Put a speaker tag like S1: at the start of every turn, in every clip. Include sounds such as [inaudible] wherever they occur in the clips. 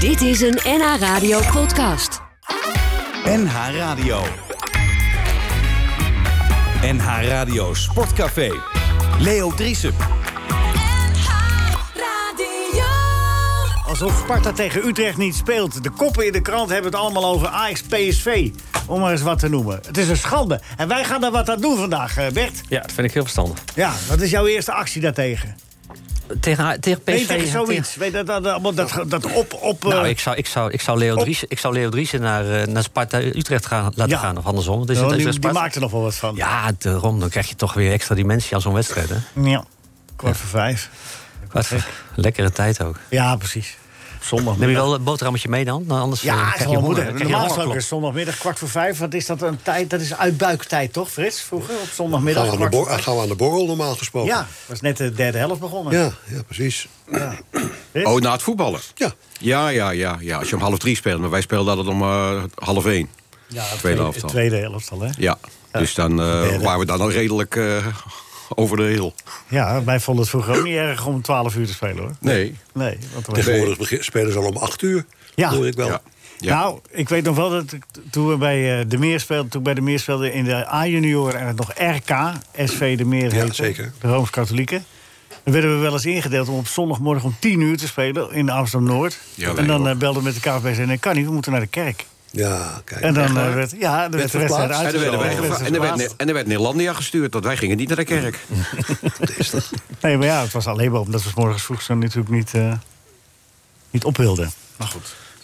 S1: Dit is een NH Radio podcast.
S2: NH Radio. NH Radio Sportcafé. Leo Driessen.
S3: Alsof Sparta tegen Utrecht niet speelt. De koppen in de krant hebben het allemaal over Ajax PSV. Om maar eens wat te noemen. Het is een schande. En wij gaan daar wat aan doen vandaag, eh, Bert.
S4: Ja, dat vind ik heel verstandig.
S3: Ja, wat is jouw eerste actie daartegen?
S4: Tegen, tegen PSV...
S3: Nee, tegen zoiets. Weet je, dat, dat, dat, dat op... op
S4: Nou,
S3: eh,
S4: ik zou, ik zou, ik zou Leo
S3: Op-
S4: Driessen, ik zou Leo Driessen naar, eh, naar Sparta Utrecht gaan, laten
S3: Ja.
S4: gaan. Of andersom. Het is
S3: nou,
S4: het is
S3: die, die
S4: weer dus Sparta.
S3: maakt er nog wel wat van.
S4: Ja, daarom. Dan krijg je toch weer extra dimensie aan zo'n wedstrijd. Hè?
S3: Ja. Kwart voor vijf.
S4: Wat lekkere tijd ook.
S3: Ja, precies. Zondag.
S4: Neem je wel een boterhammetje mee dan? Nou, anders eh,
S3: Ja,
S4: krijg
S3: is
S4: je
S3: wel
S4: honger.
S3: moeder.
S4: Dan krijg je
S3: Normaal gesproken
S4: hongerklop.
S3: is zondagmiddag kwart voor vijf. Wat is dat een tijd? Dat is uitbuiktijd, toch, Frits? Vroeger op zondagmiddag.
S5: Gaan we, aan de
S3: kwart
S5: bor-
S3: voor vijf.
S5: gaan we aan de borrel normaal gesproken?
S3: Ja, was net de derde helft begonnen.
S5: Ja, ja, precies.
S6: Oh, na het voetballen?
S5: Ja.
S6: Ja, ja, ja, ja. Als je om half drie speelt. Maar wij speelden altijd om eh, half één.
S3: Ja,
S6: tweede
S3: tweede,
S6: helft al.
S3: tweede helft al, hè?
S6: Ja. Dus dan eh,
S3: Derde.
S6: waren we dan al redelijk eh, over de heel.
S3: Ja, wij vonden het vroeger ook niet erg om 12 uur te spelen, hoor.
S6: Nee.
S3: Nee, want dan was-
S5: Tegenwoordig begin- spelen ze al om acht uur.
S3: Ja.
S5: Hoor ik wel.
S6: Ja. Ja.
S3: Nou, ik weet nog wel dat ik t- toen we bij eh, de Meer speelden, toen ik bij de Meer speelde in de A-junior en het nog RK, SV de Meer
S5: Ja,
S3: heette,
S5: zeker.
S3: de Rooms-Katholieken. Dan werden we wel eens ingedeeld om op zondagmorgen om 10 uur te spelen in Amsterdam-Noord.
S6: Ja, wij
S3: en dan
S6: ook.
S3: eh, belden we met de KVB en zeiden, kan niet, we moeten naar de kerk.
S5: Ja, kijk.
S3: En dan eh, werd, ja, de werd de wedstrijd
S5: verplaatst?
S3: uit.
S6: En dan werden wij geva- en dan werd, Ne-
S3: verplaatst.
S6: en dan werd Nederlandia gestuurd, want wij gingen niet naar de kerk.
S3: Nee, maar ja, het was alleen maar omdat we 's morgens vroeg zo natuurlijk niet, eh, niet op wilden.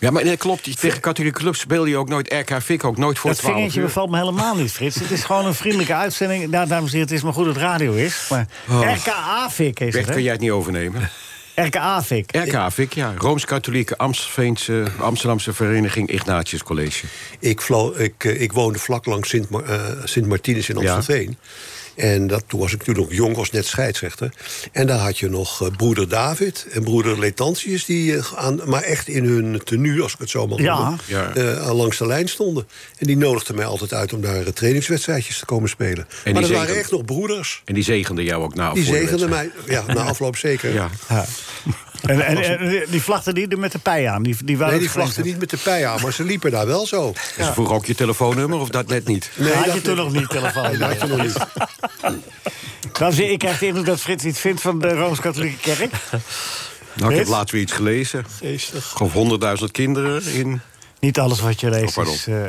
S6: Ja, maar nee, klopt. die- Tegen katholieke clubs speel je ook nooit RK Fik, ook nooit voor
S3: Dat
S6: 12
S3: vingertje
S6: uur.
S3: bevalt me helemaal niet, Frits. Het is gewoon een
S5: [laughs]
S3: vriendelijke uitzending. Nou, dames en heren, het is maar goed dat het radio is. Maar
S5: Oh.
S3: RKA-fik is het,
S6: Bert, kan
S3: hè?
S6: jij het niet
S3: [laughs]
S6: overnemen?
S3: RKA-fik.
S6: RK Fik, ja. Rooms-Katholieke Amstelveense, Amsterdamse Vereniging Ignatius College.
S5: Ik, vlo- ik, eh, ik woonde vlak langs Sint, Ma- eh, Sint Martinus in
S6: Ja.
S5: Amstelveen. En dat, toen was ik natuurlijk nog jong, was net scheidsrechter. En daar had je nog eh, broeder David en broeder Letantius... die eh, aan, maar echt in hun tenue, als ik het zo mag
S3: Ja.
S5: noemen...
S6: Ja.
S5: eh, aan langs de lijn stonden. En die nodigden mij altijd uit om daar eh, trainingswedstrijdjes te komen spelen. maar
S6: die
S5: dat
S6: zegen-
S5: waren echt nog broeders.
S6: En die zegende jou ook na.
S5: Die
S6: voor de
S5: zegenden
S6: wedstrijd.
S5: mij, ja, na afloop zeker.
S6: Ja.
S3: En, en, en die vlachten niet met de pij aan. Die, die waren
S5: Nee, die
S3: het
S5: vlachten niet met de pij aan, maar ze liepen daar wel zo.
S6: En Ze vroegen ook je telefoonnummer of dat net niet.
S5: Nee,
S3: had
S5: dat
S3: je toen nog niet, telefoon.
S5: [laughs] Nee, dat had je nog niet.
S3: Dames en heren, ik krijg de indruk dat Frits iets vindt van de Rooms-Katholieke Kerk.
S6: Nou, ik heb
S3: Dit?
S6: laatst weer iets gelezen.
S5: Geestig.
S6: Of 100.000 kinderen in.
S3: Niet alles wat je leest
S6: Oh, pardon.
S3: is, eh,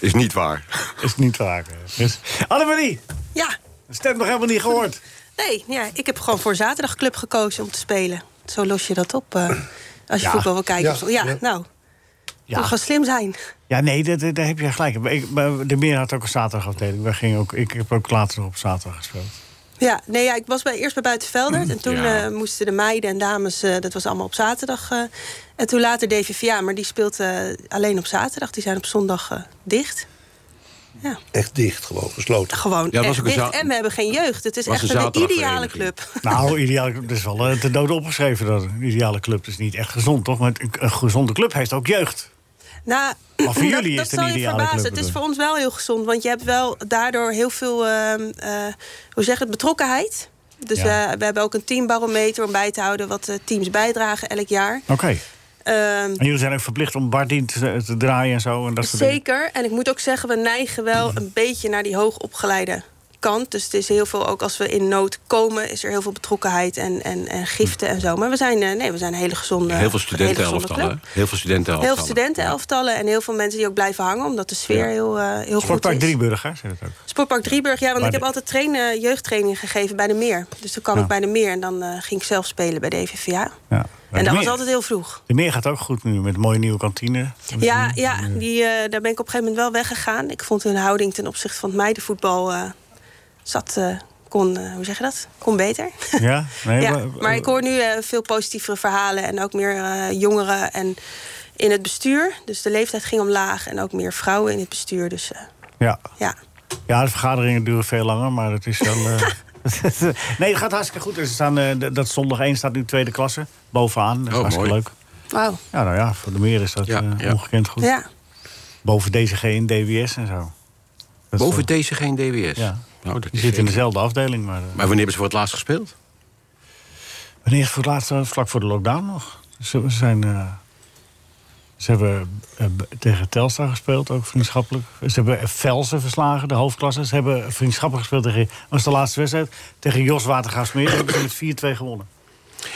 S6: Is niet waar.
S3: is niet waar. eh, Frits. Annemarie,
S7: Ja,
S3: stem nog helemaal niet gehoord.
S7: nee, ja, ik heb gewoon voor zaterdagclub gekozen om te spelen. Zo los je dat op eh, als je
S3: Ja,
S7: voetbal wil kijken.
S5: ja,
S7: of zo. ja,
S5: ja.
S7: nou,
S3: Ja.
S7: moet gewoon slim zijn.
S3: Ja, nee, dat- dat- daar heb je gelijk. in. Maar ik- maar De meer had ook een zaterdagafdeling. Wij gingen ook, ik heb ook later nog op zaterdag gespeeld.
S7: Ja, nee, ja, ik was bij, eerst bij Buitenveldert. En toen
S6: Ja.
S7: eh, moesten de meiden en dames, eh, dat was allemaal op zaterdag. eh, en toen later DVVA, maar die speelt eh, alleen op zaterdag. Die zijn op zondag eh, dicht. Ja,
S5: Echt dicht gewoon, gesloten.
S7: gewoon
S6: Ja, dat was
S7: echt
S6: ook een
S7: dicht.
S6: za-
S7: En we hebben geen jeugd. Het is
S6: was
S7: echt
S6: een
S7: een ideale
S6: zaterdagvereniging.
S7: club.
S3: [laughs] Nou, ideaal, dat is wel eh, te dode opgeschreven. Dat een ideale club is niet echt gezond, toch? Maar een, een gezonde club heeft ook jeugd.
S7: Nou,
S3: Maar voor
S7: [clears throat] dat-
S3: jullie is
S7: dat
S3: het een
S7: zal je
S3: ideale
S7: verbazen.
S3: club,
S7: Het is
S3: bedoel
S7: voor ons wel heel gezond. Want je hebt wel daardoor heel veel ehm, eh, hoe zeg je het, betrokkenheid. Dus
S3: Ja.
S7: eh, we hebben ook een teambarometer om bij te houden wat eh, teams bijdragen elk jaar.
S3: Oké.
S7: Ehm,
S3: En jullie zijn ook verplicht om bardien te, te draaien en zo. En dat soort dingen.
S7: zeker. En ik moet ook zeggen, we neigen wel een beetje naar die hoogopgeleide kant. Dus het is heel veel, ook als we in nood komen, is er heel veel betrokkenheid en, en, en giften en zo. Maar we zijn, eh, nee, we zijn een hele gezonde.
S6: Heel veel
S7: hele gezonde
S6: studentenelftallen.
S7: club.
S6: hè? Heel veel studentenelftallen.
S7: Heel veel studentenelftallen en heel veel mensen die ook blijven hangen, omdat de sfeer heel, eh, heel goed is.
S3: Sportpark Drieburg, hè? Zit het ook.
S7: Sportpark Drieburg, ja, want
S3: Maar
S7: ik heb
S3: de-
S7: altijd trainen, jeugdtraining gegeven bij de Meer. Dus toen kwam
S3: Ja.
S7: ik bij de Meer en dan eh, ging ik zelf spelen bij de E EVVA.
S3: Ja.
S7: En dat was
S3: meer-
S7: altijd heel vroeg.
S3: De meer gaat ook goed nu, met een mooie nieuwe kantine.
S7: Ja, ja die, eh, daar ben ik op een gegeven moment wel weggegaan. Ik vond hun houding ten opzichte van het meidenvoetbal eh, zat, eh, kon, eh, hoe zeg je dat? Kon beter. [laughs]
S3: Ja? Nee,
S7: ja,
S3: maar-
S7: maar ik hoor nu eh, veel positievere verhalen en ook meer eh, jongeren en in het bestuur. Dus de leeftijd ging omlaag en ook meer vrouwen in het bestuur. Dus eh,
S3: Ja.
S7: ja.
S3: ja, de vergaderingen duren veel langer, maar het is wel... eh, nee, het gaat hartstikke goed. Er staan, eh, d- dat zondag 1 staat nu tweede klasse, bovenaan. Dat is
S6: Oh,
S3: hartstikke
S6: mooi.
S3: leuk.
S7: Wauw.
S3: Ja, nou ja, voor de meer is dat
S6: Ja,
S3: eh,
S6: ja.
S3: ongekend goed.
S7: Ja.
S3: Boven DCG en DWS en zo. Dat is
S6: Boven
S3: wel-
S6: deze geen DWS.
S3: Ja.
S6: Nou, dat
S3: Die zitten in
S6: is zeker.
S3: dezelfde afdeling, maar... eh,
S6: Maar wanneer hebben ze voor het laatst gespeeld?
S3: Wanneer is het voor het laatst? eh, Vlak voor de lockdown nog. Ze we zijn eh, Ze hebben eh, b- tegen Telstar gespeeld, ook vriendschappelijk. Ze hebben eh, Velsen verslagen, de hoofdklasse. Ze hebben vriendschappelijk gespeeld tegen... Dat was de laatste wedstrijd. Tegen Jos Watergaasmeer. Daar hebben ze met 4-2 gewonnen.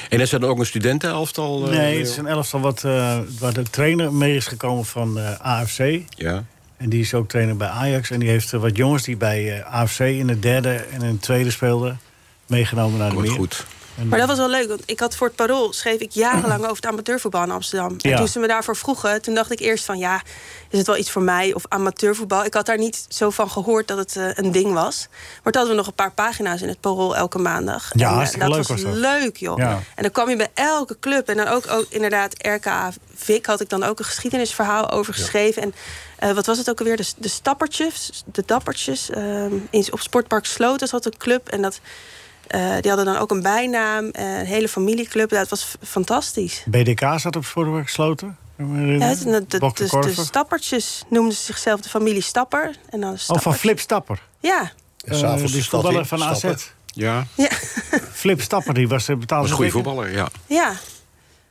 S6: En is er dan ook een studentenelftal? eh,
S3: Nee, het is een elftal wat, eh, waar de trainer mee is gekomen van eh, AFC.
S6: Ja.
S3: En die is ook trainer bij Ajax. En die heeft eh, wat jongens die bij eh, AFC in het derde en in het tweede speelden... meegenomen naar de
S6: Wordt
S3: meer.
S6: goed.
S7: Maar
S3: eh,
S7: dat was wel leuk, want ik had voor het parool schreef ik jarenlang over het amateurvoetbal in Amsterdam.
S3: Ja.
S7: En toen ze me daarvoor vroegen, toen dacht ik eerst van ja, is het wel iets voor mij of amateurvoetbal? Ik had daar niet zo van gehoord dat het eh, een ding was. Maar toen hadden we nog een paar pagina's in het parool elke maandag.
S3: Ja,
S7: en, eh,
S3: hartstikke
S7: dat
S3: leuk
S7: was,
S3: was dat.
S7: leuk, joh.
S3: Ja.
S7: En dan kwam je bij elke club en dan ook, ook inderdaad RKA Vic had ik dan ook een geschiedenisverhaal over geschreven. En eh, wat was het ook alweer? De, de stappertjes, de dappertjes. ehm, eens op Sportpark Sloters had een club en dat. Eh, die hadden dan ook een bijnaam, eh, een hele familieclub. Ja, het was f- fantastisch.
S3: BDK zat op Sportwerk gesloten.
S7: Ja, het- de, de,
S3: Bok de
S7: de- de
S3: Korver.
S7: stappertjes noemden ze zichzelf de familie Stapper. En dan
S3: Oh,
S7: Stappers.
S3: van Flip Stapper.
S7: Ja,
S5: En s'avonds
S3: Eh,
S5: de
S3: die
S5: stad
S3: voetballer
S5: in
S3: van
S5: stappen.
S3: AZ.
S6: Ja,
S7: ja, [laughs]
S3: Flip Stapper, die was de betaalde
S6: was een goede
S3: speler.
S6: voetballer, ja.
S7: ja.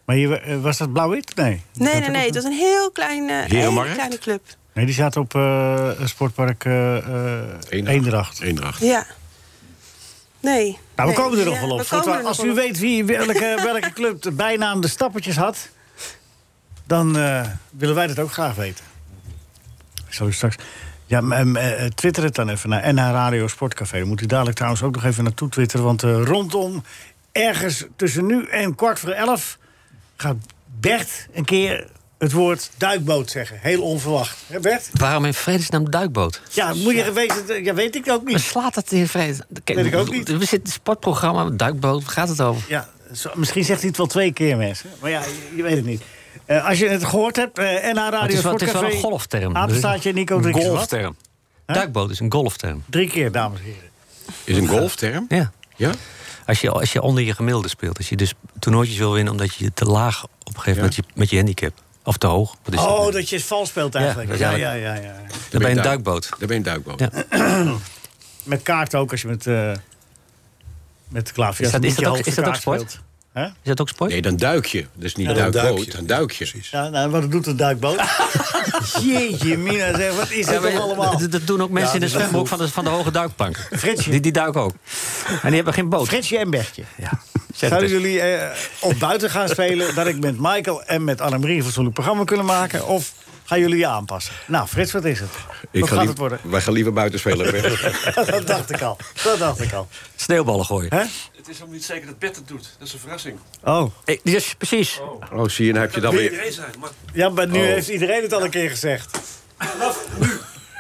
S3: Maar je, eh, was dat Blauw-Wit? Nee.
S7: Nee,
S3: Dat
S7: nee,
S3: ook
S7: nee.
S3: een-
S7: Het was een heel klein, eh, hele
S6: Herenmarkt?
S7: kleine club.
S3: Nee, die zaten op eh, een sportpark eh, eh, Eendracht.
S6: Eendracht.
S7: Ja. Nee.
S3: Nou, we
S7: Nee,
S3: komen er nog
S7: ja,
S3: wel
S7: we
S3: op.
S7: komen
S3: Voortaan,
S7: er
S3: als
S7: nog
S3: u
S7: wel op.
S3: weet wie,
S7: [laughs]
S3: welke, welke club de bijnaam de Stappertjes had... dan eh, willen wij dat ook graag weten. Ik zal u straks... Ja, m- m- eh, twitter het dan even naar NH Radio Sportcafé. Dan moet u dadelijk trouwens ook nog even naartoe twitteren... want eh, rondom ergens tussen nu en kwart voor elf... gaat Bert een keer het woord duikboot zeggen. Heel onverwacht. Hè Bert?
S4: Waarom in vredesnaam duikboot?
S3: Ja, moet je geweten... Ja, weet ik ook
S4: Maar
S3: niet.
S4: slaat dat in vrede? Kijk,
S3: Weet ik ook niet.
S4: We zitten in het sportprogramma, duikboot, waar gaat het over?
S3: Ja, zo- misschien zegt hij het wel twee keer, mensen. Maar ja, je, je weet het niet. Eh, als je het gehoord hebt, en NH Radio
S4: Maar het, is wel, het is wel
S3: Sportcafé...
S4: een golfterm.
S3: Apenstaartje Nico
S4: Een
S3: Driessen, wat?
S4: golfterm. Duikboot is een golfterm.
S3: Drie keer, dames en heren.
S6: Is een golfterm?
S4: Ja.
S6: Ja?
S4: Als je, als je onder je gemiddelde speelt. Als je dus toernooitjes wil winnen omdat je te laag op een gegeven moment
S6: Ja.
S4: je- met je handicap. Of te hoog. Wat is dat?
S3: Oh, dat je het vals speelt eigenlijk.
S4: dat is
S3: Ja, ja,
S4: eigenlijk-
S3: ja, ja,
S4: Dan ben je een
S6: duik-
S4: duikboot.
S6: Daar ben je een duikboot.
S4: Ja.
S3: Met kaart ook, als je met, eh met klavier...
S4: Is dat- is
S3: met je
S4: dat ook-
S3: hoofd
S4: is
S3: de
S4: dat ook
S3: kaart
S4: sport?
S3: speelt. Hè?
S4: Is dat ook sport?
S6: Nee, dan duik je. Dus niet
S5: dan
S6: duikboot,
S5: duik je.
S6: dan duik je.
S3: Ja, nou, wat doet een
S4: [laughs]
S3: duikboot? Jeetje, Mina, zeg, wat is
S4: Ja,
S3: dit
S4: maar
S3: toch allemaal?
S4: dat, dat doen ook mensen
S3: Ja,
S4: in de
S3: dat is
S4: zwembroek van de, van de hoge
S3: [laughs]
S4: duikplank.
S3: Fritsje.
S4: Die, die duiken ook. En die hebben geen boot.
S3: Fritsje en Bertje. [laughs]
S4: Ja.
S3: Zouden jullie eh, of buiten gaan spelen dat ik met Michael en met Annemarie een fatsoenlijk programma kunnen maken? Of gaan jullie je aanpassen? Nou, Frits, wat is het? Wat gaat
S6: liever-
S3: het worden? [laughs]
S6: Wij gaan liever buiten spelen. Bert.
S3: dat dacht ik al. Dat dacht ik al.
S4: Sneeuwballen gooien.
S3: Hè?
S8: Het is helemaal niet zeker dat Bert het doet. Dat is een verrassing.
S3: Oh.
S4: Eh, Dus precies.
S6: oh, zie je, dan heb je
S8: Dat
S6: dan
S8: wil
S6: weer...
S8: iedereen zijn. Maar
S3: Ja, maar nu
S6: Oh.
S3: heeft iedereen het al een keer gezegd. Vanaf nu.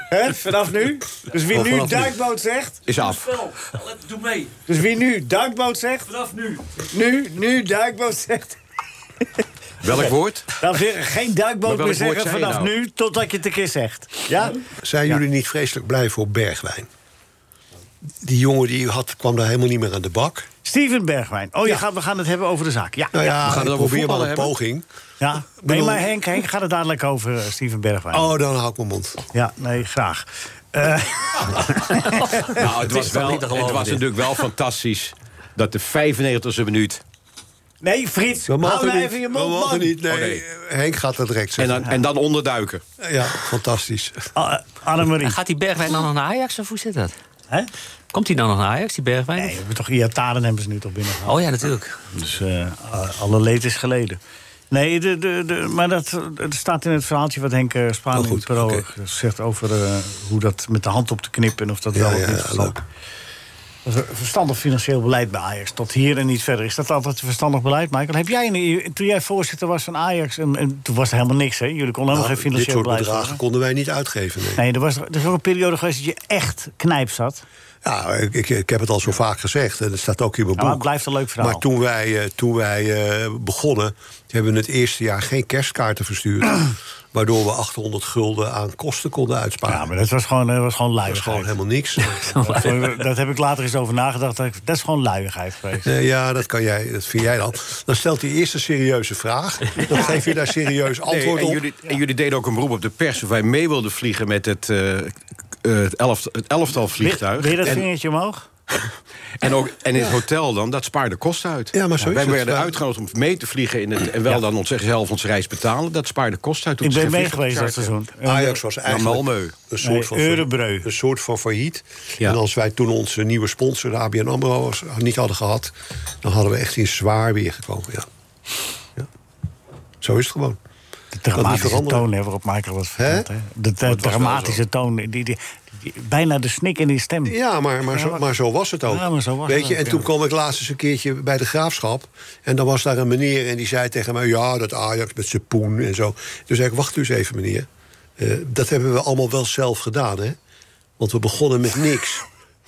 S3: Hè? Vanaf nu? Dus wie nu
S6: Oh, vanaf nu.
S3: duikboot zegt.
S6: Is af.
S8: spel, let- doe mee.
S3: Dus wie nu duikboot zegt.
S8: Vanaf nu.
S3: Nu, nu duikboot zegt.
S6: Welk woord?
S3: Dan zeggen geen duikboot
S6: Maar welk
S3: meer
S6: woord
S3: zeggen
S6: zei je
S3: vanaf
S6: nou?
S3: nu totdat je het een keer zegt. Ja?
S5: Zijn jullie niet vreselijk blij voor Bergwijn? Die jongen die had, kwam daar helemaal niet meer aan de bak.
S3: Steven Bergwijn. Oh, je gaat, we gaan het hebben over de zaak. Ja.
S5: Nou ja,
S6: we gaan het
S5: ik probeer
S6: over
S5: maar een
S6: voetballen hebben.
S5: poging.
S3: Ja, nee,
S5: bedoel-
S3: maar Henk, Henk gaat het dadelijk over eh, Steven Bergwijn.
S5: Oh, dan hou ik mijn mond.
S3: Ja, nee, graag. Eh,
S6: Nou, het was,
S4: toch
S6: wel,
S4: niet te
S6: het
S4: geloven,
S6: was
S4: dit.
S6: natuurlijk wel fantastisch dat de 95e minuut...
S3: [laughs] Nee, Frits,
S5: We
S3: hou
S5: mogen
S3: nou
S5: niet.
S3: even je
S5: We
S3: mond,
S5: mogen
S3: man.
S5: niet. Nee,
S6: Oh, nee.
S5: Henk gaat dat direct
S6: En
S5: zeggen.
S6: dan, en dan onderduiken.
S5: Ja, fantastisch.
S3: Ah, eh, Annemarie,
S4: En gaat die Bergwijn dan nog naar Ajax of hoe zit dat?
S3: hè?
S4: Komt hij dan nog naar Ajax, die Bergwijn?
S3: Nee, we hebben toch Iataren hebben ze nu toch binnengehaald.
S4: Oh ja, natuurlijk.
S3: Dus eh, alle leed is geleden. Nee, de, de, de, maar dat, eh, dat staat in het verhaaltje wat Henk eh, Spaan
S5: Oh,
S3: in
S5: goed,
S3: het parool
S5: oké.
S3: zegt... over eh, hoe dat met de hand op te knippen en of dat
S5: Ja,
S3: wel of
S5: ja,
S3: niet
S5: ja,
S3: verstandig Dat is een verstandig financieel beleid bij Ajax. Tot hier en niet verder. Is dat altijd een verstandig beleid, Michael? Heb jij, een- toen jij voorzitter was van Ajax... en, en toen was er helemaal niks, hè? Jullie konden helemaal
S5: Nou,
S3: geen
S5: dit
S3: financieel
S5: soort
S3: beleid
S5: bedragen
S3: voeren.
S5: konden wij niet uitgeven. Nee.
S3: Nee, er was, er is ook een periode geweest dat je echt knijp zat.
S5: Ja, ik, ik, ik heb het al zo vaak gezegd en dat staat ook in mijn
S3: Ja, maar het
S5: boek.
S3: blijft een leuk verhaal.
S5: Maar toen wij, eh, toen wij eh, begonnen, hebben we het eerste jaar geen kerstkaarten verstuurd. [clears throat] waardoor we 800 gulden aan kosten konden uitsparen.
S3: Ja, maar dat was gewoon, eh, was gewoon
S5: dat is
S3: luiigheid.
S5: gewoon helemaal niks.
S3: [laughs]
S5: [laughs]
S3: Dat vond ik- dat heb ik later eens over nagedacht. Dat ik- dat is gewoon luiigheid geweest.
S5: Nee, Eh, ja, dat, kan jij, dat vind jij dan. Dan stelt hij eerst een serieuze vraag. Dan geef je daar serieus
S6: Nee,
S5: antwoord
S6: en,
S5: op.
S6: jullie, en jullie deden ook een beroep op de pers... of wij mee wilden vliegen met het, eh, k- eh, het, elftal, het elftal
S3: Weer
S6: vliegtuig.
S3: weer dat
S6: En-
S3: vingertje omhoog?
S6: En, ook, en in het hotel dan, dat spaarde kosten uit.
S5: Ja, maar zo is
S6: Wij
S5: het. eh,
S6: werden
S5: Ja.
S6: uitgenodigd om mee te vliegen in het, en wel dan ons, zelf ons reis betalen. Dat spaarde kosten uit. Toen
S3: Ik
S6: is
S3: ben
S6: geen
S3: mee geweest dat
S6: vliegtuig charter.
S3: seizoen. Eh,
S5: Ajax was eigenlijk
S6: Eh, Malmö.
S5: een soort,
S3: Nee,
S5: van,
S3: Eurebreu.
S5: een soort van failliet.
S6: Ja.
S5: En als wij toen onze nieuwe sponsor, de ABN AMRO, als- niet hadden gehad... dan hadden we echt in zwaar weer gekomen. Ja. Ja. Zo is het gewoon.
S3: De
S5: niet
S3: dramatische
S5: veranderen.
S3: toon hè, waarop Michael wat vertelt.
S5: Hè?
S3: hè. De, de
S5: was wel
S3: dramatische
S5: zo.
S3: toon. Die, die, die- die- bijna de snik in die stem.
S5: Ja, maar, maar, zo,
S3: maar-
S5: maar zo was het ook.
S3: Ja, maar zo was
S5: Weet
S3: het
S5: je,
S3: ook,
S5: en toen
S3: ja.
S5: kwam ik laatst eens een keertje bij de graafschap. En dan was daar een meneer en die zei tegen mij: Ja, dat Ajax met zijn poen en zo. Toen zei ik: Wacht u eens even, meneer. Eh, dat hebben we allemaal wel zelf gedaan, hè? Want we begonnen met niks.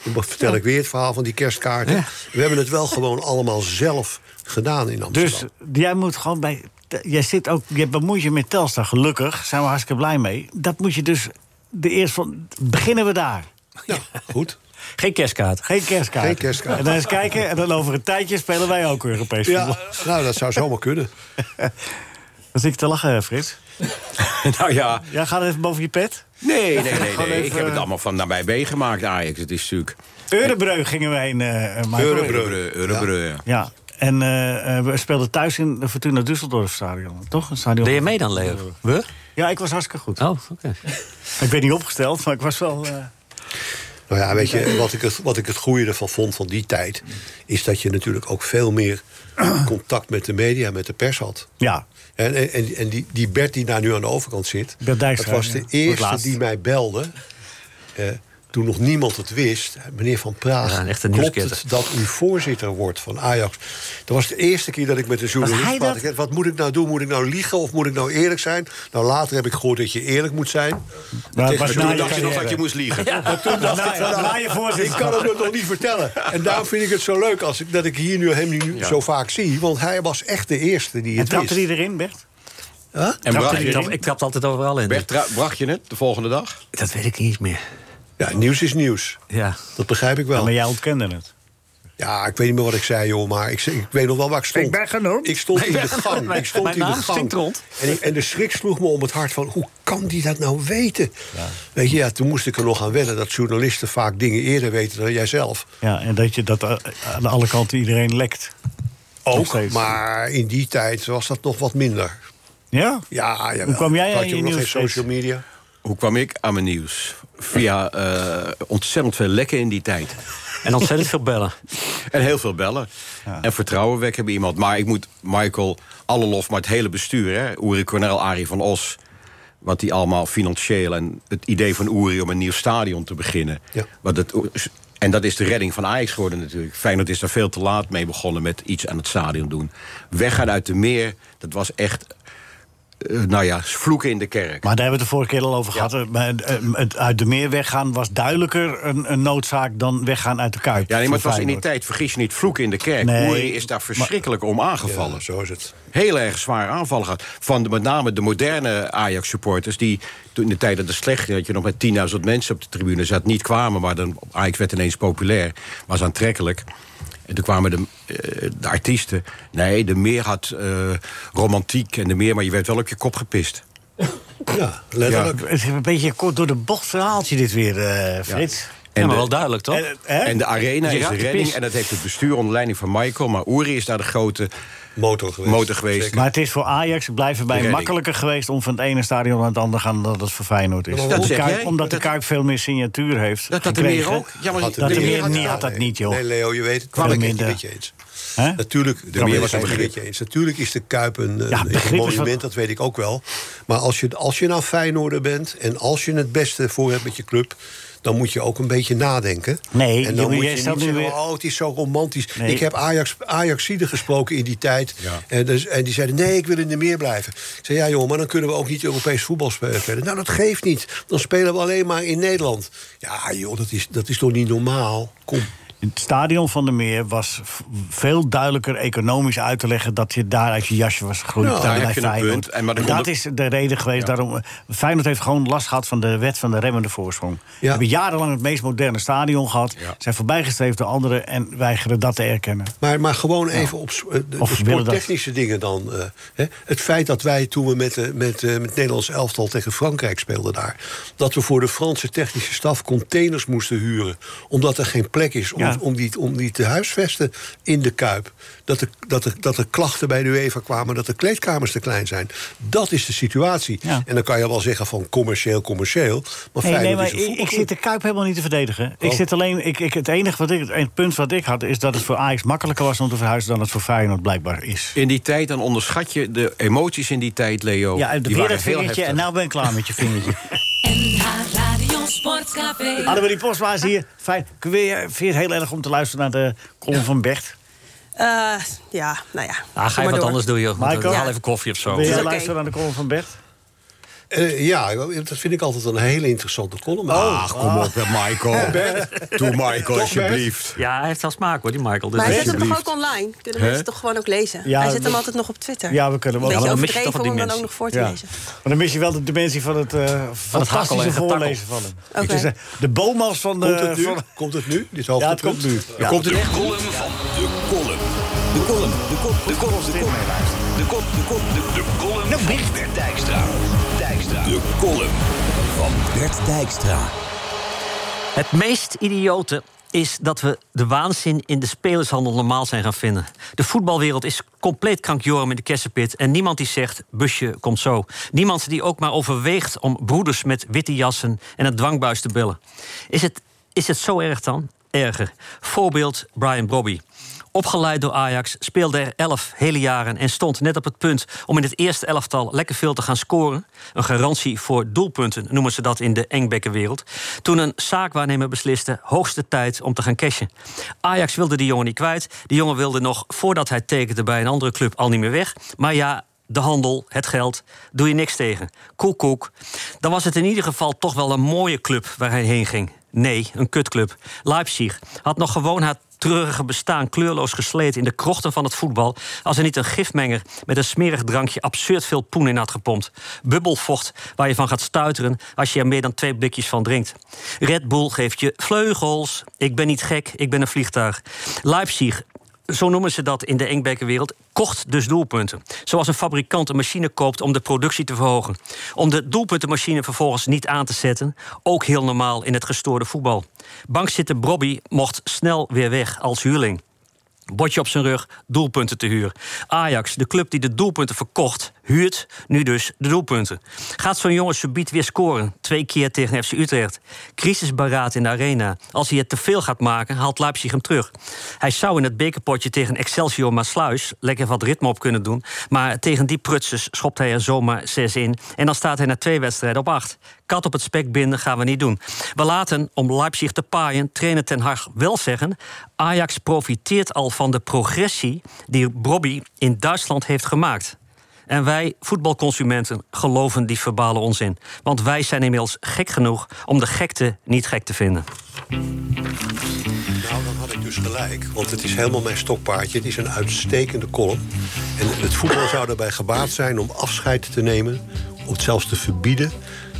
S5: Dan be- vertel ik weer het verhaal van die kerstkaarten. We hebben het wel gewoon allemaal zelf gedaan in Amsterdam.
S3: Dus jij moet gewoon bij. t- Jij zit ook. Je bemoeit je met Telstar. Gelukkig zijn we hartstikke blij mee. Dat moet je dus. De eerste van. Beginnen we daar.
S5: Nou, goed.
S4: Geen kerstkaart.
S3: Geen kerstkaart.
S5: Geen kerstkaart.
S3: En dan eens kijken. En dan over een tijdje spelen wij ook Europees
S5: Ja,
S3: voetbal.
S5: nou, dat zou zomaar kunnen.
S3: Dan zit ik te lachen, Frits.
S6: [laughs] Nou ja,
S3: Jij gaat even boven je pet.
S6: nee, nee, nee.
S3: Gewoon
S6: nee. Ik
S3: even,
S6: heb het
S3: eh,
S6: allemaal van nou, nabij meegemaakt, Ajax. Het is natuurlijk...
S3: Eurebreu gingen we heen. eh, eh, Michael.
S6: Eurebreu, Eurebreu, ja.
S3: Ja. En eh, eh, we speelden thuis in de Fortuna Düsseldorf stadion. Toch? Een stadion.
S4: Deed je mee dan, Leo? We?
S3: Ja, ik was hartstikke goed.
S4: Oh, oké.
S3: Ik ben niet opgesteld, maar ik was wel... eh,
S5: Nou ja, weet je, wat ik, het, wat ik het goede ervan vond van die tijd... is dat je natuurlijk ook veel
S3: [clears throat]
S5: meer contact met de media, met de pers had.
S3: ja.
S5: En, en- en, en die, die Bert die daar nu aan de overkant zit...
S3: Bert
S5: dat
S3: Dijkstra,
S5: was
S3: ja.
S5: de
S3: Voor het
S5: eerste
S3: laatst.
S5: die mij belde... eh, toen nog niemand het wist. Meneer Van Praag,
S4: Ja, een echte
S5: klopt het
S4: nieuwsketter.
S5: dat u voorzitter wordt van Ajax? Dat was de eerste keer dat ik met een journalist
S3: hij
S5: praatte.
S3: dat?
S5: Ik zei, Wat moet ik nou doen? Moet ik nou liegen of moet ik nou eerlijk zijn? Nou, later heb ik gehoord dat je eerlijk moet zijn.
S3: Maar het was
S5: Maar
S3: na
S6: Toen
S3: je
S6: dacht je nog
S3: carrière.
S6: dat je moest
S3: [laughs]
S6: liegen.
S3: Na je- na je
S5: Nou, Ik kan
S3: voorzitter.
S5: het hem nog niet vertellen. En daarom vind ik het zo leuk als ik, dat ik hier nu hem nu zo vaak zie. Want hij was echt de eerste die
S3: En
S5: het
S3: trapte
S5: wist.
S3: hij erin, Bert?
S6: En
S4: Trapte
S6: bracht
S4: die-
S6: je
S4: trap-
S6: het?
S4: Ik trapte altijd overal in. dus-
S6: Bert, tra- bracht je het de volgende dag?
S4: Dat weet ik niet eens meer.
S5: Ja, nieuws is nieuws.
S4: Ja.
S5: Dat begrijp ik wel.
S3: Maar
S5: Ja,
S3: jij ontkende het.
S5: ik weet niet meer wat ik zei, joh. Maar ik, ik weet nog wel waar ik stond.
S3: Ik ben genoemd.
S5: Ik stond in de gang.
S4: Mijn-
S5: Ik stond
S4: mijn
S5: in de
S4: naam
S5: gang.
S4: stinkt rond.
S5: En, ik- en de schrik sloeg me om het hart van... hoe kan die dat nou weten? Weet je, ja, toen moest ik er nog aan wennen... dat journalisten vaak dingen eerder weten dan jijzelf.
S3: Ja, en dat je dat eh, aan alle kanten iedereen lekt. Nog
S5: Ook,
S3: steeds.
S5: maar in die tijd was dat nog wat minder.
S3: Ja?
S5: Ja, ja.
S3: Hoe kwam jij aan
S5: had
S3: je
S5: je nog geen
S3: nieuws steeds?
S5: social media?
S6: Hoe kwam ik aan mijn nieuws? Via eh, ontzettend veel lekken in die tijd.
S4: En ontzettend veel bellen.
S6: En heel veel bellen. En vertrouwen wekken bij iemand. Maar ik moet Michael alle lof, maar het hele bestuur... Hè? Uri Cornel, Arie van Os... wat die allemaal financieel... en het idee van Uri om een nieuw stadion te beginnen.
S5: Ja.
S6: Wat het, en dat is de redding van Ajax geworden natuurlijk. Feyenoord is daar veel te laat mee begonnen... met iets aan het stadion doen. Weggaan uit de meer, dat was echt... eh, nou ja, vloeken in de kerk.
S3: Maar daar hebben we het de vorige keer al over gehad. hè. Maar, eh, eh, Het uit de meer weggaan was duidelijker een, een noodzaak dan weggaan uit de kuip.
S6: Ja, nee, maar het
S3: Voor
S6: was in die
S3: Feyenoord.
S6: tijd, vergis je niet, vloeken in de kerk.
S3: Nee.
S6: Oeri is daar verschrikkelijk om aangevallen.
S5: Ja, zo is het.
S6: Heel erg zwaar aanvallen gehad. Van de, met name de moderne Ajax-supporters... die toen in de tijd dat het slecht ging, dat je nog met 10.000 mensen op de tribune zat... niet kwamen, maar dan, Ajax werd ineens populair. Was aantrekkelijk. En toen kwamen de, eh, de artiesten. Nee, de meer had eh, romantiek en de meer... maar je werd wel op je kop gepist.
S5: Ja, letterlijk.
S3: Het is een beetje kort door de bocht verhaaltje dit weer, eh, Frits.
S4: En
S6: En
S4: maar
S6: de-
S4: wel duidelijk, toch? Nou,
S3: En, eh, hè?
S6: En de arena
S4: Dus je
S6: is de
S4: raakt de
S6: redding.
S4: pis.
S6: En dat heeft het bestuur onder leiding van Michael. Maar Oeri is daar de grote
S5: Motor geweest.
S6: motor geweest.
S3: Maar het is voor Ajax, ik blijf erbij,
S6: Redding.
S3: makkelijker geweest... om van het ene stadion naar het andere te gaan dan dat het voor Feyenoord is.
S6: dat
S3: Omdat de
S6: zeg
S3: Kuip-
S6: jij.
S3: omdat de
S6: Dat-
S3: Kuip veel meer signatuur heeft
S6: Dat had de meer
S3: gekregen.
S6: ook. Ja, maar
S5: Had
S3: Dat
S5: de
S3: de
S5: meer
S3: meer
S5: had-
S3: niet, had dat
S5: nee.
S3: niet, joh.
S5: Nee, Leo, je weet het.
S3: Veel
S5: Kwam ik het
S3: minder.
S5: met je eens.
S3: Hè?
S5: Natuurlijk, de
S6: meer
S5: meer was
S6: was een
S5: een
S6: begrip.
S5: beetje eens. Natuurlijk is de Kuip een, een,
S3: Ja,
S5: een
S3: begrip is wat-
S5: monument, dat weet ik ook wel. Maar als je, als je nou Feyenoorder bent en als je het beste voor hebt met je club... dan moet je ook een beetje nadenken.
S3: Nee,
S5: en
S3: jongen,
S5: dan moet
S3: jij
S5: je niet
S3: stelt nu
S5: zeggen,
S3: weer-
S5: oh, het is zo romantisch.
S3: Nee.
S5: Ik heb Ajax, Ajaxide gesproken in die tijd. En, dus, en die zeiden, nee, ik wil in de meer blijven. Ik zei, ja jongen, maar dan kunnen we ook niet Europees voetbal spe- spelen. Nou, dat geeft niet. Dan spelen we alleen maar in Nederland. Ja joh, dat is, dat is toch niet normaal? Kom.
S3: Het stadion van de Meer was v- veel duidelijker economisch uit te leggen... dat je daar uit je jasje was gegroeid
S6: Nou,
S3: daar
S6: heb
S3: bij
S6: je een
S3: Feyenoord.
S6: punt. En maar dan
S3: En dat
S6: komt
S3: is de reden geweest. Daarom, eh, Feyenoord heeft gewoon last gehad van de wet van de remmende voorsprong. We hebben jarenlang het meest moderne stadion gehad. Zijn voorbijgestreefd door anderen en weigeren dat te erkennen.
S5: Maar, maar gewoon even op s- eh, de,
S3: Of
S5: de
S3: willen dat-
S5: sporttechnische dingen dan. eh, hè. Het feit dat wij toen we met, de- met, eh, met het Nederlands elftal tegen Frankrijk speelden daar... dat we voor de Franse technische staf containers moesten huren... omdat er geen plek is om
S3: Ja, Ja.
S5: om, die, om die te huisvesten in de Kuip. Dat er, dat, er, dat er klachten bij de UEFA kwamen dat de kleedkamers te klein zijn. Dat is de situatie.
S3: Ja.
S5: En dan kan je wel zeggen van commercieel, commercieel. Maar
S3: Nee, nee,
S5: Feyenoord
S3: maar
S5: is een
S3: ik, ik
S5: voetbalclub.
S3: zit de Kuip helemaal niet te verdedigen. Ik
S5: Oh.
S3: zit alleen, ik, ik, het enige wat ik, het punt wat ik had... is dat het voor Ajax makkelijker was om te verhuizen... dan het voor Feyenoord blijkbaar is.
S6: In die tijd, dan onderschat je de emoties in die tijd, Leo.
S3: Ja, en
S6: Oh, die
S3: weer
S6: waren
S3: dat
S6: heel
S3: vingertje en
S6: heftig.
S3: nou ben ik klaar met je
S6: [laughs]
S3: vingertje.
S1: NH Radio Sportcafé.
S3: Annemarie Postma is hier. Fijn. Ik Weer, vind je het heel erg om te luisteren naar de column van Bert?
S7: Eh, ja, nou ja.
S4: Ah, ga je
S7: maar
S4: wat
S7: door.
S4: anders doen, joh.
S3: Michael?
S4: Haal even koffie of zo.
S3: Wil
S7: is
S3: jij
S7: oké.
S3: luisteren naar de column van Bert?
S5: Eh, ja, dat vind ik altijd een hele interessante column. Ah,
S6: Ach, kom op, hè, Michael. Doe Michael, alsjeblieft.
S4: Ja, hij heeft wel smaak, hoor, die Michael. Dus
S7: Maar hij
S4: dat
S7: zet
S4: is-
S7: hem toch
S6: Alsjeblieft.
S7: ook online? Kunnen
S6: Hè?
S7: mensen toch gewoon ook lezen?
S3: Ja,
S7: hij zet hem
S3: we-
S7: altijd nog op Twitter.
S3: Ja, we kunnen hem ook-
S7: Een beetje
S4: Ja, maar dan mis je
S7: overdreven
S4: toch
S7: om
S4: die
S7: hem dan ook
S4: mensen.
S7: nog voor te
S3: Ja.
S7: lezen.
S3: Maar dan mis je wel de dimensie van het eh,
S4: hakkelen
S3: fantastische
S4: en getakkel.
S3: voorlezen van hem.
S7: Oké.
S3: Dus, eh, de boomals van de...
S5: Komt het nu?
S3: van-
S5: Komt het nu? Dit hoogtepunt?
S3: Eh, ja, het komt nu. Ja.
S2: Komt het de column van de column. De column, de kop, de kop, de kop. De kop, de kop, de De column van Nou, Bert Dijkstra. Dijkstra. De column van Bert Dijkstra.
S4: Het meest idiote is dat we de waanzin in de spelershandel normaal zijn gaan vinden. De voetbalwereld is compleet krankjorum in de kersenpit... en niemand die zegt, busje, komt zo. Niemand die ook maar overweegt om broeders met witte jassen... en een dwangbuis te bellen. Is het, is het zo erg dan? Erger. Voorbeeld Brian Brobby. Opgeleid door Ajax, speelde er elf hele jaren en stond net op het punt om in het eerste elftal lekker veel te gaan scoren. Een garantie voor doelpunten noemen ze dat in de Engbekkenwereld. Toen een zaakwaarnemer besliste hoogste tijd om te gaan cashen. Ajax wilde die jongen niet kwijt. Die jongen wilde nog voordat hij tekende bij een andere club al niet meer weg. Maar ja, de handel, het geld, doe je niks tegen. Koek, koek. Dan was het in ieder geval toch wel een mooie club waar hij heen ging. Nee, een kutclub. Leipzig had nog gewoon haar treurige bestaan kleurloos gesleten in de krochten van het voetbal. als er niet een gifmenger met een smerig drankje absurd veel poen in had gepompt. Bubbelvocht waar je van gaat stuiteren als je er meer dan twee blikjes van drinkt. Red Bull geeft je vleugels. Ik ben niet gek, ik ben een vliegtuig. Leipzig zo noemen ze dat in de Engbekkenwereld, kocht dus doelpunten. Zoals een fabrikant een machine koopt om de productie te verhogen. Om de doelpuntenmachine vervolgens niet aan te zetten, ook heel normaal in het gestoorde voetbal. Bankzitter Brobby mocht snel weer weg als huurling. Botje op zijn rug, doelpunten te huur. Ajax, de club die de doelpunten verkocht, huurt nu dus de doelpunten. Gaat zo'n jongen subiet weer scoren? Twee keer tegen FC Utrecht. Crisisberaad in de arena. Als hij het te veel gaat maken, haalt Leipzig hem terug. Hij zou in het bekerpotje tegen Excelsior Maasluis lekker wat ritme op kunnen doen. Maar tegen die prutsers schopt hij er zomaar zes in. En dan staat hij na twee wedstrijden op acht. Kat op het spek binden gaan we niet doen. We laten, om Leipzig te paaien, trainer Ten Hag wel zeggen... Ajax profiteert al van de progressie die Brobby in Duitsland heeft gemaakt. En wij, voetbalconsumenten, geloven die verbale onzin. Want wij zijn inmiddels gek genoeg om de gekte niet gek te vinden.
S5: Nou, dan had ik dus gelijk. Want het is helemaal mijn stokpaardje. Het is een uitstekende column. En het voetbal zou daarbij gebaat zijn om afscheid te nemen... of het zelfs te verbieden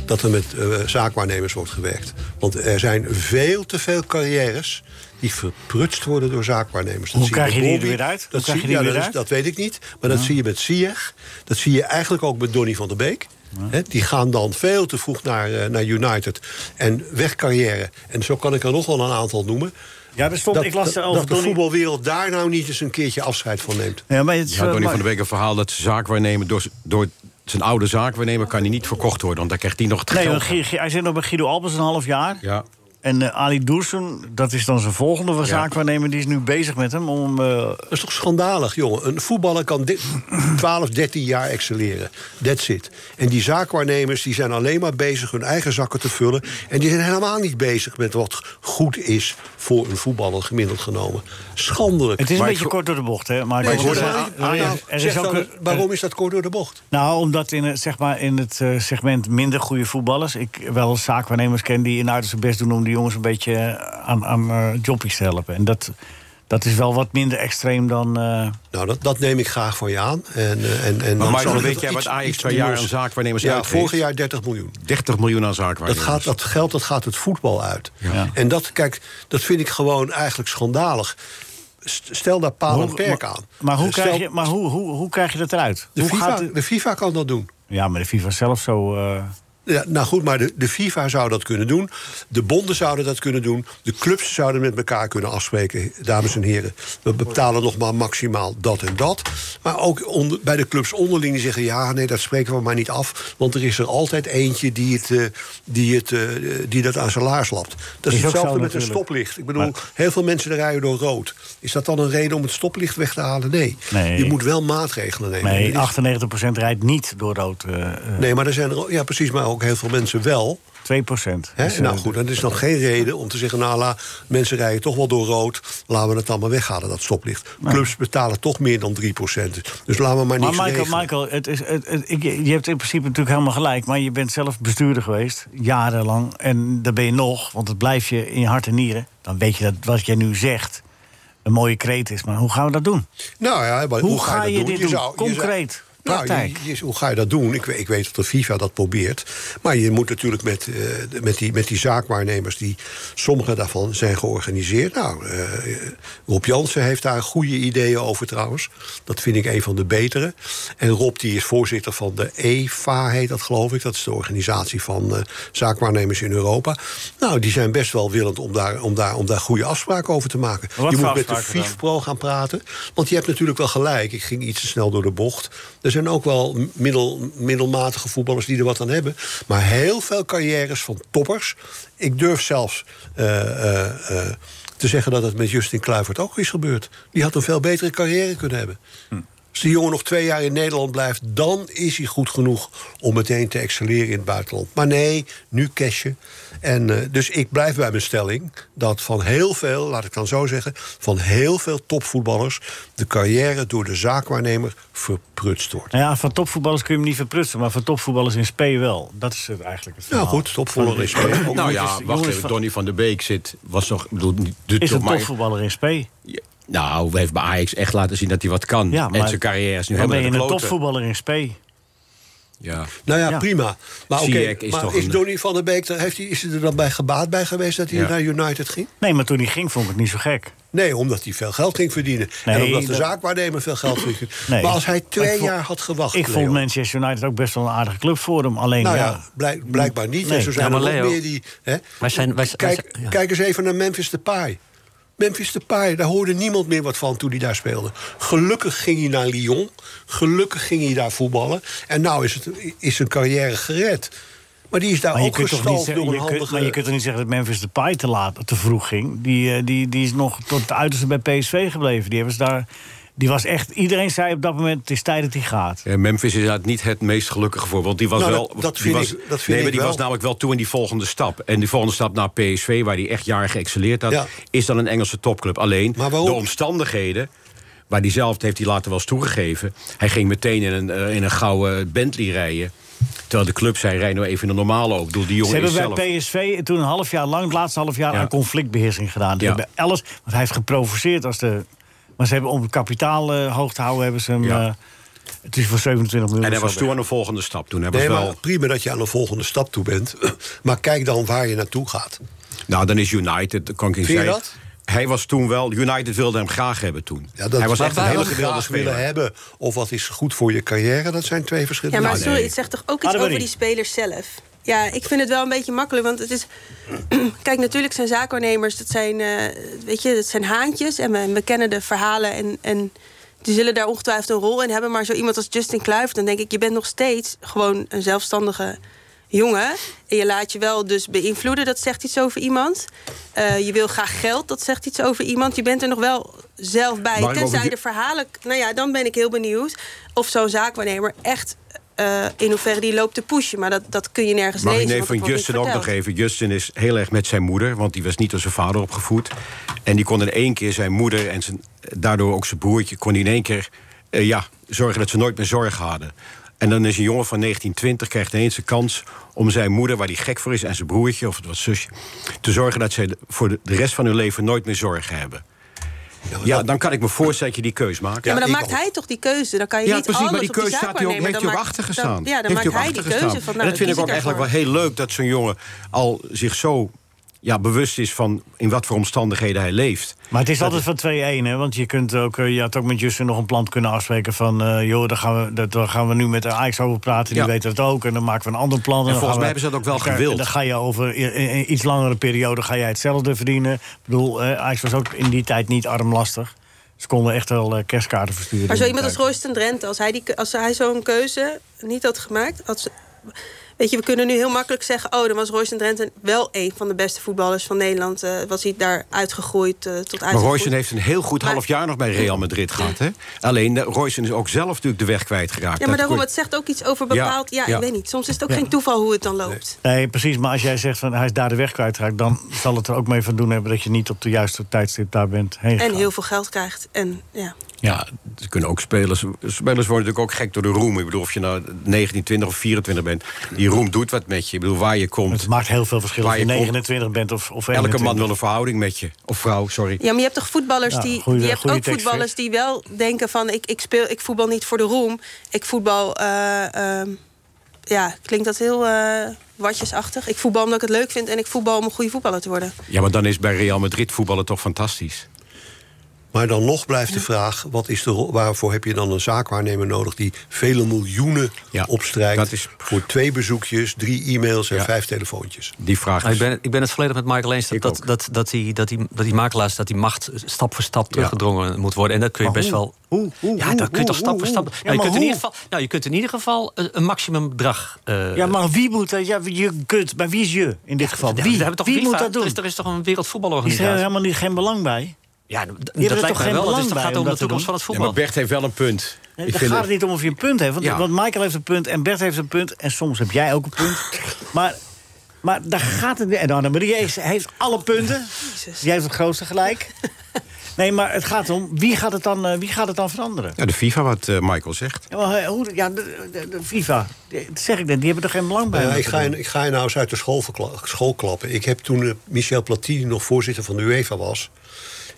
S5: dat er met eh, zaakwaarnemers wordt gewerkt. Want er zijn veel te veel carrières die verprutst worden door zaakwaarnemers. Dat
S3: Hoe
S5: zie je
S3: krijg
S5: met
S3: je die er
S5: Bobby,
S3: weer uit? Hoe
S5: Dat,
S3: krijg
S5: zie,
S3: je die
S5: ja, dat,
S3: weer
S5: is- dat
S3: uit?
S5: weet ik niet. Maar dat zie je met Ziyech. Dat zie je eigenlijk ook met Donny van der Beek. Hè, die gaan dan veel te vroeg naar, eh, naar United. En weg carrière. En zo kan ik er nog wel een aantal noemen.
S3: Ja, er stond, ik las er over
S5: dat de
S3: Donny-
S5: voetbalwereld daar nou niet eens een keertje afscheid van neemt.
S3: Ja, maar het is
S6: Ja,
S3: wel
S6: Donny van
S3: mooi.
S6: der Beek een verhaal dat zijn zaakwaarnemer... door, door zijn oude zaakwaarnemer kan hij niet verkocht worden... want dan krijgt hij nog het
S3: Nee,
S6: geld.
S3: want Gie- Gie- hij zit nog bij Guido Albers een half jaar.
S6: Ja.
S3: En eh, Ali Doersen, dat is dan zijn volgende zaakwaarnemer... die is nu bezig met hem om... eh,
S5: Dat is toch schandalig, jongen. Een voetballer kan dit [clears throat] 12, 13 jaar excelleren. That's it. En die zaakwaarnemers die zijn alleen maar bezig hun eigen zakken te vullen. En die zijn helemaal niet bezig met wat goed is voor een voetballer gemiddeld genomen. Schandelijk.
S3: het is een
S6: Maar ik
S3: beetje
S6: vo-
S3: kort door de bocht, hè? Maar,
S5: Nee,
S3: er
S5: zeg
S3: is-
S5: maar,
S3: er is-
S5: nou,
S3: er
S5: zeg
S3: is ook
S5: dan,
S3: een-
S5: waarom is dat kort door de bocht?
S3: Nou, omdat in, het- zeg maar, in het eh, segment minder goede voetballers... ik wel zaakwaarnemers ken die inhoudelijk zijn best doen... om die jongens een beetje eh, aan, aan eh, jobbies te helpen. En dat, dat is wel wat minder extreem dan... eh,
S5: Nou, dat, dat neem ik graag van je aan. En, eh, en, en
S6: Maar Michael,
S5: zorg
S6: weet
S5: dat
S6: jij
S5: iets-
S6: wat Ajax
S5: iets
S6: per jaar
S5: nieuws-
S6: aan zaakwaarnemers
S5: Ja,
S6: uitgeeft?
S5: vorig jaar 30 miljoen.
S6: 30 miljoen aan
S5: Dat,
S6: zaakwaarnemers.
S5: gaat, dat geld dat gaat het voetbal uit.
S3: Ja.
S5: En dat, kijk, dat vind ik gewoon eigenlijk schandalig. St- Stel daar paal en perk aan. Dus
S3: maar, hoe
S5: Stel-
S3: krijg je, maar hoe, hoe, hoe krijg je dat eruit?
S5: De
S3: hoe
S5: FIFA,
S3: het-
S5: de FIFA kan dat doen.
S3: Ja, maar de FIFA zelf zo... eh,
S5: Ja, nou goed, maar de, de FIFA zou dat kunnen doen. De bonden zouden dat kunnen doen. De clubs zouden met elkaar kunnen afspreken, dames en heren. We betalen nog maar maximaal dat en dat. Maar ook onder, bij de clubs onderling die zeggen... ja, nee, dat spreken we maar niet af. Want er is er altijd eentje die, het, eh, die, het, eh, die dat aan zijn laars lapt. Dat is,
S3: Is ook
S5: hetzelfde
S3: zo
S5: met een
S3: natuurlijk.
S5: stoplicht. Ik bedoel, heel veel mensen rijden door rood. Is dat dan een reden om het stoplicht weg te halen? Nee.
S3: Nee.
S5: Je moet wel maatregelen nemen.
S3: Nee,
S5: Dit is-
S3: 98% rijdt niet door rood. eh, eh,
S5: nee, maar er zijn er, ook- ja, precies, maar ook heel veel mensen wel...
S3: 2%.
S5: Hè?
S3: Dus, eh,
S5: nou goed, en er is nog geen reden om te zeggen... nou, la, mensen rijden toch wel door rood, laten we het allemaal weghalen, dat stoplicht. Clubs betalen toch meer dan 3%, dus laten we maar
S3: Maar
S5: niks
S3: Michael,
S5: regelen.
S3: Michael het is, het, het- ik- je hebt in principe natuurlijk helemaal gelijk. Maar je bent zelf bestuurder geweest, jarenlang. En daar ben je nog, want het blijf je in je hart en nieren. Dan weet je dat wat jij nu zegt een mooie kreet is. Maar hoe gaan we dat doen?
S5: Nou ja, maar
S3: Hoe ga je
S5: dat
S3: dit doen?
S5: zou- zou-
S3: Concreet,
S5: Nou,
S3: praktijk.
S5: je- je- hoe ga je dat doen? Ik, we- ik weet dat de FIFA dat probeert. Maar je moet natuurlijk met, eh, de- met, die, met die zaakwaarnemers... die sommige daarvan zijn georganiseerd. Nou, eh, Rob Jansen heeft daar goede ideeën over trouwens. Dat vind ik een van de betere. En Rob die is voorzitter van de EFA, heet dat geloof ik. Dat is de organisatie van eh, zaakwaarnemers in Europa. Nou, die zijn best wel willend om daar, om daar, om daar goede afspraken over te maken.
S3: Wat
S5: je
S3: voor
S5: moet met de
S3: afspraken dan?
S5: FIFA pro gaan praten. Want je hebt natuurlijk wel gelijk. Ik ging iets te snel door de bocht. Er zijn ook wel middel, middelmatige voetballers die er wat aan hebben. Maar heel veel carrières van toppers. Ik durf zelfs eh, eh, eh, te zeggen dat het met Justin Kluivert ook is gebeurd. Die had een veel betere carrière kunnen hebben. Als die jongen nog twee jaar in Nederland blijft, dan is hij goed genoeg om meteen te excelleren in het buitenland. Maar nee, nu cashen. En, eh, dus ik blijf bij mijn stelling dat van heel veel, laat ik dan zo zeggen, van heel veel topvoetballers de carrière door de zaakwaarnemer verprutst wordt.
S3: Nou ja, van topvoetballers kun je hem niet verprutsen. Maar van topvoetballers in spe wel. Dat is het eigenlijk het
S5: Nou
S3: verhaal.
S5: goed, topvoetballer is ook.
S6: Nou
S3: jongens,
S6: ja, wacht
S3: jongens
S6: even.
S3: van-
S6: Donny van der Beek zit, was nog... ik bedoel, niet de
S3: Is een
S6: top, maar-
S3: topvoetballer in spe?
S6: Ja, Nou, hij heeft bij Ajax echt laten zien dat hij wat kan.
S3: Ja, maar
S6: en zijn carrière is nu
S3: Dan
S6: helemaal
S3: ben je
S6: in de
S3: een
S6: kloten.
S3: topvoetballer in spe.
S6: Ja.
S5: Nou ja,
S3: Ja.
S5: prima. Maar, oké,
S6: Ziyech is
S5: maar
S6: toch
S5: is
S6: een-
S5: Donny van der Beek er, heeft hij, is hij er dan bij gebaat bij geweest dat hij
S6: Ja.
S5: naar United ging?
S3: Nee, maar toen hij ging vond ik het niet zo gek.
S5: Nee, omdat hij veel geld ging verdienen.
S3: Nee,
S5: en omdat de
S3: dat-
S5: zaakwaarnemer veel geld ging verdienen.
S3: Nee.
S5: Maar als hij
S3: Maar
S5: twee
S3: ik vond-
S5: jaar had gewacht...
S3: Ik vond
S5: Leo,
S3: Manchester United ook best wel een aardige club voor hem. Alleen,
S5: Nou ja,
S3: ja,
S5: blijk- blijkbaar niet.
S3: Nee.
S5: En zo zijn
S4: Ja, maar
S5: er ook
S4: Leo,
S5: meer die... Hè?
S4: wij zijn- wij zijn-
S5: kijk,
S4: wij zijn- ja.
S5: kijk eens even naar Memphis Depay. Memphis Depay, daar hoorde niemand meer wat van toen hij daar speelde. Gelukkig ging hij naar Lyon. Gelukkig ging hij daar voetballen. En nou is, het, is zijn carrière gered. Maar die is daar
S3: Maar je,
S5: ook
S3: kunt toch niet
S5: gestald
S3: zeggen,
S5: door een
S3: je kunt,
S5: handige...
S3: maar je kunt toch niet zeggen dat Memphis Depay te, laat, te vroeg ging? Die, eh, die, die is nog tot het uiterste bij PSV gebleven. Die, hebben ze daar, die was echt... Iedereen zei op dat moment, het is tijd dat hij gaat.
S6: Ja, Eh, Memphis is inderdaad niet het meest gelukkige voorbeeld. Die was
S5: Nou,
S6: wel.
S5: dat- dat
S6: die
S5: vind
S6: was,
S5: ik- dat vind
S6: nee, maar
S5: ik
S6: die
S5: wel.
S6: was namelijk wel toe in die volgende stap. En die volgende stap naar PSV, waar hij echt jaren geëxceleerd had,
S5: Ja.
S6: is dan een Engelse topclub. Alleen
S5: Maar waarom?
S6: de omstandigheden. Waar die zelf, dat heeft hij later wel eens toegegeven. Hij ging meteen in een, eh, in een gouden Bentley rijden. Terwijl de club zei: rij nou even in de normale ook. Ik bedoel, die
S3: Ze
S6: jongen is
S3: hebben bij
S6: zelf.
S3: PSV toen een half jaar lang, het laatste half jaar,
S6: Ja.
S3: aan conflictbeheersing gedaan. Ze
S6: Ja.
S3: hebben alles, want hij heeft geprovoceerd als de. Maar ze hebben om het kapitaal eh, hoog te houden, hebben ze hem.
S6: Ja.
S3: eh, het is voor 27 miljoen.
S6: en hij
S3: of
S6: was
S3: zo
S6: toe aan de volgende stap. Toen hij was
S5: Nee,
S6: wel,
S5: maar prima dat je aan de volgende stap toe bent. [clears throat] maar kijk dan waar je naartoe gaat.
S6: nou, dan is United. dat Kan ik niet
S5: Vind je
S6: zeggen.
S5: dat?
S6: Hij was toen wel. United wilde hem graag hebben toen.
S5: Ja, dat
S6: hij was
S5: maar
S6: echt een hele
S5: waarom
S6: gewilde
S5: graag
S6: speler.
S5: willen hebben of wat is goed voor je carrière, dat zijn twee
S7: Ja,
S5: verschillende
S7: maar
S4: Ah,
S5: dingen.
S7: sorry, het zegt toch ook iets
S3: Annemarie.
S7: over die spelers zelf? Ja, ik vind het wel een beetje makkelijk, want het is... Kijk, natuurlijk zijn zaakwaarnemers, dat zijn, eh, weet je, dat zijn haantjes... en we, we kennen de verhalen en, en die zullen daar ongetwijfeld een rol in hebben... maar zo iemand als Justin Kluivert, dan denk ik... je bent nog steeds gewoon een zelfstandige jongen... en je laat je wel dus beïnvloeden, dat zegt iets over iemand... Eh, je wil graag geld, dat zegt iets over iemand. Je bent er nog wel zelf bij.
S6: Mag ik
S7: tenzij
S6: over-
S7: de verhalen. Nou ja, dan ben ik heel benieuwd of zo'n zaakwaarnemer echt eh, in hoeverre die loopt te pushen. Maar dat, dat kun je nergens
S6: Mag ik
S7: lezen.
S6: neem
S7: want dat
S6: van
S7: wordt
S6: Justin
S7: niet
S6: ook nog
S7: verteld.
S6: even. Justin is heel erg met zijn moeder, want die was niet door zijn vader opgevoed. En die kon in één keer zijn moeder en zijn, daardoor ook zijn broertje... kon die in één keer eh, ja, zorgen dat ze nooit meer zorgen hadden. En dan is een jongen van 1920, krijgt ineens de kans om zijn moeder... waar die gek voor is, en zijn broertje of het was zusje... te zorgen dat ze voor de de rest van hun leven nooit meer zorgen hebben. Ja, dan kan ik me voorstellen dat je die keus maakt.
S7: Ja, maar dan
S5: ik
S7: maakt
S5: ook.
S7: hij toch die keuze. Dan kan je
S6: Ja,
S7: niet
S6: precies,
S7: alles
S6: maar die
S7: op die
S6: keuze staat hij ook,
S7: zaakwaarnemer,
S6: heeft hij ook
S7: dan maakt-
S6: achter
S7: dan-
S6: gestaan.
S7: ja, dan
S6: Heeft
S7: maakt
S6: hij ook
S7: hij die nou,
S6: achter gestaan.
S7: keuze van...
S6: en
S7: Nou,
S6: dat vind ik
S7: kies
S6: ook eigenlijk wel
S7: ervoor.
S6: heel leuk dat zo'n jongen al zich zo ja, bewust is van in wat voor omstandigheden hij leeft.
S3: Maar het is altijd van 2-1, hè? Want je, kunt ook, eh, je had ook met Justin nog een plan kunnen afspreken van... eh, joh, daar gaan, we, dat, daar gaan we nu met de Ajax over praten, die
S6: Ja.
S3: weten het ook. En dan maken we een ander plan. En, dan
S6: volgens
S3: gaan we-
S6: mij hebben ze dat ook wel
S3: dan-
S6: gewild.
S3: Dan ga je over i- i- i- iets langere periode ga jij hetzelfde verdienen. Ik bedoel, eh, Ajax was ook in die tijd niet armlastig. Ze konden echt wel eh, kerstkaarten versturen.
S7: Maar zo
S3: in die
S7: iemand als
S3: tijd.
S7: Royston Drenthe, als hij, die, ke- als hij zo'n keuze niet had gemaakt... Had ze- weet je, we kunnen nu heel makkelijk zeggen... oh, dan was Royston Drenthe wel een van de beste voetballers van Nederland. eh, was hij daar uitgegroeid eh, tot
S6: Maar
S7: uitgegroeid.
S6: Roysen heeft een heel goed
S7: Maar-
S6: half jaar nog bij Real Madrid gehad. Hè? Alleen eh, Roysen is ook zelf natuurlijk de weg kwijtgeraakt.
S7: Ja, maar
S6: Dat
S7: daarom,
S6: kon-
S7: het zegt ook iets over
S6: Ja,
S7: bepaald... Ja,
S6: ja.
S7: ik weet niet. Soms is het ook geen toeval hoe het dan loopt.
S3: Nee, precies. Maar als jij zegt van hij is daar de weg kwijtgeraakt... dan zal het er ook mee van doen hebben dat je niet op de juiste tijdstip daar bent heen
S7: En
S3: gegaan.
S7: heel veel geld krijgt. En ja,
S6: Ja, er kunnen ook spelers. Spelers worden natuurlijk ook gek door de roem. Ik bedoel, of je nou 19, 20 of 24 bent. Die roem doet wat met je. Ik bedoel, waar je komt.
S3: Het maakt heel veel verschil
S6: Waar
S3: of je
S6: je komt.
S3: 29 bent of, of
S6: Elke
S3: 21.
S6: man wil een verhouding met je. Of vrouw, sorry.
S7: Ja, maar je hebt toch voetballers
S3: Ja,
S7: die.
S3: goeie-
S7: je hebt
S3: goeie
S7: ook
S3: tekst,
S7: voetballers die wel denken van ik, ik speel, ik voetbal niet voor de roem. Ik voetbal. eh, ehm, ja, klinkt dat heel eh, watjesachtig. Ik voetbal omdat ik het leuk vind en ik voetbal om een goede voetballer te worden.
S6: Ja, maar dan is bij Real Madrid voetballen toch fantastisch.
S5: Maar dan nog blijft de vraag: wat is de, rol- waarvoor heb je dan een zaakwaarnemer nodig die vele miljoenen
S6: Ja,
S5: opstrijkt?
S6: dat is-
S5: voor twee bezoekjes, drie e-mails en
S6: Ja.
S5: vijf telefoontjes.
S6: Die vraag
S4: Nou,
S6: is.
S3: Dus-
S4: ik, ben, ik ben het volledig met Michael eens dat,
S6: Ik
S4: dat,
S6: ook.
S4: dat, dat, die, dat, die, dat die makelaars, dat die macht stap voor stap teruggedrongen moet worden. En dat kun je best wel.
S3: Hoe? Hoe?
S4: ja,
S3: Hoe?
S4: dat kun je toch
S3: Hoe?
S4: stap voor
S3: Hoe?
S4: stap.
S3: Ja,
S4: nou, je,
S3: maar
S4: kunt in
S3: hoe?
S4: ieder geval, nou, je kunt in ieder geval een, een maximum bedrag. eh,
S3: Ja, maar wie moet dat? Ja, je kunt, maar wie is je in dit geval?
S4: Ja,
S3: Wie,
S4: we hebben toch
S3: wie
S4: FIFA?
S3: moet dat doen?
S4: Er is, er is toch een
S3: Is er
S4: wereldvoetbalorganisatie?
S3: helemaal niet, geen belang bij?
S4: Ja, d- dat
S3: er
S4: lijkt
S3: toch
S4: mij
S3: geen
S4: wel. Dus
S3: belang
S4: dat
S3: bij
S4: gaat
S3: om
S4: om de
S3: dat te
S4: toekomst
S3: doen?
S4: van het
S6: Ja, maar
S4: voetbal.
S6: Bert heeft wel een punt.
S3: Nee,
S6: Ik
S3: het
S6: vind
S3: gaat
S6: het-
S3: er niet om of je een punt heeft. Want,
S6: Ja.
S3: want Michael heeft een punt en Bert heeft een punt. En soms heb jij ook een
S4: [laughs]
S3: punt. maar, maar daar gaat het niet. En Annemarie heeft- heeft alle punten. Jij heeft het grootste
S4: [laughs]
S3: gelijk. Nee, maar het gaat om wie gaat het dan, eh, wie gaat het dan veranderen?
S6: Ja, de FIFA, wat eh, Michael zegt.
S3: Ja, maar, eh, hoe, ja de, de, de FIFA, die- dat zeg ik net, die hebben er geen belang bij.
S5: Nou ja,
S3: om dat
S5: ik,
S3: te
S5: ga
S3: doen.
S5: je, ik ga je nou eens uit de school, verkla- school klappen. Ik heb toen eh, Michel Platini nog voorzitter van de UEFA was...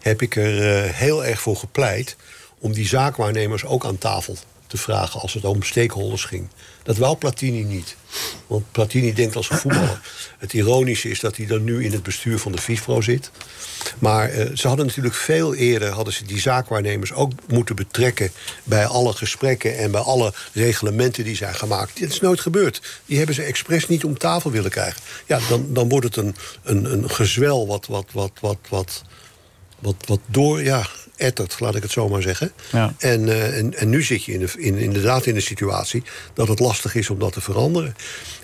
S5: heb ik er eh, heel erg voor gepleit om die zaakwaarnemers ook aan tafel te vragen... als het om stakeholders ging. Dat wou Platini niet. Want Platini denkt als een voetballer. Het ironische is dat hij dan nu in het bestuur van de FIFPro zit. Maar eh, ze hadden natuurlijk veel eerder... hadden ze die zaakwaarnemers ook moeten betrekken... bij alle gesprekken en bij alle reglementen die zijn gemaakt. Dit is nooit gebeurd. Die hebben ze expres niet om tafel willen krijgen. Ja, dan, dan wordt het een, een, een gezwel wat, wat, wat, wat, wat, wat, wat door... Ja, ettert, laat ik het zo maar zeggen.
S3: Ja.
S5: En, eh, en, en nu zit je in de, in, inderdaad in de situatie dat het lastig is om dat te veranderen.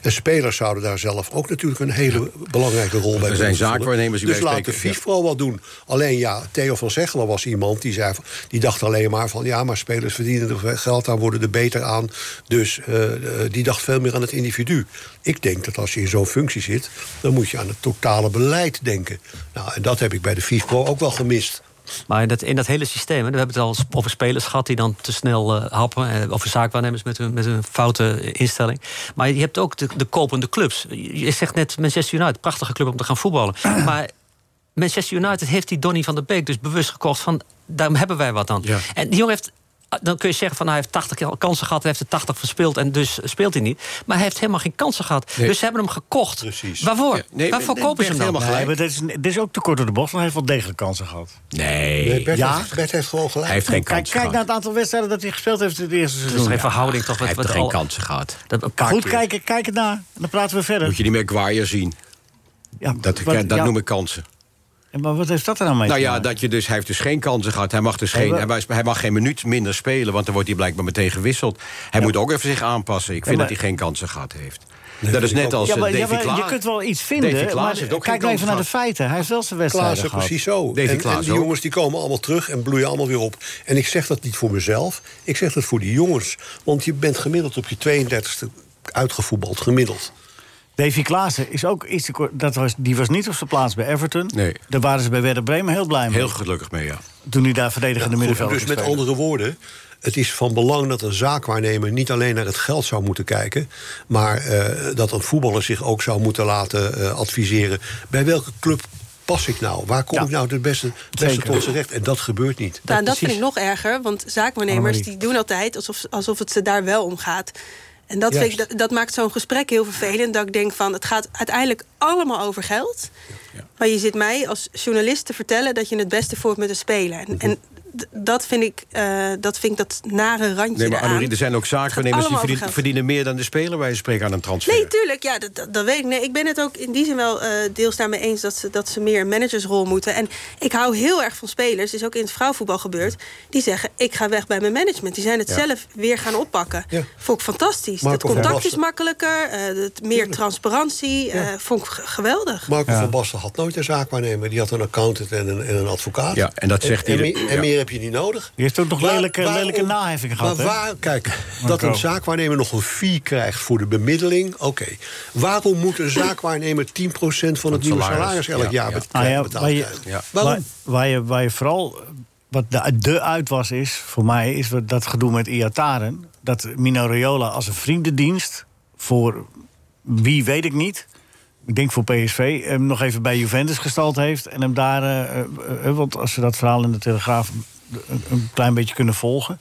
S5: En spelers zouden daar zelf ook natuurlijk een hele belangrijke rol bij
S6: zijn
S5: kunnen vervullen.
S6: zaakwaarnemers die
S5: Dus
S6: bij
S5: laat de
S6: spreken, ja.
S5: FIFA wat doen. Alleen ja, Theo van Zegler was iemand die, zei, van- die dacht alleen maar van... ja, maar spelers verdienen er geld aan, worden er beter aan. Dus eh, eh, die dacht veel meer aan het individu. Ik denk dat als je in zo'n functie zit, dan moet je aan het totale beleid denken. Nou, en dat heb ik bij de FIFA ook wel gemist.
S4: Maar in dat, in dat hele systeem, hè, we hebben het al sp- over spelers gehad die dan te snel eh, happen, eh, over zaakwaarnemers met hun, met hun foute eh, instelling. Maar je hebt ook de, de kopende clubs. Je je zegt net Manchester United, prachtige club om te gaan
S6: [clears throat]
S4: voetballen. Maar Manchester United heeft die Donny van der Beek dus bewust gekocht van, daar hebben wij wat aan.
S6: Ja.
S4: En die jongen heeft. eh, Dan kun je zeggen van nou, hij heeft 80 keer kansen gehad, hij heeft er 80 verspeeld en dus speelt hij niet. Maar hij heeft helemaal geen kansen gehad.
S6: Nee.
S4: Dus ze hebben hem gekocht.
S5: Precies.
S4: Waarvoor?
S6: Ja, nee,
S4: Waarvoor
S6: nee,
S4: kopen ze hem
S6: Bert
S4: dan?
S6: helemaal
S3: Nee, maar dit is, dit is ook te kort door de bocht, want hij heeft wel degelijk kansen gehad.
S6: Nee,
S5: Nee, Bert,
S3: Ja.
S5: heeft, Bert heeft gewoon gelijk.
S6: hij heeft geen
S3: Kijk,
S6: kans
S3: kijk naar
S6: gehad.
S3: het aantal wedstrijden dat hij gespeeld heeft in het eerste
S4: Dat is
S3: seizoen.
S4: geen verhouding toch? wat-
S6: Hij heeft
S4: wat
S6: er geen
S4: al-
S6: kansen gehad.
S4: Dat, een paar
S3: Goed
S4: keer.
S3: kijken, kijk het naar. En dan praten we verder.
S6: Moet je die McGuire zien.
S3: ja,
S6: Dat,
S3: wat-
S6: dat
S3: ja,
S6: noem ik kansen.
S3: en Maar wat heeft dat er nou mee?
S6: Nou
S3: te
S6: ja,
S3: maken?
S6: dat je dus, hij heeft dus geen kansen gehad. Hij mag, dus
S3: Nee,
S6: geen,
S3: maar-
S6: hij mag- hij mag geen minuut minder spelen, want dan wordt hij blijkbaar meteen gewisseld. Hij moet ook even zich aanpassen. Ik vind
S3: maar-
S6: dat hij geen kansen gehad heeft. dat is net als
S3: Ja,
S6: eh,
S3: maar, ja,
S6: Davy
S3: maar
S6: Klaas.
S3: je kunt wel iets vinden.
S6: Davy Klaas
S3: maar
S6: heeft ook
S3: kijk
S6: geen
S3: nou even
S6: kans
S3: naar de feiten. Hij heeft wel zijn wedstrijden
S5: Klaassen,
S3: gehad.
S5: precies zo.
S6: Davy
S5: en,
S6: Klaassen
S5: en die
S6: ook.
S5: jongens die komen allemaal terug en bloeien allemaal weer op. En ik zeg dat niet voor mezelf, ik zeg dat voor die jongens. Want je bent gemiddeld op je 32e uitgevoetbald, gemiddeld.
S3: Davy Klaassen is ook iets te kort. Dat was, die was niet op zijn plaats bij Everton.
S6: Nee.
S3: Daar waren ze bij Werder Bremen heel blij mee.
S6: Heel gelukkig mee, ja.
S3: Toen hij daar verdedigende
S5: Goed,
S3: middenveld
S5: dus met andere woorden, het is van belang dat een zaakwaarnemer niet alleen naar het geld zou moeten kijken, maar eh, dat een voetballer zich ook zou moeten laten eh, adviseren. Bij welke club pas ik nou? Waar kom
S3: Ja.
S5: ik nou het beste, het beste
S3: Zeker.
S5: tot z'n recht? En dat gebeurt niet.
S7: Nou, en dat
S3: precies.
S7: vind ik nog erger, want zaakwaarnemers
S3: Annemarie.
S7: die doen altijd alsof, alsof het ze daar wel om gaat. En dat, vind ik,
S5: Juist.
S7: dat, dat maakt zo'n gesprek heel vervelend. Dat ik denk van het gaat uiteindelijk allemaal over geld. Maar je zit mij als journalist te vertellen dat je het beste voor hebt met een speler.
S6: Mhm.
S7: En, en d- dat, vind ik, eh, dat vind ik dat nare randje
S6: Nee, maar
S7: eraan.
S6: Annemarie, er zijn ook zaakwaarnemers die
S7: allemaal
S6: verdien-
S7: over geld.
S6: verdienen meer dan de speler wij spreken aan een transfer.
S7: Nee, tuurlijk. Ja, dat, dat, dat weet ik. Nee, ik ben het ook in die zin wel eh, deels daarmee eens dat ze, dat ze meer een managersrol moeten. En ik hou heel erg van spelers, is ook in het vrouwenvoetbal gebeurd, die zeggen: Ik ga weg bij mijn management. Die zijn het zelf weer gaan oppakken.
S5: Ja.
S7: Vond ik fantastisch.
S5: Marco
S7: het
S5: van
S7: contact is
S5: Basten.
S7: makkelijker, eh, het, meer transparantie. eh, vond ik g- geweldig.
S5: Marco van Basten had nooit een zaakwaarnemer. Die had een accountant en een, en een advocaat.
S6: Ja, en dat zegt
S5: en,
S6: ieder-
S5: meer- en
S6: ja.
S5: meer heb je niet nodig.
S3: Die heeft ook nog
S5: Waar-
S3: lelijke-
S5: waarom-
S3: lelijke naheffingen gehad,
S5: Maar
S3: hè?
S5: waar, kijk, dat
S3: Marco.
S5: een zaakwaarnemer nog een fee krijgt voor de bemiddeling... oké. Waarom moet een zaakwaarnemer 10% van het nieuwe
S6: salaris,
S5: salaris elk
S6: ja,
S5: jaar
S6: ja.
S5: bet-
S3: Ah, ja,
S5: betaald
S3: waar, je,
S5: krijgen? Waarom?
S3: waar, waar je, waar je vooral... Wat de, de uitwas is, voor mij, is wat dat gedoe met Iataren. Dat Mino Raiola als een vriendendienst... voor wie weet ik niet... Ik denk voor PSV, hem nog even bij Juventus gestald heeft. En hem daar, eh, eh, eh, want als ze dat verhaal in de Telegraaf een, een klein beetje kunnen volgen.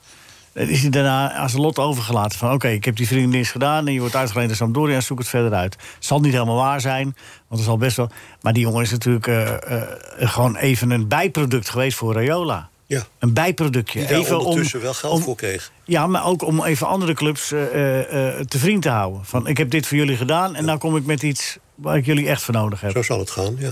S3: Dan is hij daarna aan zijn lot overgelaten. Van oké, ik heb die vriendendienst gedaan en je wordt uitgeleend aan Sampdoria... zoek het verder uit. Zal niet helemaal waar zijn, want het zal best wel... Maar die jongen is natuurlijk eh, eh, gewoon even een bijproduct geweest voor Rayola.
S5: Ja.
S3: Een bijproductje.
S5: Die daar
S3: even
S5: ondertussen wel geld
S3: om-
S5: voor kreeg.
S3: ja, maar ook om even andere clubs eh, eh, eh, te vriend te houden. Van ik heb dit voor jullie gedaan en nou kom ik met iets waar ik jullie echt voor nodig heb.
S5: Zo zal het gaan, ja.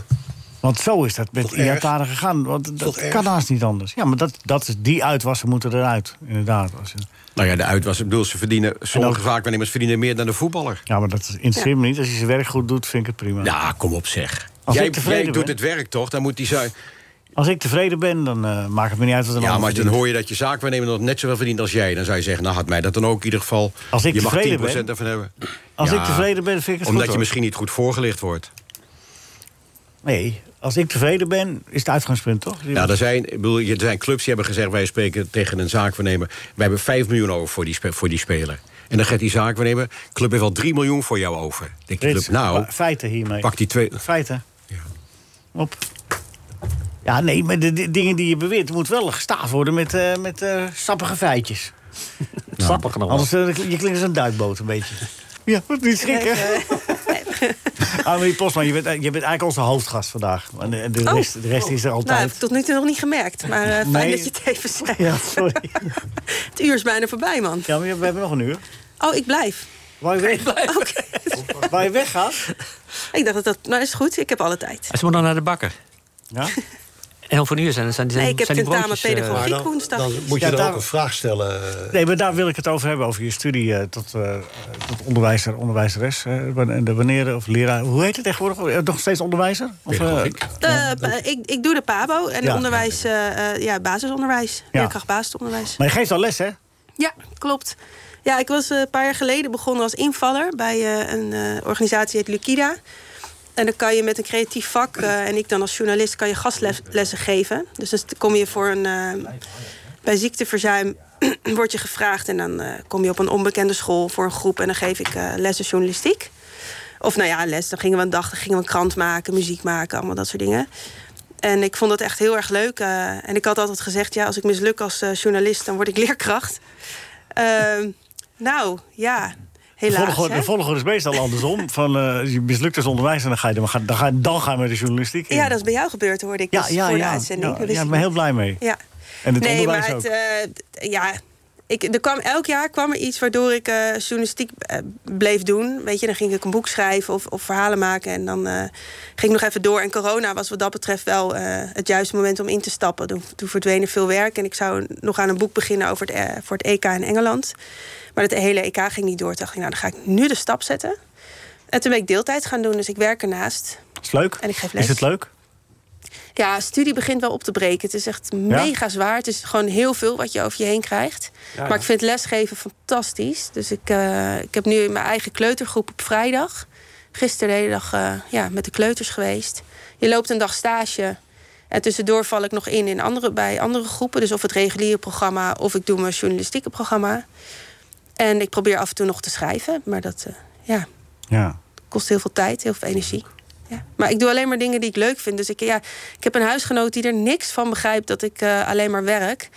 S3: Want zo is dat met
S5: Toch erg?
S3: Iataren gegaan. Want
S5: Toch
S3: dat
S5: erg?
S3: kan haast niet anders. Ja, maar dat, dat is, die uitwassen moeten eruit. Inderdaad. Als je-
S6: Nou ja, de uitwas. Ik bedoel, ze verdienen, sommige
S3: ook-
S6: zaakwaarnemers verdienen meer dan de voetballer.
S3: Ja, maar dat is- interesseert me niet. Als je zijn werk goed doet, vind ik het prima.
S6: Ja, kom op zeg.
S3: Als
S6: jij
S3: ik tevreden
S6: jij doet
S3: ben.
S6: het werk toch? Dan moet die zaak...
S3: Als ik tevreden ben, dan eh, maakt het me niet uit wat een
S6: Ja,
S3: ander
S6: maar dan
S3: verdient.
S6: hoor je dat je zaakwaarnemer nog net zoveel verdient als jij. Dan zou je zeggen, nou had mij dat dan ook in ieder geval.
S3: Als ik
S6: je mag 10%
S3: tevreden ben-
S6: ervan hebben.
S3: Als
S6: Ja,
S3: ik tevreden ben, vind ik het
S6: Omdat
S3: goed,
S6: je
S3: hoor.
S6: misschien niet goed voorgelicht wordt.
S3: Nee, als ik tevreden ben, is het uitgangspunt, toch?
S6: Ja, Nou, er zijn, ik bedoel, er zijn clubs die hebben gezegd... wij spreken tegen een zaakwaarnemer... wij hebben 5 miljoen over voor die, spe- voor die speler. En dan gaat die zaakwaarnemer... club heeft al 3 miljoen voor jou over. Denk je,
S3: Frits,
S6: club, nou,
S3: pa- feiten hiermee.
S6: pak die twee...
S3: Feiten. Op. Ja, nee, maar de, di- dingen die je beweert... moet wel gestaafd worden met, eh, met eh, sappige
S6: [laughs]
S3: feitjes.
S4: Sappig nog wel.
S3: Anders eh, je klinkt als een duikboot een beetje. Ja, wat niet schrikken. [laughs]
S7: eh,
S3: Ah, maar die Postman, je bent, eh, je bent eigenlijk onze hoofdgast vandaag. En de, de
S7: Oh.
S3: rest, de rest is er
S7: Nou, heb
S3: altijd.
S7: ik tot nu toe nog niet gemerkt. Maar eh, fijn
S3: Nee.
S7: dat je het even zegt.
S3: ja, sorry.
S7: Het uur is bijna voorbij, man.
S3: Ja, maar we hebben nog een uur.
S7: Oh, ik blijf.
S3: Waar je, weg,
S7: [laughs] Oké.
S3: waar je weggaat...
S7: ik dacht dat dat... Nou, is goed. Ik heb alle tijd.
S4: En ze moet dan naar de bakker.
S3: Ja?
S4: En over een uur zijn, zijn, zijn,
S7: Nee, ik heb
S4: zijn die
S7: tentamen
S4: broodjes... eh,
S7: pedagogiek.
S5: Maar
S7: Piek
S5: dan,
S7: woensdag.
S5: dan moet je
S3: Ja,
S5: dan
S3: daar-
S5: ook een vraag stellen. eh,
S3: Nee, maar daar wil ik het over hebben, over je studie eh, tot, eh, tot onderwijzer, onderwijzeres. eh, wan- en de wanneer, of leraar, hoe heet het tegenwoordig? Eh, Nog steeds onderwijzer? Of, eh,
S7: Eh, pa- ik, ik doe de PABO en
S3: Ja.
S7: onderwijs, eh, eh, ja, basisonderwijs.
S3: Ja.
S7: Leerkracht basisonderwijs.
S3: maar je geeft al les, hè?
S7: Ja, klopt. Ja, ik was eh, een paar jaar geleden begonnen als invaller bij eh, een eh, organisatie heet Lukida. En dan kan je met een creatief vak, eh, en ik dan als journalist, kan je gastlessen geven. Dus dan kom je voor een. eh, bij ziekteverzuim [clears throat] word je gevraagd en dan eh, kom je op een onbekende school voor een groep en dan geef ik eh, lessen journalistiek. Of nou ja, les. Dan gingen we een dag, dan gingen we een krant maken, muziek maken, allemaal dat soort dingen. En ik vond dat echt heel erg leuk. eh, en ik had altijd gezegd, ja, als ik misluk als eh, journalist, dan word ik leerkracht. [laughs] Ehm, nou, ja,
S3: De
S7: helaas.
S3: volgorde,
S7: hè.
S3: de volgorde is meestal andersom. [laughs] Van, eh, je mislukt als onderwijzer, dan ga je, dan ga, dan ga, dan ga je met de journalistiek in.
S7: Ja, dat is bij jou gebeurd, hoorde ik
S3: ja,
S7: dus
S3: ja,
S7: voor de
S3: ja,
S7: uitzending.
S3: ja,
S7: Dat wist
S3: ja, ik
S7: ik
S3: ben heel
S7: niet.
S3: blij mee.
S7: Ja.
S3: En het
S7: nee,
S3: onderwijs
S7: maar
S3: ook.
S7: het, eh, d- ja, ik, er kwam, elk jaar kwam er iets waardoor ik eh, journalistiek eh, bleef doen. Weet je, dan ging ik een boek schrijven of, of verhalen maken. En dan eh, ging ik nog even door. En corona was wat dat betreft wel eh, het juiste moment om in te stappen. Toen, toen verdween er veel werk. En ik zou nog aan een boek beginnen over het, eh, voor het EK in Engeland. Maar dat hele EK ging niet door. Toen dacht ik, nou, dan ga ik nu de stap zetten. En toen ben ik deeltijd gaan doen, dus ik werk ernaast.
S3: is leuk.
S7: En ik geef les.
S3: Is het leuk?
S7: Ja, studie begint wel op te breken. Het is echt mega zwaar. Het is gewoon heel veel wat je over je heen krijgt. Maar ik vind lesgeven fantastisch. Dus ik, eh, ik heb nu mijn eigen kleutergroep op vrijdag. Gisteren de hele dag eh, ja, met de kleuters geweest. Je loopt een dag stage. En tussendoor val ik nog in, in andere, bij andere groepen. Dus of het reguliere programma of ik doe mijn journalistieke programma. En ik probeer af en toe nog te schrijven. Maar dat eh, ja,
S3: Ja.
S7: kost heel veel tijd, heel veel energie. Ja. Maar ik doe alleen maar dingen die ik leuk vind. Dus ik, ja, ik heb een huisgenoot die er niks van begrijpt dat ik eh, alleen maar werk.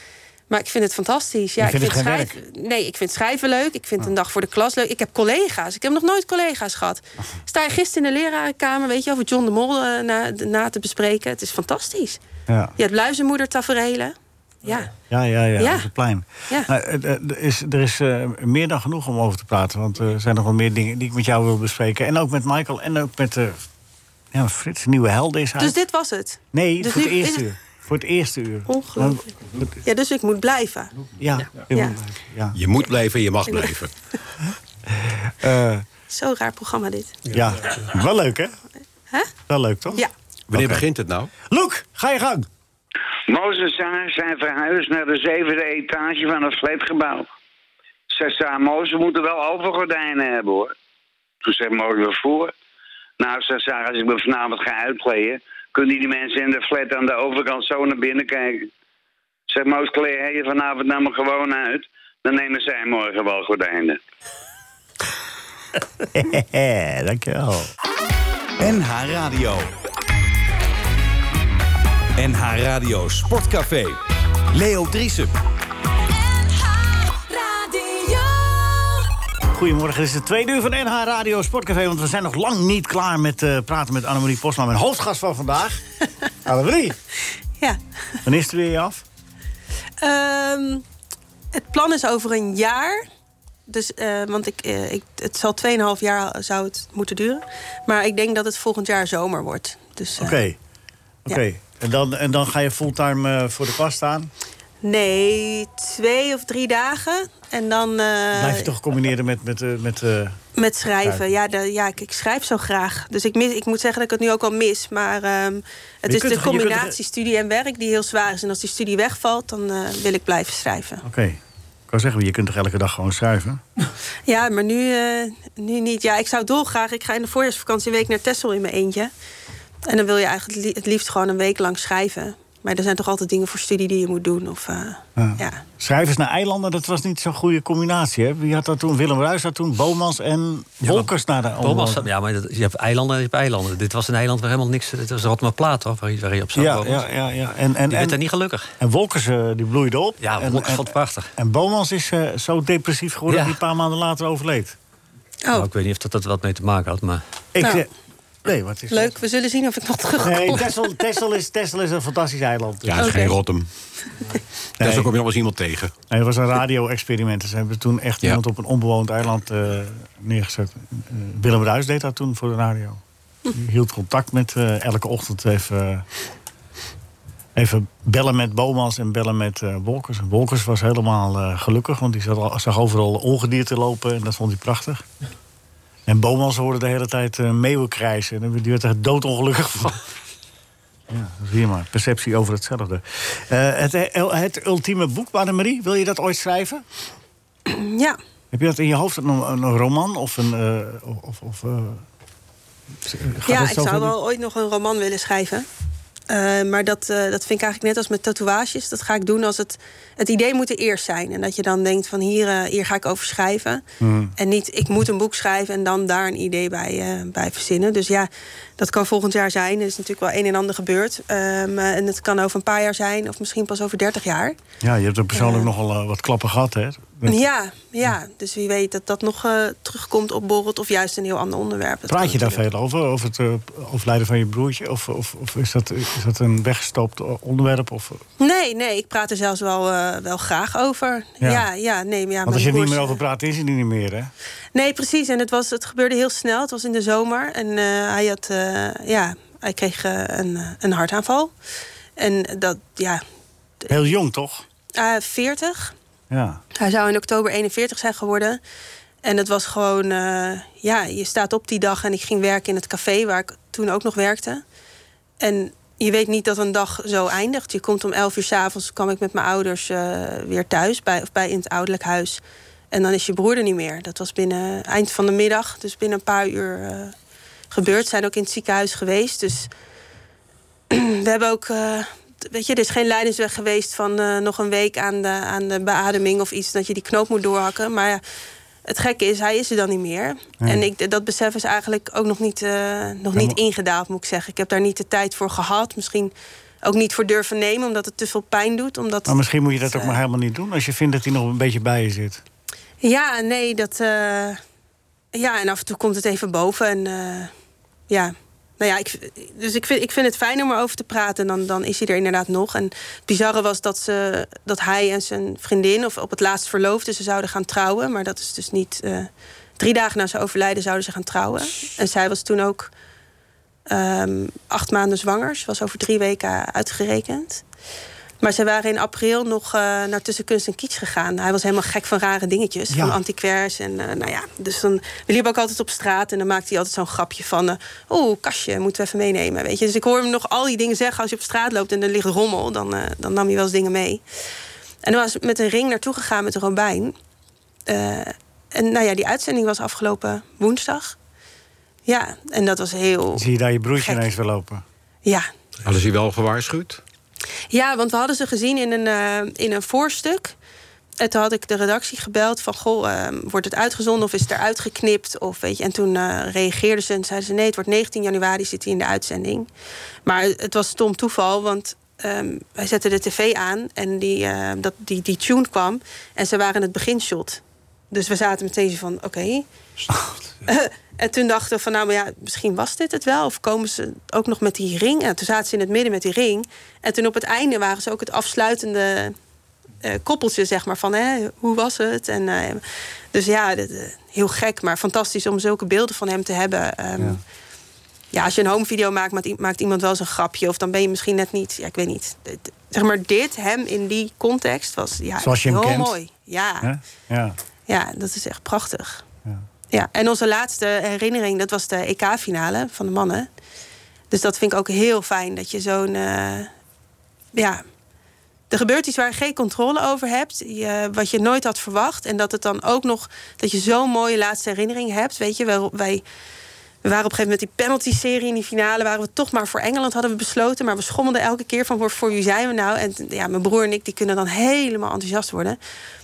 S7: Maar ik vind het fantastisch. Ja,
S3: Je
S7: ik
S3: vindt
S7: vind
S3: het geen Ah.
S7: schrijven, nee, ik vind schrijven leuk. Ik vind een dag voor de klas leuk. Ik heb collega's. Ik heb nog nooit collega's gehad.
S3: Ah.
S7: Ik Sta je gisteren in de lerarenkamer, weet je, over John de Mol eh, na, na te bespreken. Het is fantastisch.
S3: Ja.
S7: Je hebt luizenmoeder-taferelen. Ja.
S3: Ja, ja, ja,
S7: Ja.
S3: op het plein.
S7: Ja.
S3: Nou, eh, eh, er is, er is eh, meer dan genoeg om over te praten. Want eh, er zijn nog wel meer dingen die ik met jou wil bespreken. En ook met Michael en ook met eh, ja, Frits, nieuwe helden is hij.
S7: Dus dit was het.
S3: nee,
S7: dus
S3: voor het
S7: nu is
S3: eerste
S7: het-
S3: uur. Voor het eerste uur.
S7: Ongelooflijk.
S3: Want-
S7: Ja, dus ik moet blijven.
S3: Ja, ja.
S7: Ja.
S3: ja.
S6: Je moet blijven, je mag blijven.
S3: Eh,
S7: Zo raar programma dit.
S3: ja. Wel leuk, hè?
S7: Hè?
S3: Wel leuk, toch?
S7: Ja.
S6: Wanneer begint het nou?
S3: Loek, ga je gang. [laughs]
S9: Mozes en haar zijn verhuisd naar de zevende etage van het flatgebouw. Ze zei, Mozes moeten wel overgordijnen hebben hoor. Toen zei Mozes, waarvoor? Nou, ze zei, als ik me vanavond ga uitkleden... kunnen die mensen in de flat aan de overkant zo naar binnen kijken. Zeg, Mozes, kleed jij je vanavond nou maar gewoon uit... dan nemen zij morgen wel gordijnen.
S3: Hehe, dankjewel.
S2: NH Radio. NH Radio Sportcafé. Leo Driesen.
S1: Radio.
S3: Goedemorgen, dit is de tweede uur van NH Radio Sportcafé. Want we zijn nog lang niet klaar met eh, praten met Annemarie Posma, mijn hoofdgast van
S7: [laughs]
S3: vandaag. Annemarie,
S7: Ja.
S3: wanneer studeer je af?
S7: Ehm, het plan is over een jaar. Dus, eh, want ik, eh, ik, het zal 2,5 jaar zou het moeten duren. Maar ik denk dat het volgend jaar zomer wordt. Dus, eh,
S3: Oké. Oké. En, dan, en dan ga je fulltime eh, voor de klas staan.
S7: Nee, twee of drie dagen. En dan eh,
S3: Blijf je toch combineren met. met, eh, met eh,
S7: met schrijven. Ja, de- ja ik, ik schrijf zo graag. Dus ik, mis, ik moet zeggen dat ik het nu ook al mis. Maar ehm, het
S3: je
S7: is
S3: kunt toch-
S7: de
S3: je kunt toch-
S7: combinatie studie en werk die heel zwaar is. En als die studie wegvalt, dan eh, wil ik blijven schrijven.
S3: Oké. Ik kan zeggen, je kunt toch elke dag gewoon schrijven?
S7: Ja, maar nu, eh, nu niet. Ja, ik zou dolgraag. Ik ga in de voorjaarsvakantie een week naar Texel in mijn eentje. En dan wil je eigenlijk li- het liefst gewoon een week lang schrijven. Maar er zijn toch altijd dingen voor studie die je moet doen. Of, eh, ja.
S3: Schrijvers naar eilanden, dat was niet zo'n goede combinatie. Hè? Wie had dat toen? Willem Ruijs had toen Bomans en Wolkers naar de
S4: Thomas,
S3: omloop.
S4: ja, maar dat- je hebt eilanden en je hebt eilanden. Dit was een eiland waar helemaal niks... Dit was Rotterplaat, toch? Waar, je- waar je op zat.
S3: Ja,
S4: wonen.
S3: ja, ja, ja. En, en,
S4: Je werd er
S3: en,
S4: niet gelukkig.
S3: en Wolkers eh, die bloeide op.
S4: Ja,
S3: en,
S4: Wolkers
S3: en-
S4: vond het prachtig.
S3: En Bomans is eh, zo depressief geworden
S4: Ja.
S3: dat hij een paar maanden later overleed.
S7: Oh,
S4: Nou, ik weet niet of dat, dat wat mee te maken had, maar...
S3: Ik,
S7: Nou.
S3: eh, nee, wat is
S7: leuk. We zullen zien of ik nog terugkom.
S3: dat? Nee, Texel, Texel, is, Texel is een fantastisch eiland.
S6: Ja, dat is
S7: Oké.
S6: geen Rotterdam. Daar kom je nog wel eens iemand tegen.
S3: Nee, het was een radio-experiment. Ze hebben toen echt
S6: Ja.
S3: iemand op een onbewoond eiland eh, neergezet. Eh, Willem Ruijs deed dat toen voor de radio. Die hield contact met eh, elke ochtend even, eh, even bellen met Bomans en bellen met eh, Wolkers. En Wolkers was helemaal eh, gelukkig, want die zat al- zag overal ongedierte lopen en dat vond hij prachtig. En Bomans hoorde de hele tijd eh meeuwen krijsen. En die werd er doodongelukkig van. Ja, zie je maar. Perceptie over hetzelfde. Eh, het, het ultieme boek, Annemarie, wil je dat ooit schrijven?
S7: Ja.
S3: Heb je dat in je hoofd, een, een roman of een... eh, of, of, eh, gaat
S7: ja,
S3: het zo
S7: ik zou
S3: verder?
S7: wel ooit nog een roman willen schrijven. Eh, maar dat, eh, dat vind ik eigenlijk net als met tatoeages. Dat ga ik doen als het... Het idee moet er eerst zijn. En dat je dan denkt van hier, eh, hier ga ik over schrijven.
S3: Hmm.
S7: En niet ik moet een boek schrijven en dan daar een idee bij, eh, bij verzinnen. Dus ja, dat kan volgend jaar zijn. Er is natuurlijk wel een en ander gebeurd. Ehm, eh, en het kan over een paar jaar zijn. Of misschien pas over 30 jaar.
S3: Ja, je hebt er persoonlijk
S7: Ja.
S3: nogal eh, wat klappen gehad, hè?
S7: Ja, ja. Dus wie weet dat dat nog eh, terugkomt opborrelt. Of juist een heel ander onderwerp. Dat
S3: Praat
S7: kan
S3: je daar
S7: natuurlijk.
S3: veel over? Over het eh, overlijden van je broertje? Of, of, of is, dat, is dat een weggestoopt onderwerp? Of, eh,
S7: Nee, nee, ik praat er zelfs wel, eh, wel graag over.
S3: Ja.
S7: Ja, ja, nee. maar Ja,
S3: want als je
S7: mijn
S3: er niet
S7: broers-
S3: meer over praat, is hij er niet meer, hè?
S7: Nee, precies. En het, was, het gebeurde heel snel. Het was in de zomer. En eh, hij, had, eh, ja, hij kreeg eh, een, eh, een hartaanval. En dat, ja,
S3: Heel jong, toch?
S7: eh, 40.
S3: Ja.
S7: Hij zou in oktober 41 zijn geworden. En het was gewoon, eh, ja, je staat op die dag en ik ging werken in het café waar ik toen ook nog werkte. En je weet niet dat een dag zo eindigt. Je komt om 11 uur s'avonds, kwam ik met mijn ouders eh, weer thuis, bij, of bij in het ouderlijk huis. En dan is je broer er niet meer. Dat was binnen eind van de middag, dus binnen een paar uur eh, gebeurd. Zijn ook in het ziekenhuis geweest. Dus we hebben ook. eh, t- Weet je, er is geen leidensweg geweest van eh, nog een week aan de, aan de beademing of iets. Dat je die knoop moet doorhakken. Maar ja, het gekke is, hij is er dan niet meer. En ik, dat besef is eigenlijk ook nog niet, eh, nog niet ingedaald, moet ik zeggen. Ik heb daar niet de tijd voor gehad. Misschien ook niet voor durven nemen, omdat het te veel pijn doet. Omdat
S3: Maar misschien moet je dat
S7: het,
S3: ook maar
S7: eh,
S3: helemaal niet doen als je vindt dat hij nog een beetje bij je zit.
S7: Ja, nee, dat. eh, ja, en af en toe komt het even boven. En eh, ja. Nou ja, ik, dus ik vind, ik vind het fijn om erover te praten. En dan, dan is hij er inderdaad nog. En het bizarre was dat, ze, dat hij en zijn vriendin... of op het laatst verloofden, ze zouden gaan trouwen. Maar dat is dus niet... eh, drie dagen na zijn overlijden zouden ze gaan trouwen. En zij was toen ook ehm, acht maanden zwanger. Ze was over drie weken uitgerekend. Maar ze waren in april nog eh, naar Tussen Kunst en Kitsch gegaan. Hij was helemaal gek van rare dingetjes,
S3: Ja.
S7: van antiquairs. En eh, nou ja, dus dan, we liepen ook altijd op straat en dan maakte hij altijd zo'n grapje van... eh, Oeh, kastje, moeten we even meenemen, weet je. Dus ik hoor hem nog al die dingen zeggen als je op straat loopt en er ligt rommel. Dan, eh, dan nam hij wel eens dingen mee. En dan was ik met een ring naartoe gegaan met een robijn. Eh, en nou ja, die uitzending was afgelopen woensdag. Ja, en dat was heel...
S3: Dan zie je daar je broertje
S7: Gek.
S3: ineens weer lopen.
S7: Ja,
S6: Hadden ze je wel gewaarschuwd?
S7: Ja, want we hadden ze gezien in een, eh, in een voorstuk. En toen had ik de redactie gebeld van... goh, eh, wordt het uitgezonden of is het eruit geknipt? Of, weet je, en toen eh, reageerden ze en zeiden ze... nee, het wordt 19 januari, zit hij in de uitzending. Maar het was stom toeval, want ehm, wij zetten de tv aan... en die, eh, dat, die, die tune kwam en ze waren het beginshot. Dus we zaten meteen zo van, oké. en toen dachten we van, nou maar ja, misschien was dit het wel. Of komen ze ook nog met die ring? En toen zaten ze in het midden met die ring. En toen op het einde waren ze ook het afsluitende eh, koppeltje, zeg maar. Van, hè, hoe was het? En, eh, dus ja, dit, eh, heel gek, maar fantastisch om zulke beelden van hem te hebben. Ehm, ja. als je een home video maakt, maakt, i- maakt iemand wel eens een grapje. Of dan ben je misschien net niet, ja, ik weet niet. Dit- Zeg maar, dit, hem in die context, was ja,
S3: Zoals je hem
S7: heel
S3: kent.
S7: mooi. Ja.
S3: hè? Ja.
S7: Ja, dat is echt prachtig. Ja. en onze laatste herinnering, dat was de EK-finale van de mannen. Dus dat vind ik ook heel fijn dat je zo'n. eh, ja. Er gebeurt iets waar je geen controle over hebt, je- wat je nooit had verwacht. En dat het dan ook nog. dat je zo'n mooie laatste herinnering hebt. Weet je, wel, wij. We waren op een gegeven moment die penalty-serie in die finale. Waren we toch maar voor Engeland hadden we besloten. Maar we schommelden elke keer van voor, voor wie zijn we nou? En ja, mijn broer en ik die kunnen dan helemaal enthousiast worden.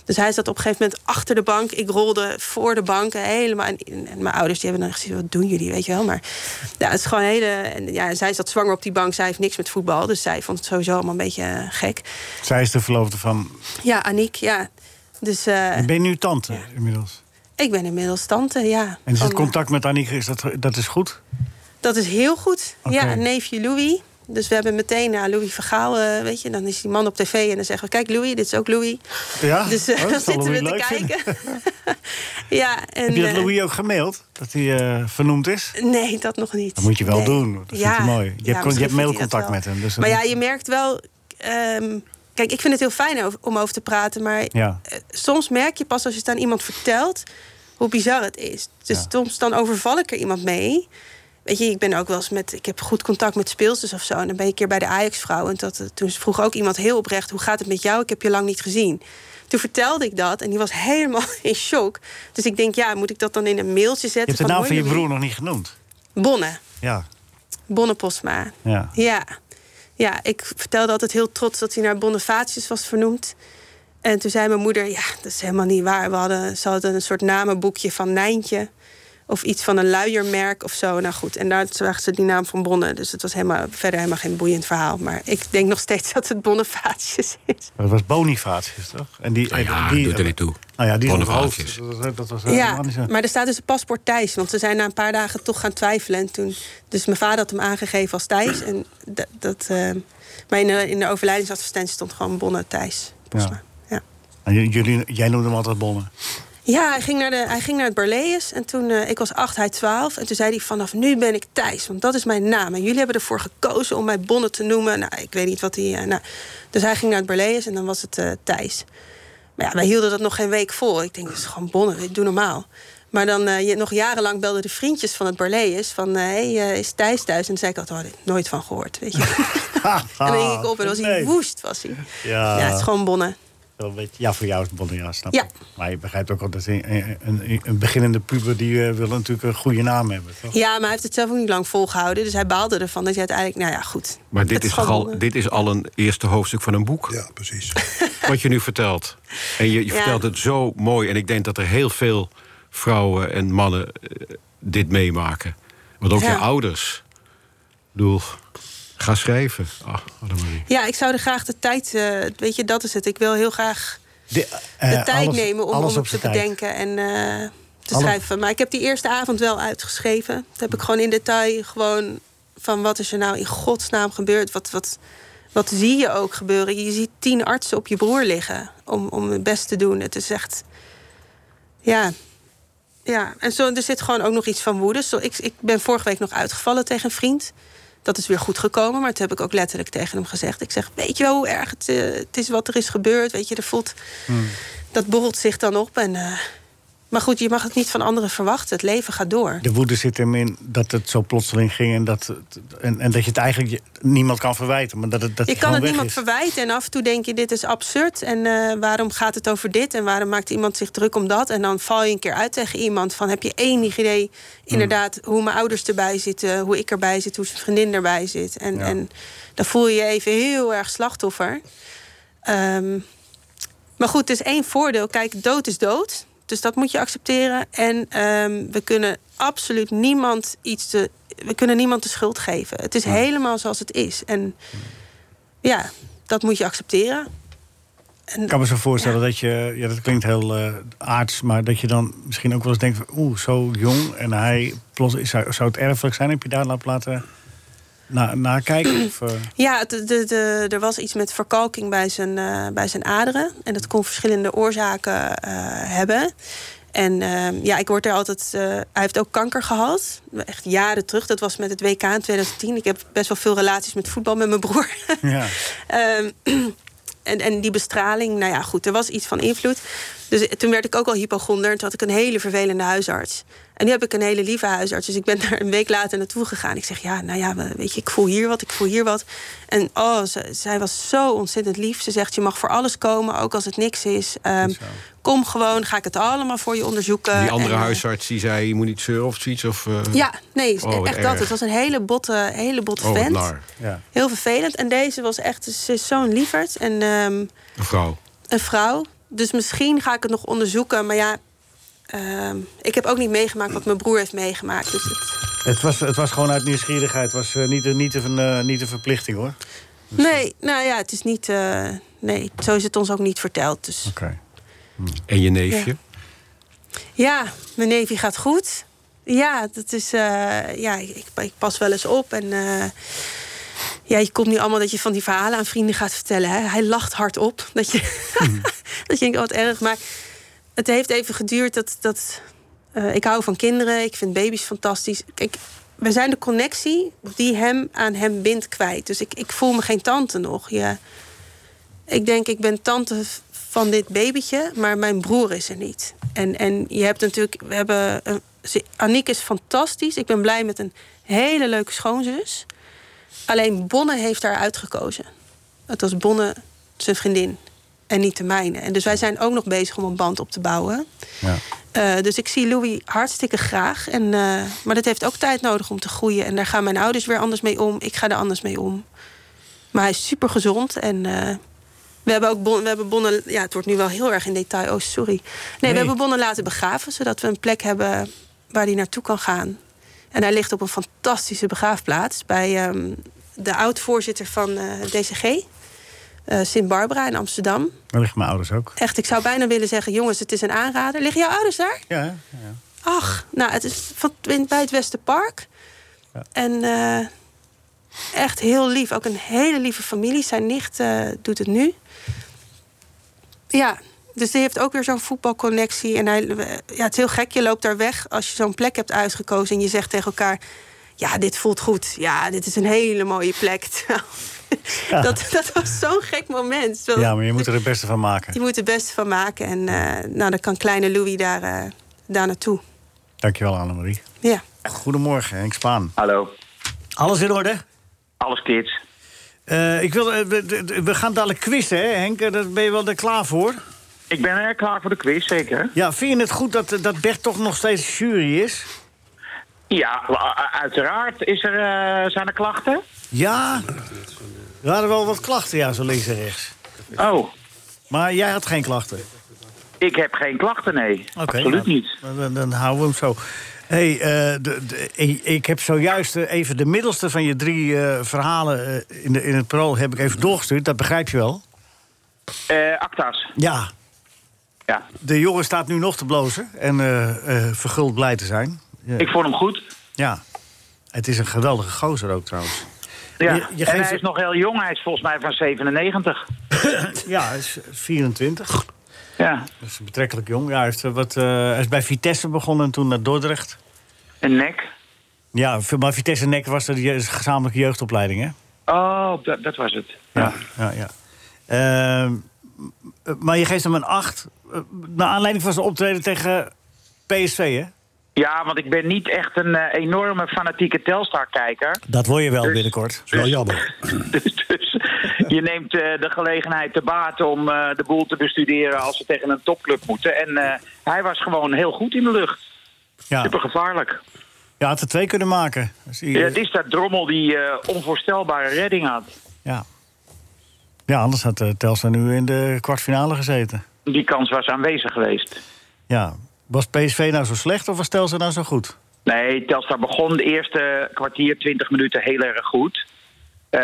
S7: Dus hij zat op een gegeven moment achter de bank. Ik rolde voor de bank helemaal. En, en mijn ouders die hebben dan gezien, wat doen jullie, weet je wel? Maar ja, het is gewoon een hele... En, ja, zij zat zwanger op die bank. Zij heeft niks met voetbal. Dus zij vond het sowieso allemaal een beetje eh, gek.
S3: Zij is de verloofde van.
S7: Ja, Aniek, ja. Dus eh,
S3: Ben je nu tante inmiddels?
S7: ik ben inmiddels tante, ja.
S3: En is het
S7: Van-
S3: contact met Annieke, is dat, dat is goed?
S7: Dat is heel goed.
S3: Oké.
S7: Ja, neefje Louis. Dus we hebben meteen naar Louis Vergaal, eh, weet je, dan is die man op tv en dan zeggen we: Kijk, Louis, dit is ook Louis.
S3: Ja?
S7: [laughs] Dus eh,
S3: Oh,
S7: dan
S3: dat zal
S7: zitten we
S3: Louis
S7: te
S3: leuk vinden.
S7: kijken. [laughs] ja, en.
S3: Heb je dat
S7: eh,
S3: Louis ook gemaild? Dat hij eh, vernoemd is?
S7: Nee, dat nog niet.
S3: Dat moet je wel
S7: Nee.
S3: doen. Dat vindt hij mooi. Je hebt
S7: misschien
S3: con- je hebt
S7: vindt hij dat
S3: mailcontact
S7: wel.
S3: met hem, dus dat
S7: maar ja,
S3: moet-
S7: je merkt wel. ehm, kijk, ik vind het heel fijn over- om over te praten. Maar
S3: Ja.
S7: eh, soms merk je pas als je het aan iemand vertelt. hoe bizar het is. Dus
S3: Ja.
S7: soms dan overval ik er iemand mee. Weet je, ik ben ook wel eens met. Ik heb goed contact met speelsters of zo. En dan ben ik een keer bij de Ajax-vrouw. En dat, toen vroeg ook iemand heel oprecht: hoe gaat het met jou? Ik heb je lang niet gezien. Toen vertelde ik dat en die was helemaal [laughs] in shock. Dus ik denk, ja, moet ik dat dan in een mailtje zetten?
S3: Je hebt de naam
S7: hoi,
S3: van je
S7: Louis?
S3: broer nog niet genoemd.
S7: Bonne.
S3: Ja.
S7: Bonne Postma.
S3: Ja.
S7: Ja. Ja, ik vertelde altijd heel trots dat hij naar Bonnefatius was vernoemd. En toen zei mijn moeder, ja, dat is helemaal niet waar. We hadden, ze hadden een soort namenboekje van Nijntje. Of iets van een luiermerk of zo. Nou goed, en daar zagen ze die naam van Bonne. Dus het was helemaal, verder helemaal geen boeiend verhaal. Maar ik denk nog steeds [laughs] dat het Bonnefatius is.
S3: Dat was Bonifatius, toch? En die,
S6: Nou ja,
S3: die,
S6: doet er niet toe.
S3: Nou ja, die is nog
S6: Bonifatius.
S3: hoofd. Dat, dat was eh,
S7: Ja,
S3: helemaal niet zo.
S7: maar er staat dus een paspoort Thijs. Want ze zijn na een paar dagen toch gaan twijfelen. En toen, dus mijn vader had hem aangegeven als Thijs. En dat, dat, eh, maar in de, in de overlijdensadvertentie stond gewoon Bonne Thijs.
S3: Ja.
S7: Ja. Ja.
S3: En Ah, j- jullie, jij noemde hem altijd
S7: [laughs]
S3: Bonne.
S7: ja, hij ging naar, de, hij ging naar het Barlees. En toen, eh, ik was acht, hij twaalf. En toen zei hij, vanaf nu ben ik Thijs. Want dat is mijn naam. En jullie hebben ervoor gekozen om mij Bonne te noemen. Nou, ik weet niet wat hij... eh, nou. Dus hij ging naar het Barlees en dan was het eh, Thijs. Maar ja, wij hielden dat nog geen week vol. Ik denk, dat is gewoon bonnen, doe normaal. Maar dan, eh, je, nog jarenlang belden de vriendjes van het Barlees... van, hé, hey, eh, is Thijs thuis? En dan zei ik altijd, oh, daar heb ik nooit van gehoord, weet je. [laughs] en dan ging ik op en dan was hij
S3: Nee.
S7: woest, was hij.
S3: Ja.
S7: het is gewoon bonnen.
S3: Wel een beetje- Ja, voor jou is het Bonne, ja, snap
S7: Ja.
S3: ik. Maar je begrijpt ook al dat een, een, een beginnende puber... die eh, wil natuurlijk een goede naam hebben, toch?
S7: Ja, maar hij heeft het zelf ook niet lang volgehouden. Dus hij baalde ervan dat hij uiteindelijk, nou ja, goed.
S6: Maar
S7: Het
S6: dit is, toch
S7: gewoon
S6: al,
S7: bonnen.
S6: dit is al een eerste hoofdstuk van een boek.
S5: Ja, precies.
S6: wat je nu vertelt. En je, je
S7: Ja.
S6: vertelt het zo mooi. En ik denk dat er heel veel vrouwen en mannen eh, dit meemaken. Want ook
S7: Ja.
S6: je ouders. Ik bedoel, Ga schrijven. Ah, Annemarie.
S7: Ja, ik zou er graag de tijd. eh, weet je, dat is het. Ik wil heel graag
S3: De,
S7: de
S3: eh,
S7: tijd
S3: alles-
S7: nemen om,
S3: alles
S7: om
S3: op
S7: het te
S3: zijn tijd.
S7: bedenken en eh, te
S3: Alles-
S7: schrijven. Maar ik heb die eerste avond wel uitgeschreven. Dat heb ik gewoon in detail gewoon van wat is er nou in godsnaam gebeurd? Wat, wat, wat zie je ook gebeuren? Je ziet tien artsen op je broer liggen om, om het best te doen. Het is echt. Ja. Ja, en zo, er zit gewoon ook nog iets van woede. Zo, ik, ik ben vorige week nog uitgevallen tegen een vriend. Dat is weer goed gekomen, maar toen heb ik ook letterlijk tegen hem gezegd. Ik zeg, weet je wel hoe erg het, eh, het is wat er is gebeurd? Weet je, er voelt dat borrelt zich dan op. En, eh, maar goed, je mag het niet van anderen verwachten. Het leven gaat door.
S3: De woede zit hem in dat het zo plotseling ging en dat, het- en, en dat je het eigenlijk je- niemand kan verwijten. Maar dat het, dat
S7: Je
S3: het
S7: kan het
S3: gewoon
S7: niemand
S3: weg is.
S7: verwijten. En af en toe denk je, dit is absurd. En eh, waarom gaat het over dit? En waarom maakt iemand zich druk om dat? En dan val je een keer uit tegen iemand. Van, heb je enig idee inderdaad
S3: Mm.
S7: hoe mijn ouders erbij zitten? Hoe ik erbij zit? Hoe zijn vriendin erbij zit? En, en dan voel je je even heel erg slachtoffer. Ehm, maar goed, het is één voordeel. Kijk, dood is dood. Dus dat moet je accepteren. En ehm, we kunnen absoluut niemand iets te... We kunnen niemand de schuld geven. Het is helemaal zoals het is. En ja, dat moet je accepteren.
S3: Ik kan me zo voorstellen dat je, ja, dat klinkt heel eh aards, maar dat je dan misschien ook wel eens denkt: van, oeh, zo jong en hij, plots, is, zou, zou het erfelijk zijn? Heb je daar nou op laten na, nakijken? Of, eh, [clears throat]
S7: Ja, het- de, de, er was iets met verkalking bij zijn, eh, bij zijn aderen. En dat kon verschillende oorzaken eh, hebben. En ehm, ja, ik word er altijd. eh, hij heeft ook kanker gehad. Echt jaren terug. Dat was met het WK in 2010. Ik heb best wel veel relaties met voetbal met mijn broer.
S3: ja.
S7: Ehm, [clears throat] en, en die bestraling, nou ja, goed, er was iets van invloed. Dus toen werd ik ook al hypochonder. En toen had ik een hele vervelende huisarts. En nu heb ik een hele lieve huisarts. Dus ik ben [laughs] daar een week later naartoe gegaan. Ik zeg, ja, nou ja, we- weet je, ik voel hier wat, ik voel hier wat. En oh, ze- zij was zo ontzettend lief. Ze zegt, je mag voor alles komen, ook als het niks is. Ehm, kom gewoon, ga ik het allemaal voor je onderzoeken.
S6: Die andere
S7: En, eh,
S6: huisarts die zei, je moet niet zeuren of zoiets. Of, eh,
S7: Ja, nee,
S6: Oh, wat
S7: echt
S6: erg.
S7: dat. Het was een hele botte, hele botte
S6: Oh, wat
S7: vent.
S6: naar.
S3: ja.
S7: Heel vervelend. En deze was echt, ze is zo'n lieverd. En ehm,
S6: Een vrouw.
S7: een vrouw. Dus misschien ga ik het nog onderzoeken. Maar ja, ehm, ik heb ook niet meegemaakt wat mijn broer heeft meegemaakt. Dus het...
S3: Het, was, het was gewoon uit nieuwsgierigheid. Het was eh, niet, een- niet, een, eh, niet een verplichting hoor.
S7: Nee, nou ja, het is niet. eh, nee, zo is het ons ook niet verteld. Dus
S3: Oké.
S6: En je neefje.
S7: ja, mijn neefje gaat goed. Ja, dat is. eh, ja, ik, ik pas wel eens op. En eh, ja, je komt nu allemaal dat je van die verhalen aan vrienden gaat vertellen. Hè? Hij lacht hardop. Dat je, [laughs] dat je denkt, oh, wat erg. Maar het heeft even geduurd dat. dat eh, ik hou van kinderen, ik vind baby's fantastisch. Kijk, we zijn de connectie die hem aan hem bindt kwijt. Dus ik, ik voel me geen tante nog. Ja. Ik denk, ik ben tante van dit babytje, maar mijn broer is er niet. En, en je hebt natuurlijk, we hebben. een- ze- Aniek is fantastisch. Ik ben blij met een hele leuke schoonzus. Alleen Bonne heeft haar uitgekozen. Het was Bonne zijn vriendin en niet de mijne. En dus wij zijn ook nog bezig om een band op te bouwen.
S3: Ja.
S7: Eh, dus ik zie Louis hartstikke graag. En, eh, maar dat heeft ook tijd nodig om te groeien. En daar gaan mijn ouders weer anders mee om. Ik ga er anders mee om. Maar hij is super gezond. En eh, we hebben ook bon, we hebben bonnen. Ja, het wordt nu wel heel erg in detail. Oh, sorry. Nee, we hebben bonnen laten begraven. Zodat we een plek hebben waar hij naartoe kan gaan. En hij ligt op een fantastische begraafplaats. Bij ehm, de oud-voorzitter van eh, DCG. eh, Sint-Barbara in Amsterdam.
S3: Daar liggen mijn ouders ook.
S7: Echt, ik zou bijna willen zeggen: jongens, het is een aanrader. Liggen jouw ouders daar?
S3: Ja, hè? ja.
S7: Ach, nou, het is van, in- bij het Westerpark. En eh, echt heel lief. Ook een hele lieve familie. Zijn nicht eh, doet het nu. Ja, dus die heeft ook weer zo'n voetbalconnectie. En hij, eh, ja, het is heel gek. Je loopt daar weg als je zo'n plek hebt uitgekozen. En je zegt tegen elkaar... Ja, dit voelt goed. Ja, dit is een hele mooie plek. [laughs] Terwijl- dat, dat was zo'n gek moment. Terwijl-
S3: Ja, maar je moet er het beste van maken.
S7: je moet het beste van maken. En eh, nou, dan kan kleine Louis daar, eh, daar naartoe.
S3: Dankjewel Annemarie.
S7: Ja.
S3: Goedemorgen Henk Spaan.
S10: Hallo,
S3: Alles in orde?
S10: alles kids.
S3: Eh, ik wil, eh, we, de- we gaan dadelijk quizzen, hè, Henk? Eh, Daar ben je wel er klaar voor.
S10: Ik ben er klaar voor de quiz, zeker.
S3: Ja, vind je het goed dat, eh, dat Bert toch nog steeds jury is?
S10: Ja, wa- u- uiteraard. Is er, eh, zijn er klachten?
S3: Ja. Er waren wel wat klachten, ja, zo links en rechts.
S10: Oh,
S3: Maar jij had geen klachten.
S10: ik heb geen klachten, nee. Absoluut
S3: nou,
S10: niet.
S3: Dan, dan houden we hem zo. hey, eh, de- de- ik- ik heb zojuist eh, even de middelste van je drie eh, verhalen eh, in, de, in het parool heb ik even doorgestuurd. Dat begrijp je wel.
S10: Eh acta's.
S3: Ja,
S10: Ja.
S3: de jongen staat nu nog te blozen en eh, eh, verguld blij te zijn. Ja.
S10: Ik vond hem goed.
S3: ja. Het is een geweldige gozer ook trouwens.
S10: Ja.
S3: Je- je
S10: en
S3: geeft-
S10: hij is nog heel jong. Hij is volgens mij van 97.
S3: Ja, hij is eh, 24.
S10: Ja.
S3: Dat is betrekkelijk jong. Ja, hij, heeft, eh, wat, eh, hij is bij Vitesse begonnen en toen naar Dordrecht.
S10: Een nek.
S3: Ja, maar Vitesse Nek was de je- gezamenlijke jeugdopleiding, hè?
S10: Oh, dat, dat was het.
S3: Ja, ja, ja. Ehm, m- maar je geeft hem een 8. Naar aanleiding van zijn optreden tegen PSV, hè?
S10: Ja, want ik ben niet echt een eh, enorme fanatieke Telstar-kijker.
S3: Dat word je wel binnenkort.
S5: is wel jammer.
S10: [laughs] Dus, dus je neemt eh, de gelegenheid te baat om eh, de boel te bestuderen als ze tegen een topclub moeten. En eh, hij was gewoon heel goed in de lucht.
S3: Ja,
S10: Super gevaarlijk.
S3: je had er twee kunnen maken. Dus die-
S10: Ja, het is dat drommel die eh, onvoorstelbare redding had.
S3: ja. ja, anders had eh, Telstra nu in de kwartfinale gezeten.
S10: Die kans was aanwezig geweest.
S3: Ja. Was PSV nou zo slecht of was Telstra nou zo goed?
S10: Nee, Telstar begon de eerste kwartier, 20 minuten heel erg goed. Eh,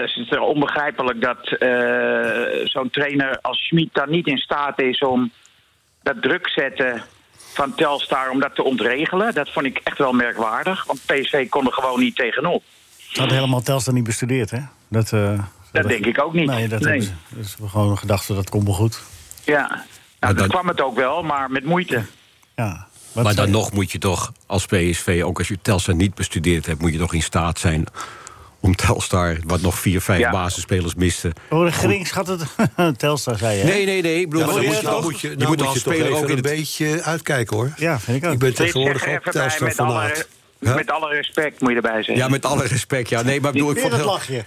S10: dus het is er onbegrijpelijk dat eh, zo'n trainer als Schmid dan niet in staat is om dat druk zetten van Telstar om dat te ontregelen. Dat vond ik echt wel merkwaardig, want PSV kon er gewoon niet tegenop.
S3: Had helemaal Telstra niet bestudeerd, hè? Dat, eh,
S10: Dat denk ik ook niet.
S3: Nee, dat,
S10: Nee.
S3: Is, dat is gewoon een gedachte, dat komt wel goed.
S10: Ja, nou, dat
S6: dat-
S10: kwam het ook wel, maar met moeite.
S3: Ja.
S6: Maar dan nog moet je toch als PSV, ook als je Telstar niet bestudeerd hebt... moet je toch in staat zijn om Telstar, wat nog vier, vijf
S10: Ja.
S6: basisspelers miste...
S3: Oh, de Gering schat het... [laughs] Telstra, zei je, hè?
S6: Nee, nee, nee. Ik bedoel,
S5: Ja,
S6: maar
S5: maar
S6: dan
S5: moet je, nou moet
S6: moet je, dan
S5: je,
S6: je
S5: nou
S6: moet
S5: moet
S6: als
S5: je toch
S6: speler
S5: even
S6: ook
S5: een
S6: in het...
S5: beetje uitkijken hoor.
S3: Ja, vind ik ook.
S5: Ik ben
S10: Dit
S5: tegenwoordig
S10: zeg er
S5: ook
S10: even
S5: thuis
S10: bij,
S5: dan
S10: met alle,
S5: verlaat.
S6: Huh?
S10: met alle respect moet je erbij zeggen.
S6: Ja, met alle respect. Ja, nee, maar, bedoel, ik
S3: Weer
S6: vond
S3: dat
S6: heel-
S3: lachje.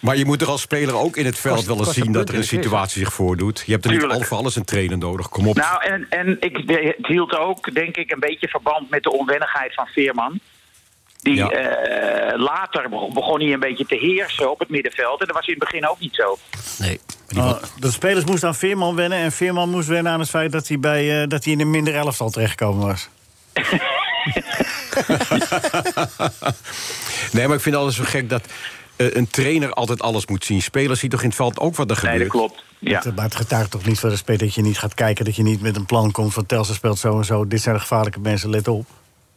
S6: maar je moet er als speler ook in het veld
S4: Kost-
S6: wel eens
S4: kost een
S6: zien... dat
S4: punt
S6: er een
S4: in de kist,
S6: situatie zich voordoet. Je hebt er niet
S10: Tuurlijk.
S6: al voor alles een trainer nodig. Kom op.
S10: Nou, en, en ik, de- het hield ook, denk ik, een beetje verband met de onwennigheid van Veerman. Die
S6: Ja.
S10: eh, later begon, begon hij een beetje te heersen op het middenveld. En dat was in het begin ook niet zo.
S6: nee.
S3: Oh, de spelers moesten aan Veerman wennen. En Veerman moest wennen aan het feit dat hij, bij, eh, dat hij in een minder elftal terechtgekomen was.
S6: nee, maar ik vind alles zo gek dat eh, een trainer altijd alles moet zien. Spelers zien toch in het veld ook wat er
S10: Nee,
S6: gebeurt.
S10: dat klopt. Ja.
S3: Het- eh, Maar het getuigt toch niet van respect dat je niet gaat kijken... dat je niet met een plan komt van Telstra speelt zo en zo. Dit zijn de gevaarlijke mensen, let op.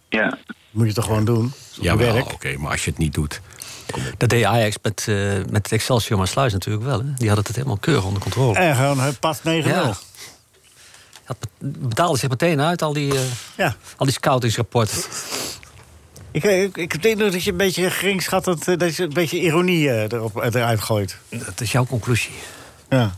S10: ja.
S3: Moet je toch gewoon doen? Dat is
S6: Ja, wel,
S3: werk.
S6: oké, maar als je het niet doet...
S4: Dat deed Ajax met, eh, met Excelsior maar Sluis natuurlijk wel. Hè? Die hadden het helemaal keurig onder controle.
S3: En gewoon eh, pas 9-0. Ja.
S4: Ja. Dat be- betaalde zich meteen uit, al die, eh, al die scoutingsrapporten.
S3: Ik, eh, ik, ik heb de indruk dat je een beetje gering schat... dat, eh, dat je een beetje ironie eh, erop, eruit gooit.
S4: Dat is jouw conclusie.
S3: Ja.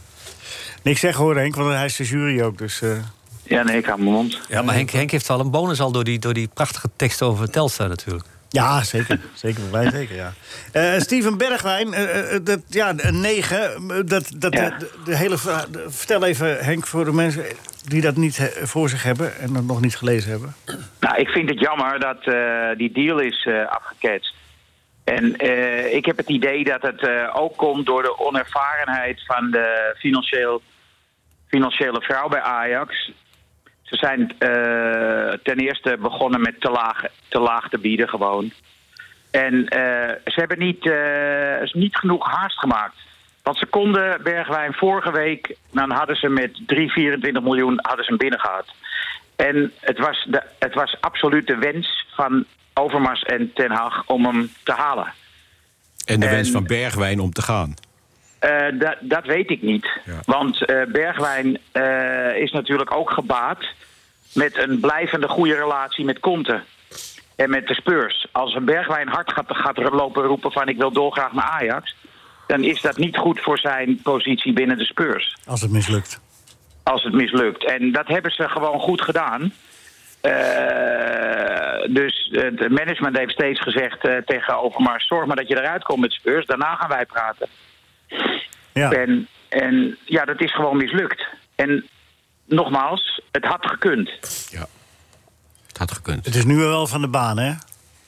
S3: Niks zeggen hoor, Henk, want hij is de jury ook. Dus, eh,
S10: ja, nee, ik hou mijn mond.
S4: Ja, maar Henk, Henk heeft wel een bonus al door die, door die prachtige tekst over Telstar natuurlijk.
S3: Ja, zeker. [laughs] zeker voor mij, zeker, ja. Eh, Steven Bergwijn, eh, eh, dat, ja, een 9. Dat, dat, eh,
S10: Ja.
S3: De, de hele, verha- de- vertel even, Henk, voor de mensen die dat niet eh, voor zich hebben... en dat nog niet gelezen hebben.
S10: Nou, ik vind het jammer dat eh, die deal is eh afgeketst. En eh, ik heb het idee dat het eh, ook komt door de onervarenheid van de financieel, financiële vrouw bij Ajax. Ze zijn eh, ten eerste begonnen met te laag te, laag te bieden gewoon. En eh, ze hebben niet, eh, niet genoeg haast gemaakt. Want ze konden Bergwijn vorige week, dan hadden ze met 3, 24 miljoen hadden ze hem binnengehaald. En het was, de, het was absoluut de wens van Overmars en Ten Hag om hem te halen.
S6: En de
S10: En-
S6: wens van Bergwijn om te gaan.
S10: Eh, dat, dat weet ik niet.
S6: Ja.
S10: Want eh, Bergwijn eh, is natuurlijk ook gebaat met een blijvende goede relatie met Conte. En met de Spurs. Als een Bergwijn hard gaat, gaat lopen roepen van ik wil dolgraag naar Ajax... dan is dat niet goed voor zijn positie binnen de Spurs
S3: Als het mislukt.
S10: als het mislukt. En dat hebben ze gewoon goed gedaan. Eh, dus eh, het management heeft steeds gezegd eh, tegen Overmars... zorg maar dat je eruit komt met Spurs, daarna gaan wij praten.
S3: Ja.
S10: En, en ja, dat is gewoon mislukt. En nogmaals, het had gekund. Het
S6: Ja. Het had gekund.
S3: Het is nu wel van de baan, hè?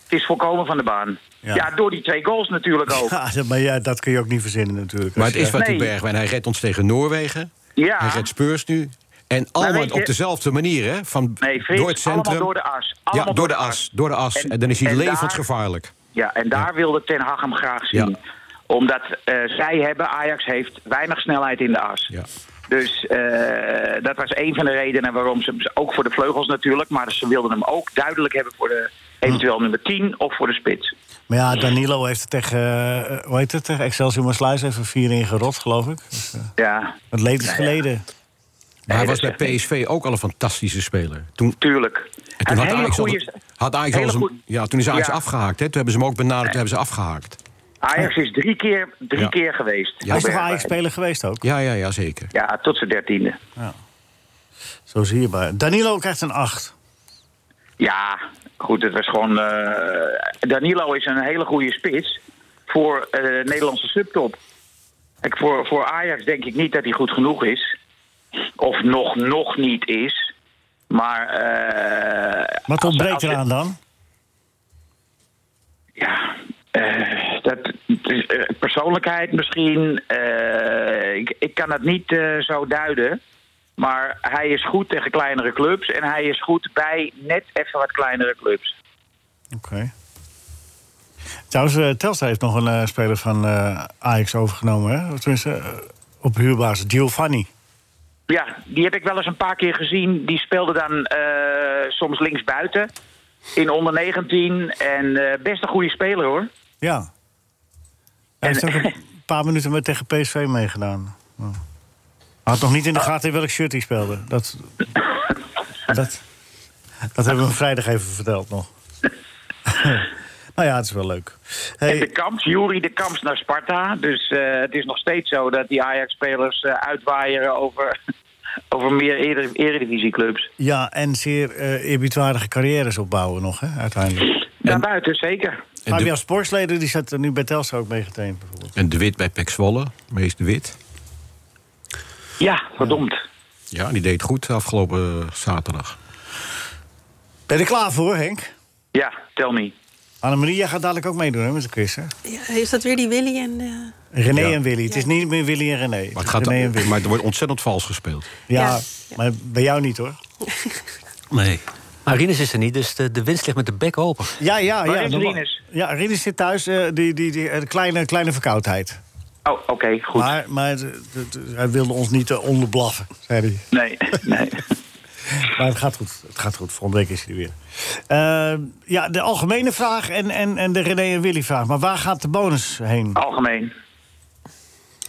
S10: is volkomen van de baan.
S3: Ja.
S10: Ja, door die twee goals natuurlijk
S3: [laughs]
S10: ook.
S3: Ja, dat- maar ja, dat kun je ook niet verzinnen natuurlijk. Dus, eh,
S6: Maar
S3: Als
S6: het
S3: je-
S6: is wat die
S10: Nee.
S6: Bergwijn. Hij redt ons tegen Noorwegen.
S10: Ja,
S6: Hij redt Spurs nu. En allemaal
S10: weet je-
S6: op dezelfde manier, hè? Van
S10: Nee, Frits,
S6: door het centrum.
S10: allemaal door de as.
S6: Ja,
S10: Allemaal
S6: door de as. Door de as. En, dan is hij
S10: en daar-
S6: levensgevaarlijk.
S10: Ja, en daar wilde Ten Hag hem graag zien.
S6: Ja.
S10: Omdat eh, zij hebben, Ajax heeft weinig snelheid in de as.
S6: Ja.
S10: Dus eh, dat was een van de redenen waarom ze hem, ook voor de vleugels natuurlijk, maar ze wilden hem ook duidelijk hebben voor de
S6: Hm.
S10: eventueel nummer 10 of voor de spits.
S3: Maar ja, Danilo heeft er tegen, eh, hoe heet het, tegen Excelsior Maasluis even vier in gerot, geloof ik. Dus, eh,
S10: Ja,
S3: het leed is geleden.
S6: Maar hij
S10: Nee,
S6: was
S10: dat
S6: bij
S10: zegt
S6: PSV ook al een fantastische speler. Toen,
S10: tuurlijk.
S6: en toen
S10: Een
S6: had
S10: hele
S6: Ajax, al,
S10: goeie-
S6: had Ajax al
S10: hele
S6: zijn-
S10: goeie-
S6: ja, toen is Ajax
S10: Ja.
S6: afgehaakt. Hè? Toen hebben ze hem ook benaderd, toen hebben ze afgehaakt.
S10: Ajax is drie keer, drie
S6: Ja.
S10: keer geweest.
S3: Hij is toch Ajax-speler geweest ook?
S6: Ja, ja, ja, zeker.
S10: Ja, tot zijn dertiende.
S3: Zo zie je maar. Danilo krijgt een 8.
S10: Ja, goed, het was gewoon... eh, Danilo is een hele goede spits voor eh, de Nederlandse subtop. Kijk, voor, voor Ajax denk ik niet dat hij goed genoeg is. Of nog, nog niet is. Maar... eh,
S3: Wat
S10: als-
S3: ontbreekt
S10: als-
S3: eraan dan?
S10: Ja, eh, dat, eh, persoonlijkheid misschien. eh, ik, ik kan het niet eh, zo duiden. Maar hij is goed tegen kleinere clubs. En hij is goed bij net even wat kleinere clubs.
S3: Oké. Trouwens, eh, Telstra heeft nog een eh, speler van eh, Ajax overgenomen. Hè? Of Tenminste, eh, op huurbasis. Giovanni.
S10: Ja, die heb ik wel eens een paar keer gezien. Die speelde dan eh, soms linksbuiten in onder 19. En eh, best een goede speler hoor.
S3: Ja. Hij heeft ook een paar minuten met tegen PSV meegedaan. Ja. Had nog niet in de gaten in welk shirt hij speelde. Dat, dat, dat hebben we hem vrijdag even verteld nog. [laughs] nou ja, het is wel leuk.
S10: En de
S3: Hey,
S10: Kamps, Jury de Kamps naar Sparta. Dus eh, het is nog steeds zo dat die Ajax-spelers eh, uitwaaieren over, [laughs] over meer eredivisie eredivisieclubs.
S3: ja, en zeer eh, eerbiedwaardige carrières opbouwen nog, hè, uiteindelijk.
S10: Daarbuiten zeker.
S6: En
S3: Fabian
S6: de,
S3: Sporsleden die zat er nu bij Telstra ook mee getraind, bijvoorbeeld.
S6: en de Wit bij Pek Zwolle, Mees de Wit.
S10: Ja, verdomd.
S6: Ja, die deed goed afgelopen zaterdag.
S3: Ben je er klaar voor, Henk?
S10: Ja, tell me.
S3: Annemarie, jij gaat dadelijk ook meedoen hè, met de quiz, hè?
S7: Ja, is dat weer die Willy en... eh,
S3: René
S6: Ja.
S3: en Willy. Het is niet meer Willy en René.
S6: Maar,
S3: het
S6: het
S3: is
S6: gaat,
S3: René en Willy.
S6: maar er wordt ontzettend vals gespeeld.
S3: Ja,
S7: Ja.
S3: maar bij jou niet hoor.
S4: Nee. Maar Rinus is er niet, dus de, de winst ligt met de bek open.
S3: Ja, ja, ja.
S10: Waar is
S3: normaal-
S10: Rinus?
S3: Ja, Rinus zit thuis, eh, die, die, die eh, kleine, kleine verkoudheid.
S10: Oh, oké, goed.
S3: Maar, maar de- de- de- hij wilde ons niet eh, onderblaffen, zei hij. [laughs]
S10: Nee, [laughs] nee.
S3: Maar het gaat goed, het gaat goed. Volgende week is hij er weer. Eh, ja, de algemene vraag en, en, en de René en Willy vraag. Maar waar gaat de bonus heen?
S10: Algemeen.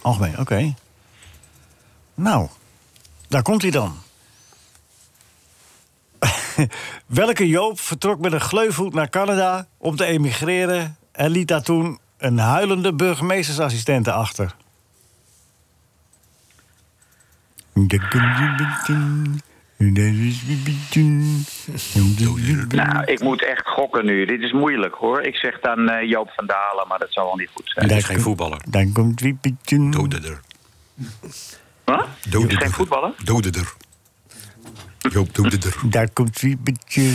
S3: Algemeen, oké. Nou, daar komt hij dan. [laughs] Welke Joop vertrok met een gleufhoed naar Canada om te emigreren... en liet daar toen een huilende burgemeestersassistente achter?
S10: Nou, ik moet echt gokken nu. Dit is moeilijk hoor. Ik zeg dan eh, Joop van Dalen, maar dat zal wel niet goed zijn.
S6: Hij is geen voetballer.
S3: Dan komt Wiepetje.
S6: Dodeder.
S10: Huh?
S6: Dodeder.
S10: Geen voetballer?
S6: Dodeder. Joop Dodeder.
S3: Daar komt Wiepetje.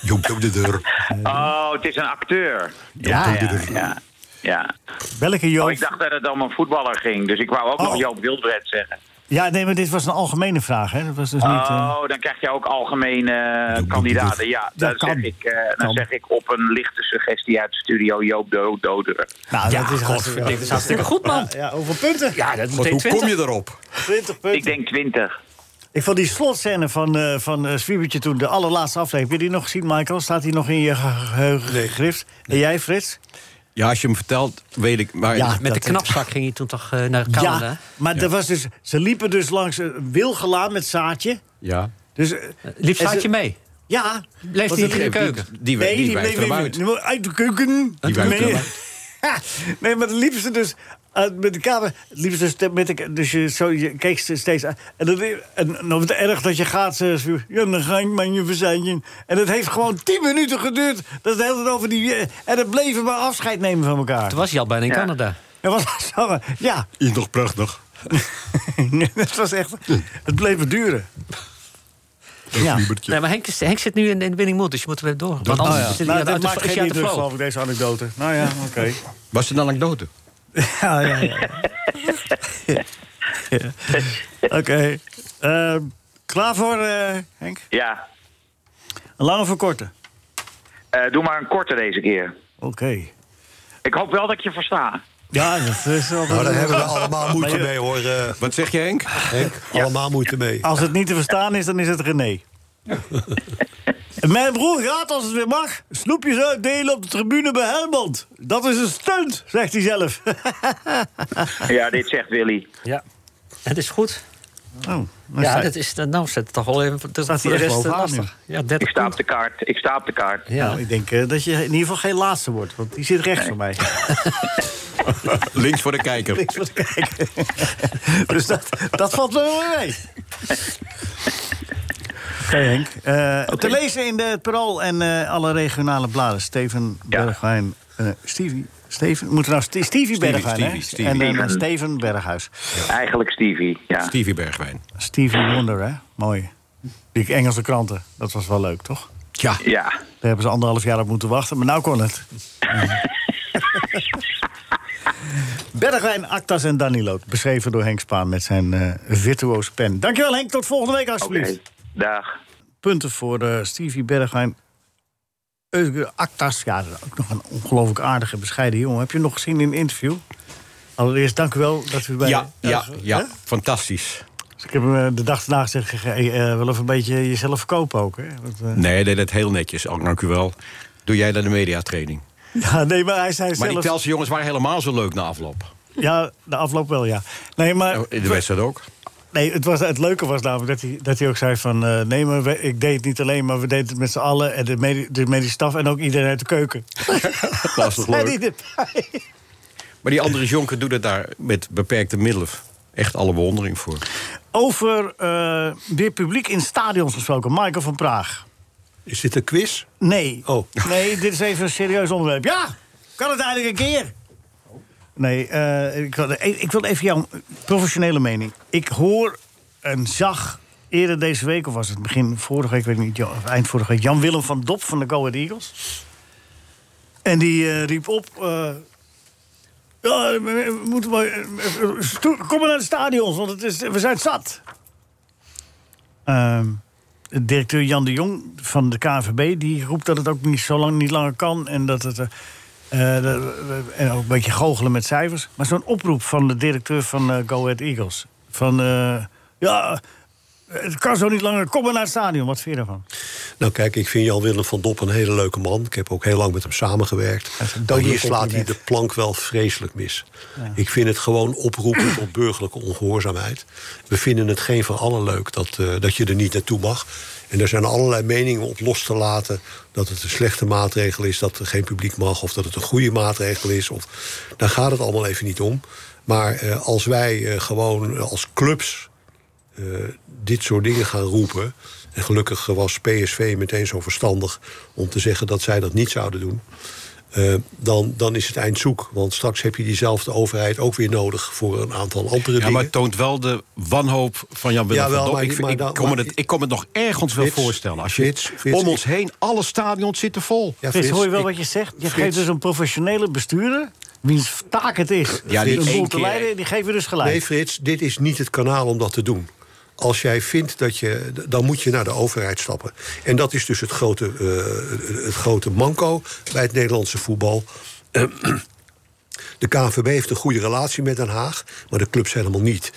S6: Joop Dodeder.
S10: Oh, het is een acteur.
S3: Ja, ja.
S10: Ja. ja.
S3: Welke
S10: Oh,
S3: Joop...
S10: ik dacht dat het om een voetballer ging, dus ik wou ook
S3: Oh.
S10: nog Joop Wildbred zeggen.
S3: Ja, nee, maar dit was een algemene vraag, hè? Dat was dus niet... eh,
S10: Oh, dan krijg je ook algemene eh,
S6: Joop
S10: kandidaten. Ja,
S3: Dat
S10: dan, zeg
S3: kan.
S10: ik, eh,
S3: Kan.
S10: dan zeg ik op een lichte suggestie uit de studio Joop Do- Doderen.
S3: Nou, dat is
S4: godverdikke, dat is hartstikke goed, man.
S3: Ja, hoeveel punten?
S4: Ja, dat is
S6: Wat,
S4: meteen
S6: hoe kom
S4: 20.
S6: je erop?
S3: 20 punten.
S10: Ik
S3: Ik,
S10: denk 20.
S3: vond die slotscène van, eh van eh, Zwiebertje toen, de allerlaatste aflevering. Heb je die nog gezien, Michael? Staat die nog in je ge- geheugen gegrift? En jij, Frits?
S6: Ja, als je hem vertelt, weet ik. Maar
S3: Ja,
S4: Met de
S3: Dat-
S4: knapzak ging hij toen toch eh, naar Canada?
S3: Ja, maar Er was dus, ze liepen dus langs een wilgelaan met Zaadje.
S6: ja.
S3: Dus, eh,
S4: Liep
S3: en ze-
S4: Saatje mee?
S3: Ja.
S4: Bleef
S3: Want
S4: hij
S3: ze
S4: in de
S3: liepen-
S4: keuken?
S6: Die,
S3: Nee,
S6: nee, die,
S3: die
S6: wijst
S3: bleef
S6: hem
S3: nee,
S6: uit.
S3: nee, uit de keuken.
S6: Die wijst
S3: nee.
S6: hem
S3: nee, maar dan liepen ze dus eh, met de kamer. Liepen ze dus, met de, dus je, zo, je keek ze steeds aan. En, dan, en, en op het erg dat je gaat, ze, ze- ja, dan ga ik maar je verzijntje. En het heeft gewoon tien minuten geduurd. Dat is de hele tijd over die. eh, En het bleven maar afscheid nemen van elkaar.
S4: Toen was hij al bijna in
S10: Ja.
S4: Canada.
S3: Dat was [laughs] zo. Ja,
S6: Is nog prachtig.
S3: het was echt. Het bleef maar duren. Ja.
S4: Nee, maar Henk, is- Henk zit nu in, in winning mood, dus je moet Dus er weer door. Want
S3: Oh
S4: anders
S3: ja.
S4: zit hij
S3: Nou,
S4: uit
S3: dat
S4: de-
S3: maakt
S4: is hij
S3: geen
S4: uit de
S3: indruk,
S4: flow.
S3: geloof ik, deze anekdote. Nou
S4: [laughs]
S3: ja, oké.
S6: Was het een anekdote?
S3: Ja, ja, [laughs] ja. ja. Oké. Ehm, Klaar voor, eh, Henk?
S10: Ja,
S3: Een lange voor korte?
S10: eh, doe maar een korte deze keer.
S3: Oké.
S10: Ik hoop wel dat ik je versta.
S3: Ja, dat is wel...
S5: Nou, daar
S10: [laughs]
S5: hebben we allemaal moeite
S3: Maar je-
S5: mee, hoor. eh,
S6: Wat zeg je, Henk?
S5: Henk, allemaal moeite mee.
S3: Als het niet te verstaan is, dan is het
S5: [laughs]
S3: René. Mijn broer gaat, als het weer mag, snoepjes uitdelen op de tribune bij Helmond. Dat is een stunt, zegt hij zelf. [laughs]
S10: Ja, dit zegt Willy.
S4: Ja. Het is goed.
S3: Oh,
S4: Ja, dat is, nou zet het toch al even. Dat
S3: Staat
S4: is
S3: hij
S4: voor
S3: echt
S4: de rest eh,
S3: bovenaan
S4: lastig. Ja,
S10: Ik
S4: 30
S10: sta op de kaart. Ik sta op de kaart.
S4: Ja.
S3: ik denk eh, dat je in ieder geval geen laatste wordt, want die zit rechts van
S4: [laughs]
S3: mij.
S6: Links voor de kijker.
S3: Niks wat kijken. [laughs] dus dat, dat valt me wel weer mee. Oké, Henk. Eh, Te lezen in de het Parool en eh, alle regionale bladen. Steven
S10: Ja.
S3: Bergwijn. eh, Stevie. Steven, moeten nou Ste- Stevie Bergwijn,
S6: Stevie,
S3: hè?
S6: Stevie.
S3: En dan eh,
S10: Steven.
S3: Steven Berghuis.
S10: Eigenlijk Stevie. Ja.
S6: Stevie Bergwijn.
S3: Stevie Wonder, hè? Mooi. Die Engelse kranten, dat was wel leuk, toch?
S6: Ja.
S10: Ja.
S3: Daar hebben ze anderhalf jaar op moeten wachten, maar nou kon het. Bergwijn, Actas en Danilo. Beschreven door Henk Spaan met zijn eh virtuoze pen. Dankjewel Henk, tot volgende week
S10: Oké.
S3: alsjeblieft.
S10: Dag.
S3: Punten voor eh, Stevie Bergwijn. Eugen Actas, ja, dat is ook nog een ongelooflijk aardige, bescheiden jongen. Heb je hem nog gezien in een interview? Allereerst dank u wel dat u bij...
S6: Ja, ja,
S3: eh, hè?
S6: ja. Fantastisch.
S3: Dus ik heb hem eh, de dag daarna gezegd, hey, eh, wel even een beetje jezelf verkopen ook. Hè? Want, eh, [laughs]
S6: Nee, hij deed het heel netjes. Ook dank u wel. Doe jij dan de mediatraining?
S3: ja, nee, maar hij zei
S6: Maar
S3: zelf...
S6: die Telse jongens waren helemaal zo leuk na afloop.
S3: Ja, de afloop wel, ja. Nee, maar
S6: In de wedstrijd ook.
S3: nee, het, was, het leuke was namelijk dat hij, dat hij ook zei van... eh, nee, maar we- ik deed het niet alleen, maar we deden het met z'n allen... en de, medi- de medische staf en ook iedereen uit de keuken.
S6: [laughs] Dat was toch
S3: Zei
S6: leuk?
S3: hij erbij.
S6: Maar die andere jonker doet het daar met beperkte middelen. Echt alle bewondering voor.
S3: Over eh, weer publiek in stadions gesproken. Michael van Praag.
S5: Is dit een quiz?
S3: Nee.
S5: Oh.
S3: Nee, dit is even een serieus onderwerp. Ja, kan het eindelijk een keer. Nee, eh, ik, wil, ik ik wil even jouw professionele mening. Ik hoor en zag eerder deze week, of was het begin vorige week, weet ik niet, ja, of eind vorige week, Jan-Willem van Dop van de Go Ahead Eagles. En die eh, riep op. eh, ja, we- we moeten maar, eh, eh, sto- kom maar naar de stadions, want het is, we zijn zat. Ehm, directeur Jan de Jong van de KNVB... die roept dat het ook niet zo lang niet langer kan. En, dat het, eh, eh, dat we- en ook een beetje goochelen met cijfers. Maar zo'n oproep van de directeur van eh, Go Ahead Eagles... van eh, ja, het kan zo niet langer, kom maar naar het stadion. Wat vind je daarvan?
S5: Nou kijk, ik vind Jan-Willem van Dop een hele leuke man. Ik heb ook heel lang met hem samengewerkt.
S3: is een
S5: Maar hier
S3: dodelijk
S5: slaat hij
S3: compliment.
S5: de plank wel vreselijk mis. Ik vind het gewoon oproepen tot burgerlijke ongehoorzaamheid. We vinden het geen van allen leuk dat, eh, dat je er niet naartoe mag. En er zijn allerlei meningen op los te laten... dat het een slechte maatregel is, dat er geen publiek mag... of dat het een goede maatregel is. Of... Daar gaat het allemaal even niet om. Maar eh, als wij eh, gewoon eh, als clubs eh, dit soort dingen gaan roepen. En gelukkig was PSV meteen zo verstandig om te zeggen dat zij dat niet zouden doen. Eh, dan, dan is het eind zoek. Want straks heb je diezelfde overheid ook weer nodig voor een aantal andere
S6: Ja,
S5: dingen.
S6: maar het toont wel de wanhoop van Jan Willem
S5: Jawel,
S6: van Dop.
S5: maar-
S6: Ik, vind-
S5: maar
S6: ik
S5: dan-
S6: kon me
S5: maar-
S6: dat- ik kon me het nog ergens wel
S5: Frits,
S6: voorstellen. Als je
S5: Frits, Frits,
S6: om
S5: ik-
S6: ons heen, alle stadions zitten vol.
S5: Ja,
S3: Frits,
S5: Frits,
S3: hoor je wel
S5: ik-
S3: wat je zegt? Je
S5: Frits.
S3: geeft dus een professionele bestuurder... wiens taak het is
S6: Ja,
S3: een
S6: die één
S3: boel te
S6: keer-
S3: leiden... die geeft je dus gelijk.
S5: Nee, Frits, dit is niet het kanaal om dat te doen. Als jij vindt dat je. d- dan moet je naar de overheid stappen. En dat is dus het grote, eh, het grote manco bij het Nederlandse voetbal. De KNVB heeft een goede relatie met Den Haag, maar de clubs helemaal niet.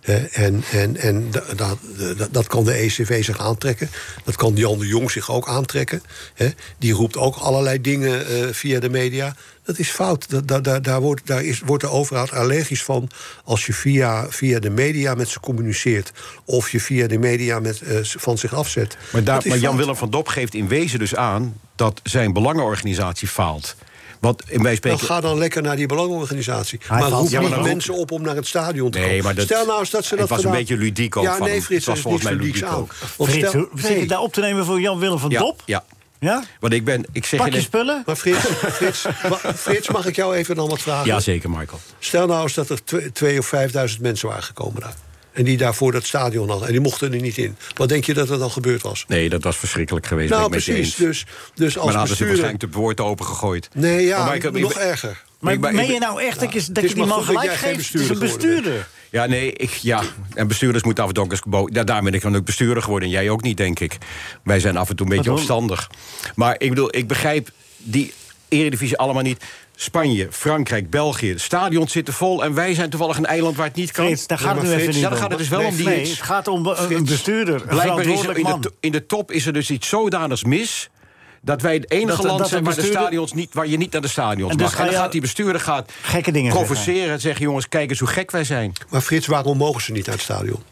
S5: Eh, En, en, en da- da- da- dat kan de ECV zich aantrekken. Dat kan Jan de Jong zich ook aantrekken. hè. Die roept ook allerlei dingen eh, via de media. Dat is fout. Da- da- da- daar wordt, daar is, wordt de overheid allergisch van als je via, via de media met ze communiceert. Of je via de media met, eh, van zich afzet.
S6: Maar, daar,
S5: Dat is
S6: maar Jan
S5: fout.
S6: Willem van Dop geeft in wezen dus aan dat zijn belangenorganisatie faalt. Want in wij
S5: Nou,
S6: spreken.
S5: ga dan lekker naar die belangenorganisatie.
S3: Hij
S5: maar
S3: valt-
S5: roep
S3: Ja, maar
S5: niet
S6: dan-
S5: mensen op om naar het stadion te
S6: Nee,
S5: komen.
S6: maar dat-
S5: stel nou eens dat ze
S6: het
S5: dat
S6: was een
S5: gedaan-
S6: beetje ludiek ook
S5: Ja,
S6: van
S5: nee,
S6: hem.
S5: Frits,
S6: Het was
S5: er is
S6: volgens
S5: niks
S6: mij
S5: ludieks
S6: ludiek
S5: aan.
S6: ook.
S5: Want
S3: Frits,
S5: stel-
S3: hoe- zit je
S5: nee.
S3: daar op te nemen voor Jan-Willem van
S6: ja,
S3: Dop?
S6: Ja.
S3: Ja?
S6: Want ik ben. Ik zeg
S3: Pak je
S6: ineens-
S3: spullen?
S5: Maar Frits, Frits, wa- Frits, mag ik jou even dan wat vragen?
S6: Ja, zeker, Michael.
S5: Stel nou eens dat er tw- twee of vijfduizend mensen waren gekomen daar. En die daarvoor dat stadion hadden. En die mochten er niet in. Wat denk je dat er dan gebeurd was?
S6: Nee, dat was verschrikkelijk geweest. ben
S5: nou,
S6: ik met je
S5: precies.
S6: eens.
S5: Dus, dus
S6: maar
S5: als
S6: dan hadden ze
S5: bestuurder...
S6: waarschijnlijk de poort opengegooid.
S5: Nee, ja,
S6: Maar Michael, ik
S5: nog
S6: ben-
S5: erger.
S3: Maar
S6: Ik ben- ik
S3: meen je
S6: ben-
S3: nou echt dat je,
S5: Het
S3: dat
S5: is
S3: je die
S5: maar
S3: man
S5: goed dat
S3: gelijk
S5: jij geen
S3: geeft? Het is een
S5: bestuurder geworden
S3: bestuurder.
S6: Ja, nee, ik, ja. En bestuurders moeten af en toe ook eens gebo- ja, Daar ben ik dan ook bestuurder geworden. En jij ook niet, denk ik. Wij zijn af en toe een beetje
S3: Waarom?
S6: opstandig. Maar ik bedoel, ik begrijp die eredivisie allemaal niet. Spanje, Frankrijk, België. De stadions zitten vol. En wij zijn toevallig een eiland waar het niet kan.
S3: Frits, daar
S6: Ja,
S3: gaat
S6: maar
S3: het nu even
S6: Frits,
S3: niet
S6: ja, daar
S3: om.
S6: gaat het dus wel
S3: Nee,
S6: om die
S3: nee,
S6: iets.
S3: het gaat om eh, een
S6: Frits,
S3: bestuurder, een
S6: Blijkbaar is er
S3: verantwoordelijk
S6: in,
S3: man.
S6: de, to- in de top is er dus iets zodanigs mis. Dat wij het enige
S3: Dat-
S6: land
S3: dat
S6: zijn
S3: de
S6: waar, de
S3: bestuurder-
S6: stadions niet, waar je niet naar de stadions
S3: En dus
S6: mag. En
S3: ga
S6: dan
S3: je
S6: gaat die bestuurder gaat
S3: gekke dingen zeggen.
S6: provoceren en zeggen... jongens, kijk eens hoe gek wij zijn.
S5: Maar Frits, waarom mogen ze niet uit het stadion?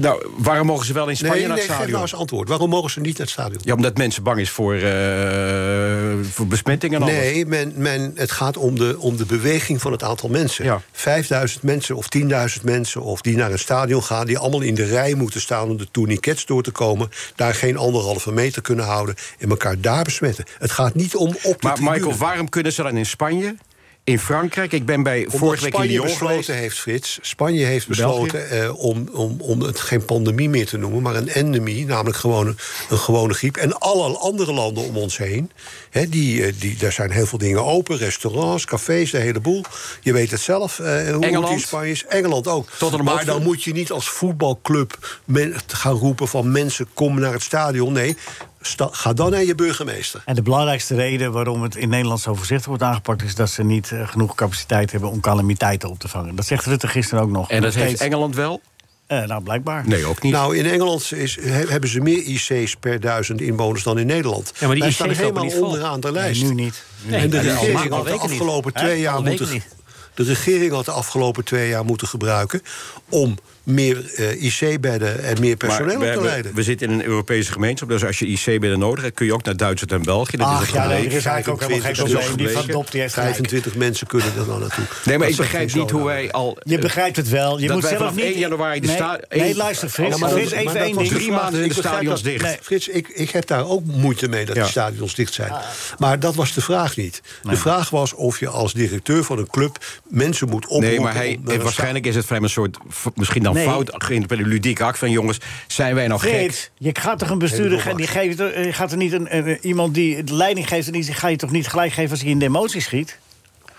S6: Nou, waarom mogen ze wel in Spanje
S5: Nee,
S6: naar
S5: nee,
S6: het
S5: geef
S6: stadion?
S5: nou eens antwoord. Waarom mogen ze niet uit het stadion?
S6: Ja, omdat mensen bang is voor, eh voor besmetting en alles.
S5: Nee, men, men, het gaat om de, om de beweging van het aantal mensen.
S6: Ja.
S5: 5000 mensen of 10.000 mensen of die naar een stadion gaan... die allemaal in de rij moeten staan om de tourniquets door te komen... daar geen anderhalve meter kunnen houden en elkaar daar besmetten. Het gaat niet om op de
S6: Maar
S5: tribune.
S6: Michael, waarom kunnen ze dan in Spanje, in Frankrijk... Ik ben bij
S5: Omdat
S6: vorige week in
S5: Spanje
S6: Lyon
S5: besloten
S6: geweest.
S5: heeft, Frits. Spanje heeft besloten eh, om, om, om het geen pandemie meer te noemen, maar een endemie, namelijk gewoon een, een gewone griep. En alle andere landen om ons heen, hè, die, eh, die, daar zijn heel veel dingen open: restaurants, cafés, de hele boel. Je weet het zelf, eh, hoe
S6: Engeland.
S5: het in Spanje is. Engeland ook.
S6: Tot en met
S5: maar
S6: Watford.
S5: dan moet je niet als voetbalclub men, gaan roepen van mensen kom naar het stadion. Nee, sta- ga dan naar je burgemeester.
S3: En de belangrijkste reden waarom het in Nederland zo voorzichtig wordt aangepakt... is dat ze niet eh, genoeg capaciteit hebben om calamiteiten op te vangen. Dat zegt Rutte gisteren ook nog.
S6: En dat
S3: Nog
S6: heeft
S3: steeds.
S6: Engeland wel?
S3: Eh, nou, blijkbaar.
S6: Nee, ook niet.
S5: Nou, in Engeland is, he- hebben ze meer IC's per duizend inwoners dan in Nederland.
S4: maar die
S5: Wij
S4: IC's
S5: staan
S4: lopen
S5: helemaal
S4: niet vol.
S5: onderaan de
S3: Nee,
S5: lijst.
S3: nu niet.
S4: Nee,
S5: en de
S4: dat is al
S5: regering
S4: maanden, al
S5: had de
S4: weken niet.
S5: afgelopen
S4: Hè?
S5: twee jaar
S4: Al weken
S5: moeten.
S4: niet.
S5: De regering had de afgelopen twee jaar moeten gebruiken om meer eh, IC-bedden en meer
S6: Maar
S5: personeel
S6: we,
S5: op te
S6: hebben-
S5: leiden.
S6: we zitten in een Europese gemeenschap. Dus als je IC-bedden nodig hebt, kun je ook naar Duitsland en België. Dat is
S3: Ach
S6: het
S3: ja, nee,
S6: gebleken.
S3: er is eigenlijk ook helemaal geen
S5: 25
S3: probleem. Die
S6: gebleken.
S3: van Dop die heeft gelijk.
S5: 25 mensen kunnen er dan naartoe.
S6: Nee, maar
S5: Dat
S6: ik
S5: is
S6: begrijp
S5: geen
S6: niet hoe
S5: zoden.
S6: wij al... eh,
S3: Je begrijpt het wel. Je
S6: Dat
S3: moet
S6: wij
S3: zelf
S6: vanaf
S3: niet...
S6: 1 januari de
S3: nee,
S6: sta-
S3: Nee,
S6: één-
S3: luister, Frits.
S5: Ja, maar dat-
S3: Frits,
S5: maar
S3: even
S5: dat
S3: één
S5: was
S3: ding.
S5: de
S6: Drie
S5: vraag.
S6: maanden zijn de
S5: Ik begrijp
S6: stadions
S5: dat-
S6: dicht.
S5: Nee, Frits, ik, ik heb daar ook moeite mee dat
S6: Ja. Ah.
S5: de stadions dicht zijn. Maar dat was de vraag niet. De vraag was of je als directeur van een club mensen moet oproepen.
S6: Nee, maar hij,
S5: om naar een
S6: waarschijnlijk is het voor hem een soort, v- misschien dan
S3: Nee.
S6: fout, geïnterpreteerde ludiek act van jongens, zijn wij nou gek?
S3: Frits, je gaat toch een bestuurder... ge- Die geeft, er- eh, gaat er niet een, eh, iemand die de leiding geeft... en die zegt, ga je toch niet gelijk geven als hij in de emotie schiet?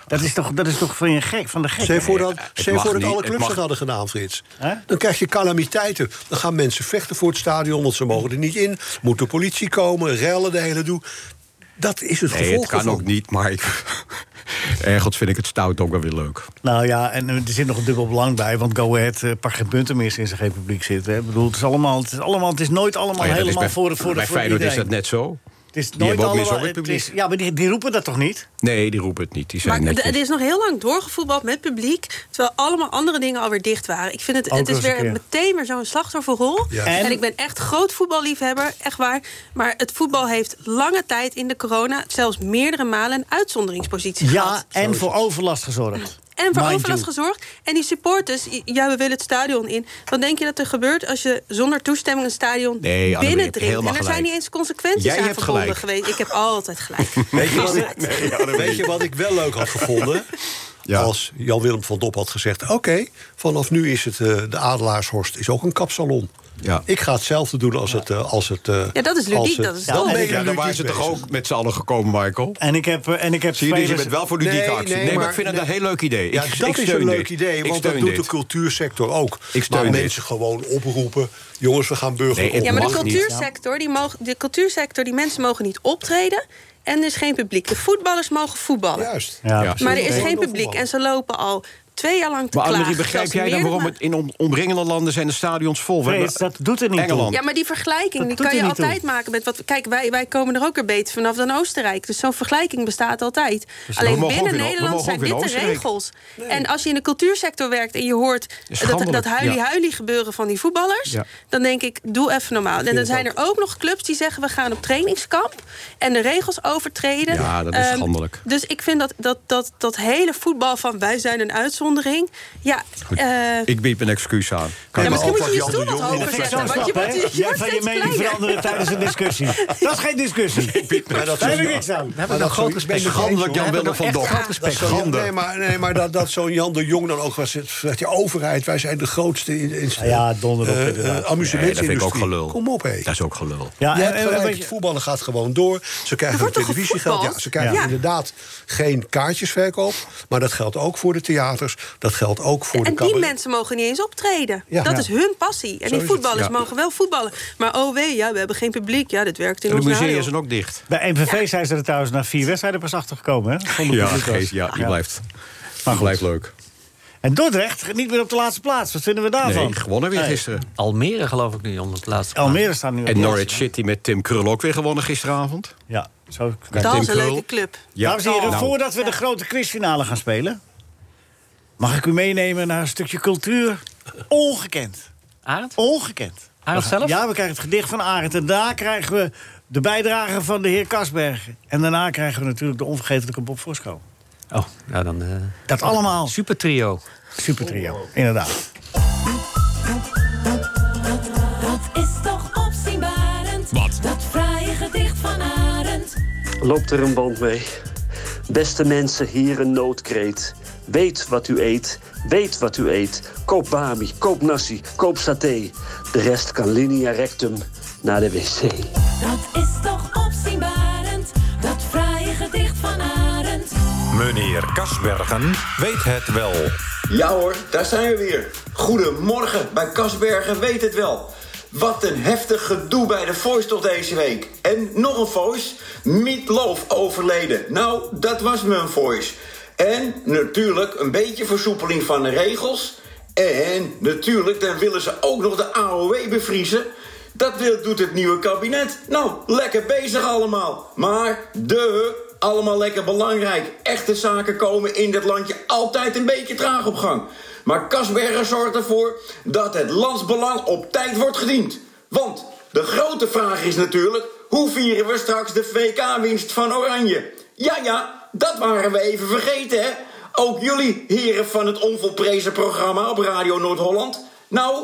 S3: Dat is toch, dat is toch van, je gek, van de gek?
S5: Stel je voor dat,
S6: het
S5: stel je
S6: mag
S5: voor dat
S6: niet,
S5: alle
S6: het
S5: clubs
S6: mag-
S5: dat hadden gedaan, Frits.
S3: Hè?
S5: Dan krijg je calamiteiten. Dan gaan mensen vechten voor het stadion, want ze mogen er niet in. Moet de politie komen, rellen, de hele doe. Dat is het
S6: Nee,
S5: gevolg
S6: het kan
S5: ervan.
S6: ook niet, maar ik, [laughs] ergens vind ik het stout ook wel weer leuk.
S3: Nou ja, en eh, er zit nog een dubbel belang bij. Want Go Ahead eh, pakt geen punten meer sinds er geen publiek zit. Hè. Ik bedoel, het is, allemaal, het, is allemaal, het is nooit allemaal
S6: Maar Oh ja, dat is
S3: helemaal
S6: bij,
S3: voor, voor,
S6: bij
S3: voor
S6: Feyenoord is
S3: iedereen.
S6: dat net zo.
S3: Het is
S6: die
S3: nooit
S6: hebben ook weer
S3: allemaal,
S6: zo'n
S3: het
S6: publiek.
S3: is, Ja, maar die, die roepen dat toch niet?
S6: Nee, die roepen het niet. Die zijn
S7: Maar d-
S6: netjes.
S7: er is nog heel lang doorgevoetbald met publiek... terwijl allemaal andere dingen alweer dicht waren. Ik vind het,
S3: Ook
S7: het is
S3: nog eens
S7: weer
S3: een
S7: meteen weer zo'n slachtofferrol.
S5: Ja.
S3: En-
S7: En, ik ben echt groot voetballiefhebber, echt waar. Maar het voetbal heeft lange tijd in de corona... zelfs meerdere malen een uitzonderingspositie
S3: Ja,
S7: gehad.
S3: en voor overlast gezorgd.
S7: En voor
S3: Mind
S7: overlast
S3: you.
S7: gezorgd. En die supporters, i- ja, we willen het stadion in. Wat denk je dat er gebeurt als je zonder toestemming een stadion
S6: Nee, Annemarie,
S7: binnendringt?
S6: je hebt
S7: En er
S6: helemaal
S7: zijn
S6: gelijk.
S7: niet eens consequenties
S6: Jij
S7: aan
S6: hebt
S7: verbonden
S6: gelijk.
S7: geweest. Ik heb altijd gelijk.
S5: Weet je, wat ik, weet je wat ik wel leuk had gevonden?
S6: Ja.
S5: Als Jan-Willem van Dop had gezegd... oké, vanaf nu is het eh, de Adelaarshorst is ook een kapsalon.
S6: Ja.
S5: Ik ga hetzelfde doen als het... eh, als het eh,
S7: Ja, dat is ludiek,
S5: als het-
S7: dat is
S5: dan
S7: dom.
S5: ben je
S6: ja, daar
S5: ludiek
S6: waren ze toch
S5: bezig.
S6: ook met z'n allen gekomen, Michael?
S3: En ik heb, eh, en ik heb
S6: Zie je, dus je
S3: spelers-
S6: bent wel voor ludieke
S5: Nee,
S6: actie.
S5: nee,
S6: Nee, maar,
S5: maar-
S6: ik vind het
S5: nee.
S6: een heel leuk idee.
S5: Ja,
S6: ik,
S5: dat
S6: ik
S5: is
S6: steun
S5: een leuk
S6: dit.
S5: idee,
S6: Ik
S5: want dat
S6: steun
S5: doet
S6: dit.
S5: de cultuursector ook.
S6: Ik steun
S5: maar
S6: dit.
S5: mensen gewoon oproepen, jongens, we gaan burger
S6: Nee, het
S7: Ja, maar de
S6: mag niet.
S7: cultuursector, die mogen, de cultuursector, die mensen mogen niet optreden. En er is geen publiek. De voetballers mogen voetballen.
S5: Juist.
S3: Ja,
S6: Ja.
S3: precies.
S7: Maar er is
S5: Nee.
S7: geen publiek. En ze lopen al twee jaar lang te
S6: Maar
S7: klagen.
S6: Annemarie, begrijp
S7: terwijl ze
S6: jij dan
S7: meerdere
S6: waarom
S7: ma-
S6: het in om- omringende landen zijn de stadions vol? We
S3: Frits,
S6: hebben-
S3: dat doet er niet toe.
S6: Engeland.
S7: Ja, maar die vergelijking
S3: Dat
S7: die
S3: doet
S7: kan
S3: er
S7: je
S3: niet
S7: altijd maken met wat. Kijk, wij, wij komen er ook er beter vanaf dan Oostenrijk. Dus zo'n vergelijking bestaat altijd.
S6: we
S7: Alleen
S6: mogen ook
S7: binnen
S6: in O- we
S7: Nederland
S6: mogen
S7: zijn
S6: ook in
S7: dit de
S6: Oostenrijk.
S7: regels. En als je in de cultuursector werkt en je hoort
S6: Is
S7: dat, dat
S6: schandelijk, ja.
S7: huilie-huilie gebeuren van die voetballers,
S6: Ja.
S7: dan denk ik, doe even normaal. En dan zijn er ook nog clubs die zeggen: we gaan op trainingskamp en de regels overtreden.
S6: Ja, dat is
S7: Ehm,
S6: schandelijk.
S7: Dus ik vind dat, dat, dat, dat hele voetbal van wij zijn een uitzondering. Ja, eh,
S6: Ik bied een excuus aan. Kan ik
S7: ja, misschien
S6: ook
S7: moet je
S6: wat Jan de
S7: je stoel
S6: Jong
S7: wat hoger
S6: nog
S7: zetten.
S3: Zo'n
S7: Want je
S3: stap,
S7: wordt
S3: hè?
S7: je
S3: Jij
S7: wordt
S3: van je
S7: steeds
S3: mening
S7: kleiner.
S3: veranderen tijdens een discussie. Dat is geen
S6: [laughs]
S3: discussie.
S5: Maar dat
S3: Daar
S5: is-
S3: heb ik niks aan.
S4: We hebben nog
S5: dat
S4: groot
S5: zoiets-
S4: respect.
S5: ben ik het
S6: Schandelijk, Jan Willem van
S4: Echt
S6: Dok.
S4: groot
S5: Dat
S4: respect.
S5: zo'n Jan- nee, maar, nee, maar dat, dat zo'n Jan de Jong dan ook was. Het zegt, ja, overheid, wij zijn de grootste in, in
S3: Ja, donder op,
S5: eh, eh,
S3: inderdaad.
S5: amusementsindustrie.
S6: Nee, dat vind ik ook gelul.
S5: Kom op, hé.
S6: Dat is ook gelul.
S3: Ja,
S5: Je
S3: en-
S5: hebt
S3: en-
S5: gelijk,
S3: weet je-
S5: het voetballen gaat gewoon door. Ze krijgen hun
S7: wordt toch
S5: televisiegeld. Ja,
S7: gevoetbald?
S5: ze krijgen
S7: Ja.
S5: inderdaad geen kaartjesverkoop. Maar dat geldt ook voor de theaters. Dat geldt ook voor de
S7: En die
S5: cabaret.
S7: mensen mogen niet eens optreden.
S5: Ja.
S7: dat
S5: Ja.
S7: is hun passie. En
S5: Zo is
S7: die
S5: het,
S7: voetballers
S6: ja.
S7: mogen wel voetballen. Maar oh wee, ja, we hebben geen publiek. Ja, dit werkt in
S6: De
S7: ons
S6: musea
S3: nou,
S7: nadeel.
S6: zijn ook dicht.
S3: Bij NVV zijn ze er trouwens na vier wedstrijden pas achter gekomen. Hè? Zonder
S6: Ja,
S3: publiek was.
S6: geef, ja, die blijft.
S3: Maar goed.
S6: Blijft leuk.
S3: En Dordrecht niet meer op de laatste plaats. Wat vinden we daarvan?
S6: Nee, gewonnen weer
S3: Nee.
S6: gisteren.
S4: Almere geloof ik nu om het laatste.
S3: Almere staat nu op
S6: En
S3: de
S6: Norwich
S3: laatste.
S6: City met Tim Krul ook weer gewonnen gisteravond.
S3: Ja, zo kan
S7: Dat
S6: Tim
S7: is een
S6: Krul.
S7: leuke club.
S3: Dames en heren,
S6: Nou,
S3: voordat we de grote quizfinale gaan spelen... mag ik u meenemen naar een stukje cultuur? Ongekend.
S4: Aard?
S3: Ongekend.
S4: Arend
S3: We gaan-
S4: zelf?
S3: Ja, we krijgen het gedicht van Arend. En daarna krijgen we de bijdrage van de heer Kasbergen. En daarna krijgen we natuurlijk de onvergetelijke Bob Fosco.
S4: Oh, nou dan. eh,
S3: Dat allemaal
S4: super trio.
S3: super trio, inderdaad.
S1: Dat is toch opzienbarend. Wat? Dat fraaie gedicht van Arend.
S11: loopt er een band mee. Beste mensen, hier een noodkreet. Weet wat u eet, weet wat u eet. Koop bami, koop nasi, koop saté. De rest kan linea rectum naar de wc.
S1: Dat is toch opzienbarend. Dat fraaie gedicht van Arend.
S2: Meneer Kasbergen weet het wel.
S12: Ja hoor, daar zijn we weer. Goedemorgen, bij Kasbergen weet het wel. Wat een heftig gedoe bij de voice toch deze week. En nog een voice, Mietloof overleden. Nou, dat was mijn voice. En natuurlijk een beetje versoepeling van de regels. En natuurlijk, dan willen ze ook nog de AOW bevriezen. Dat wil- doet het nieuwe kabinet. Nou, lekker bezig allemaal. Maar de allemaal lekker belangrijk. Echte zaken komen in dit landje altijd een beetje traag op gang. Maar Kasberger zorgt ervoor dat het landsbelang op tijd wordt gediend. Want de grote vraag is natuurlijk: hoe vieren we straks de VK-winst van Oranje? Ja, ja, dat waren we even vergeten, hè? Ook jullie, heren van het onvolprezen programma op Radio Noord-Holland. Nou,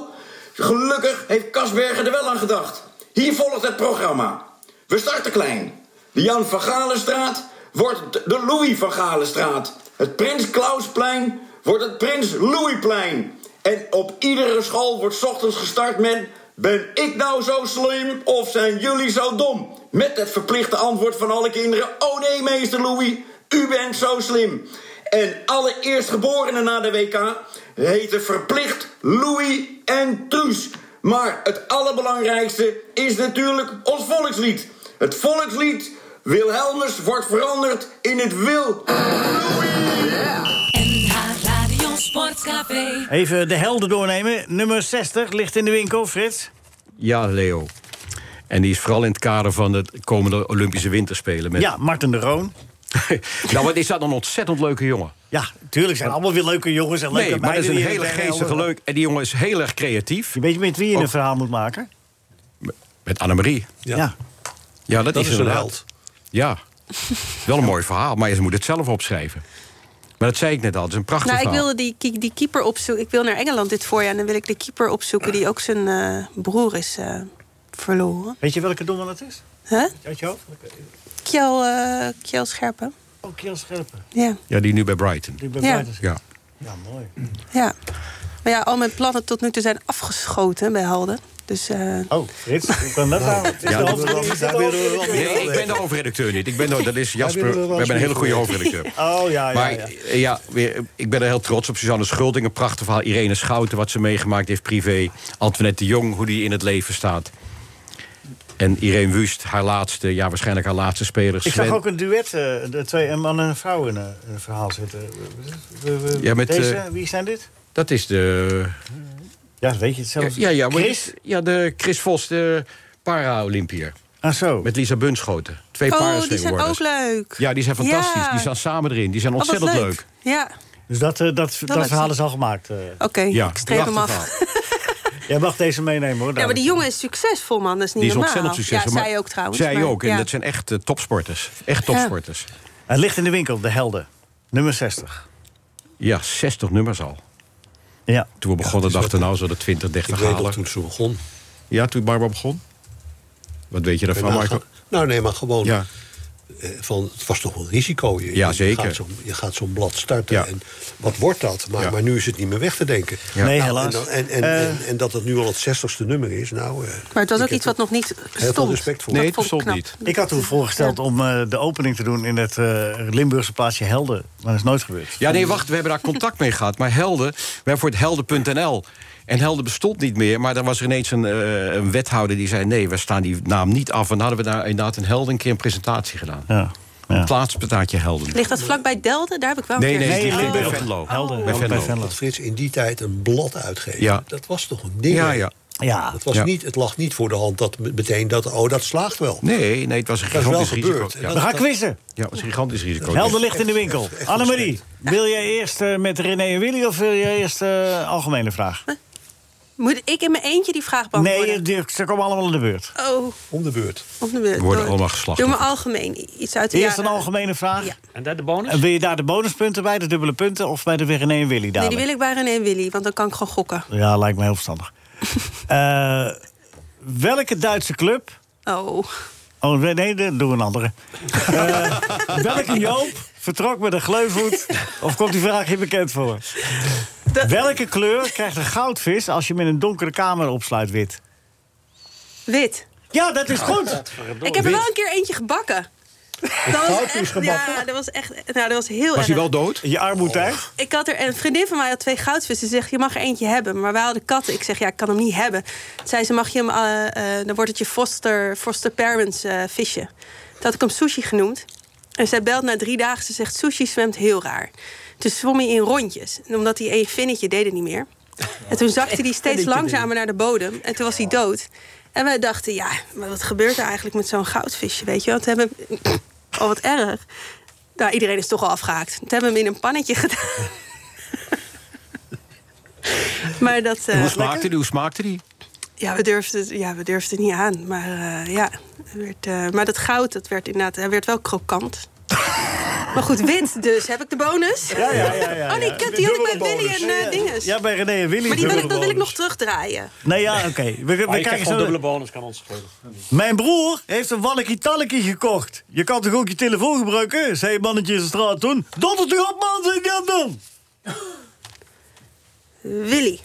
S12: Gelukkig heeft Kasbergen er wel aan gedacht. Hier volgt het programma. We starten klein. De Jan van Galenstraat wordt de Louis van Galenstraat. Het Prins Klausplein wordt het Prins Louisplein. En op iedere school wordt 's ochtends gestart met... Ben ik nou zo slim of zijn jullie zo dom? Met het verplichte antwoord van alle kinderen... Oh nee, meester Louis, u bent zo slim. En alle eerstgeborenen na de WK heten verplicht Louis en Truus. Maar het allerbelangrijkste is natuurlijk ons volkslied. Het volkslied Wilhelmus wordt veranderd in het Wil.
S1: NH Radio Sportcafé.
S3: Even de helden doornemen. Nummer 60 ligt in de winkel, Frits.
S6: Ja, Leo. En die is vooral in het kader van de komende Olympische Winterspelen. Met...
S3: Ja, Martin de Roon.
S6: [laughs] nou, wat is dat een ontzettend leuke jongen.
S3: Ja, tuurlijk zijn allemaal weer leuke jongens en leuke
S6: Nee, maar dat is
S3: meiden
S6: een
S3: die
S6: hele
S3: hier zijn.
S6: geestige leuk. Oh. En die jongen is heel erg creatief.
S3: Je weet met wie je een
S6: Ook-
S3: verhaal moet maken.
S6: Met Annemarie.
S3: Ja.
S6: Ja, dat,
S5: Dat is een
S6: inderdaad.
S5: held.
S6: Ja. Wel een mooi verhaal, maar je moet het zelf opschrijven. Maar dat zei ik net al, het is een prachtig
S7: Nou, ik
S6: verhaal.
S7: wilde die, die keeper opzoeken. Ik wil naar Engeland dit voorjaar. En dan wil ik de keeper opzoeken die ook zijn eh, broer is eh, verloren.
S3: Weet je welke doelman het is?
S7: Huh?
S3: Uit je hoofd?
S7: Kjell, eh, Kjell Scherpen.
S3: Ook Kiel Scherpen.
S7: Ja,
S6: Ja, die nu bij Brighton.
S3: Die bij
S7: Ja.
S3: Brighton zit.
S6: Ja.
S3: ja, mooi.
S7: ja. Maar ja, al mijn plannen tot nu toe zijn afgeschoten bij Halden. Dus eh,
S3: Oh, Frits, hoe kan dat nou? Het is de
S6: Ja, dat
S3: hoofd-
S5: willen we-
S3: is
S5: daar
S3: de
S5: willen we
S3: hoofd-
S5: wel-
S6: Nee, ik ben de hoofdredacteur niet. Ik ben de, dat is Jasper.
S5: willen
S6: We
S5: we wel
S6: hebben een hele goede
S5: zien.
S6: hoofdredacteur.
S3: Oh, ja, ja,
S6: Maar
S3: ja.
S6: eh, ja, weer, eh, ik ben er heel trots op. Suzanne Schulding, een prachtig verhaal. Irene Schouten, wat ze meegemaakt heeft privé. Antoinette de Jong, hoe die in het leven staat. En Irene Wust, haar laatste, ja, waarschijnlijk haar laatste speler.
S3: Ik zag
S6: Sven-
S3: ook een duet, eh, de twee een man en een vrouw in eh, een verhaal zitten. We- we-
S6: Ja, met,
S3: Deze,
S6: eh,
S3: wie zijn dit?
S6: Dat is de.
S3: Ja, dat weet je het zelf.
S6: Ja, ja, maar-
S3: Chris?
S6: ja de Chris Vos, de para-Olympier.
S3: Ah, zo.
S6: Met Lisa Bunschoten. Twee
S7: oh, die zijn ook
S6: para-sneeuwworders.
S7: leuk.
S6: Ja, die zijn fantastisch.
S7: Ja.
S6: Die staan samen erin. Die zijn
S7: Oh, wat
S6: ontzettend leuk.
S7: Ja,
S3: Dus dat, eh, dat, dat,
S7: was-
S3: verhaal is al gemaakt. eh.
S7: oké.
S6: Ja,
S7: ik streep hem
S6: prachtig
S7: af.
S3: Jij mag deze meenemen, hoor.
S7: Ja, maar die
S3: David.
S7: jongen is succesvol, man. Dat is niet
S6: Die is
S7: normaal.
S6: ontzettend succesvol.
S7: Ja,
S6: maar
S7: zij ook trouwens.
S6: Zij
S7: maar-
S6: ook. En
S7: ja.
S6: dat zijn echt eh, topsporters. Echt topsporters.
S3: Hij ligt in de winkel, de helden. Nummer 60.
S6: Ja, 60 nummers al.
S3: Ja.
S6: Toen we begonnen dachten nou, zo de 20, 30
S5: Ik weet nog
S6: halen.
S5: toen ze begon.
S6: Ja, toen Barbara begon. Wat weet je daarvan,
S5: Nou,
S6: Marco?
S5: gewoon- Nou, nee, maar gewoon.
S6: Ja.
S5: eh, Van, het was toch wel een risico. Je,
S6: Ja,
S5: je
S6: zeker.
S5: Gaat zo'n- je gaat zo'n blad starten. En wat wordt dat? Maar, maar nu is het niet meer weg te denken.
S7: Ja. Nee,
S5: Nou,
S7: helaas.
S5: En, dan- en, en,
S7: Eh.
S5: en, en dat het nu al het 60ste nummer is. Nou, eh,
S7: Maar het was ook iets wat nog niet
S5: veel
S7: stond.
S5: respect voor.
S7: Dat
S5: Nee, het
S7: vond ik
S5: bestond
S7: knap.
S3: Ik had toen voorgesteld om eh, de opening te doen in het eh, Limburgse plaatsje Helden. Maar dat is nooit gebeurd.
S6: Ja, nee, wacht, we hebben daar contact mee gehad. Maar Helden, we hebben voor het Helden.nl. En Helden bestond niet meer, maar daar was er ineens een, eh, een wethouder die zei... nee, we staan die naam niet af. En dan hadden we daar inderdaad een Helden een keer een presentatie gedaan.
S3: Ja.
S6: Een plaatsbetaatje Helden.
S7: Ligt dat vlakbij Delden? Daar heb ik wel
S6: Nee,
S7: een keer
S6: nee,
S7: gezien.
S6: het ligt bij
S7: Oh.
S6: Venlo.
S3: Helden.
S6: Bij Venlo.
S5: dat Frits in die tijd een blad uitgeven.
S6: Ja.
S5: Dat was toch een ding?
S6: Ja,
S5: hè?
S6: ja.
S3: Ja.
S5: Het, was
S6: Ja.
S5: Niet, het lag niet voor de hand dat meteen dat... Oh, dat slaagt wel.
S6: Nee, nee, het was een
S5: Dat is wel
S6: gigantisch risico.
S5: gebeurd.
S6: Ja.
S3: We gaan quizzen.
S6: Ja, het was een gigantisch risico.
S3: Helden ligt in de winkel. Annemarie, wil jij eerst eh, met René en Willy of wil jij eerst eh algemene vraag?
S7: Moet ik in mijn eentje die vraag beantwoorden?
S3: Nee, die- ze komen allemaal in de beurt.
S7: Oh,
S5: Om de beurt.
S7: op de beurt.
S3: We worden
S7: Door-
S3: allemaal geslacht.
S7: Doe maar algemeen. Iets uit de
S3: Eerst een
S7: jaren-
S3: algemene vraag.
S4: En daar de bonus?
S3: En wil je daar de bonuspunten bij, de dubbele punten, of bij de René en Willy
S7: Nee,
S3: dadelijk?
S7: die wil ik bij René en Willy, want dan kan ik gewoon gokken.
S3: Ja, lijkt me heel
S7: [laughs]
S3: verstandig. Eh, welke Duitse club...
S7: Oh.
S3: Oh, nee, nee, dat doen we een andere. Eh, welke Joop vertrok met een gleufhoed? Of komt die vraag hier bekend voor? Welke kleur krijgt een goudvis als je hem in een donkere kamer opsluit wit?
S7: Wit.
S3: Ja, dat is goed.
S7: Ik heb er wel een keer eentje gebakken. Dat was echt, ja, dat was echt. Nou, dat was heel erg.
S6: dood?
S3: Je armoed, hè?
S7: Ik had er een vriendin van mij had twee goudvissen. Ze zegt: Je mag er eentje hebben. Maar wij hadden katten. Ik zeg: Ja, ik kan hem niet hebben. Toen zei ze: Mag je hem? eh, eh, dan wordt het je foster, foster parents eh, visje. Toen had ik hem sushi genoemd. En zij belt na drie dagen. Ze zegt: Sushi zwemt heel raar. Toen zwom hij in rondjes. En omdat hij één vinnetje deed het niet meer. En toen zakte hij steeds
S1: Vinnetje
S7: langzamer naar de bodem. En toen was hij dood. En wij dachten: Ja, maar wat gebeurt er eigenlijk met zo'n goudvisje? Weet je wel? Toen hebben [clears throat] Oh, wat erg. Nou, iedereen is toch al afgehaakt. Toen hebben we hem in een pannetje gedaan. [laughs] maar dat... eh,
S6: En hoe smaakte die? Hoe smaakte die?
S7: Ja, we durfden het- ja, we durfden het niet aan. Maar eh, ja, het werd, eh, maar dat goud, dat werd inderdaad... Hij werd wel krokant. [laughs] maar goed, wit dus. Heb ik de bonus?
S3: Ja, ja, ja, ja,
S7: oh nee,
S3: ja.
S7: kut, die had ik bij
S3: Dubbele
S7: Willy
S3: bonus.
S7: en eh, dinges.
S3: Ja, bij René en Willy.
S7: maar die wil ik, dat wil ik
S3: dubbele
S7: nog terugdraaien.
S3: bonus. Nee, ja, oké. We, we
S4: Maar je krijgt
S3: kijken
S4: gewoon
S3: zo.
S4: dubbele bonus, kan ons schelen.
S3: Mijn broer heeft een walkie talkie gekocht. Je kan toch ook je telefoon gebruiken? Zei een mannetje in de straat toen. Dondert u op, man, zei dat dan.
S7: Willy.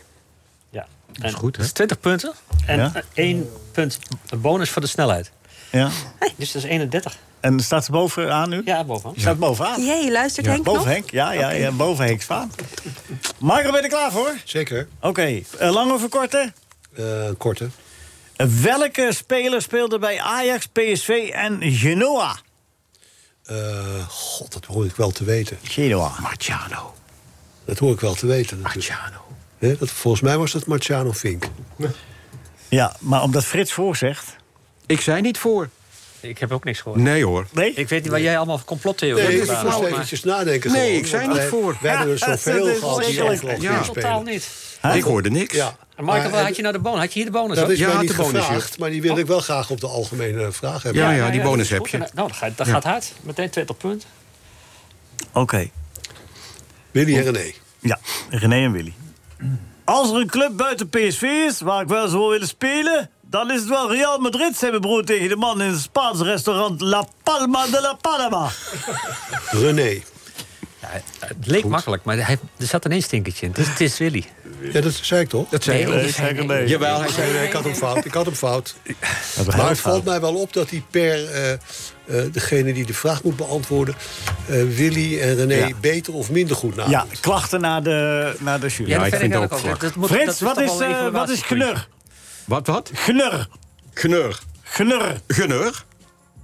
S4: Ja. Dat is goed, hè? 20 punten en
S3: Ja.
S4: eh, één punt bonus voor de snelheid.
S3: Ja.
S4: Dus dat is 31.
S3: En staat ze bovenaan nu?
S4: Ja, bovenaan.
S3: Staat bovenaan.
S7: Jee, luistert Henk
S3: boven
S7: nog?
S3: Henk, ja, ja, ja, boven Henk Spaan. Marco, ben je er klaar voor?
S5: Zeker.
S3: Oké, eh, lang of een korte?
S5: Eh, korte.
S3: Eh, Welke speler speelde bij Ajax, PSV en Genoa?
S5: Eh, God, dat hoor ik wel te weten.
S3: Genoa.
S6: Marciano.
S5: Dat hoor ik wel te weten. Marciano. dat, volgens mij was dat Marciano Fink.
S3: Ja, maar omdat Frits voorzegt...
S6: Ik zei niet voor.
S4: Ik heb ook niks gehoord.
S6: Nee hoor.
S3: Nee?
S4: Ik weet niet waar jij allemaal complottheorieën
S5: Nee,
S4: over
S5: ik
S4: praat,
S5: moest
S4: maar-
S5: eventjes nadenken.
S6: Nee,
S5: gewoon,
S6: ik zei
S5: want
S6: niet
S5: wij-
S6: voor.
S5: Wij hebben er
S3: Ja, dat
S5: zoveel
S3: is
S5: gehad die
S3: verschrikkelijk.
S5: afgelopen
S6: Ja.
S5: jaar
S4: Totaal
S5: spelen.
S4: niet.
S6: Ik hoorde niks.
S5: Ja.
S4: En Michael,
S5: Maar,
S4: waar
S5: eh,
S4: had je nou de bonus? Had je hier de bonus?
S5: Dat
S4: ook?
S5: is
S6: Ja,
S5: mij
S6: had
S5: niet
S6: de bonus,
S5: gevraagd, maar die wilde ik wel graag op de algemene vraag hebben.
S6: Oh. Ja, ja, die
S4: dat
S6: bonus
S4: is
S6: heb
S4: goed.
S6: je.
S4: Nou, dat gaat, dat gaat hard. Meteen 20 punten.
S3: Oké,
S5: Willy en René.
S3: ja, René en Willy. Als er een club buiten PSV is waar ik wel eens wil willen spelen... dan is het wel Real Madrid, zei mijn broer tegen de man... in het Spaans restaurant La Palma de la Palma.
S5: René.
S4: Het leek makkelijk, maar hij, er zat ineens stinkertje in. Het is, het is Willy.
S5: Ja, dat zei ik toch?
S6: Dat zei
S4: Nee,
S6: ik.
S4: dat zei ik
S3: niet.
S6: Jawel, hij
S5: Nee,
S6: zei...
S5: nee, ik had hem fout. Ik had hem
S6: [laughs]
S5: fout.
S3: heel
S5: Maar het
S3: fout.
S5: valt mij wel op dat hij per eh, eh, degene die de vraag moet beantwoorden... eh, Willy en René
S3: Ja.
S5: beter of minder goed nadoet.
S3: Ja, klachten naar de, naar de jury.
S6: Ja,
S4: dat
S6: ik vind
S4: wel
S6: het ook
S4: wel.
S6: vlak.
S4: Dat moet- dat
S3: Frits, wat,
S4: toch
S3: is,
S4: wel een
S3: eh, wat is
S4: evaluatiepuntje.
S3: gnur?
S6: Wat, wat?
S3: Gnur,
S6: Geneur.
S3: gnur.
S6: Geneur?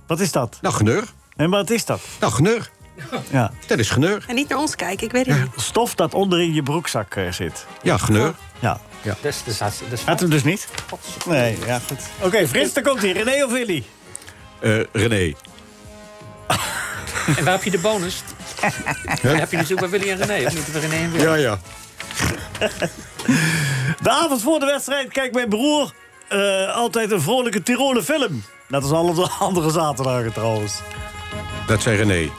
S3: Wat is dat?
S6: Nou, geneur.
S3: En wat is dat?
S6: Nou, geneur.
S3: Ja.
S6: Dat is geneur.
S7: En niet naar ons kijken, ik weet het niet.
S3: Stof dat onderin je broekzak eh, zit.
S6: Ja, geneur.
S3: Ja.
S4: Dus, dus, dus, dus,
S3: Had hem dus niet? Nee, ja, goed. Oké, Frits, daar komt hij. René of Willy?
S6: Eh, René.
S4: en waar heb je de
S6: [laughs]
S4: bonus? Dan heb je natuurlijk bij Willy en René. Of niet bij René en Willy?
S6: ja.
S3: De avond voor de wedstrijd kijkt mijn broer eh, altijd een vrolijke Tiroler film. Net als alle andere zaterdagen trouwens.
S6: Dat zei René.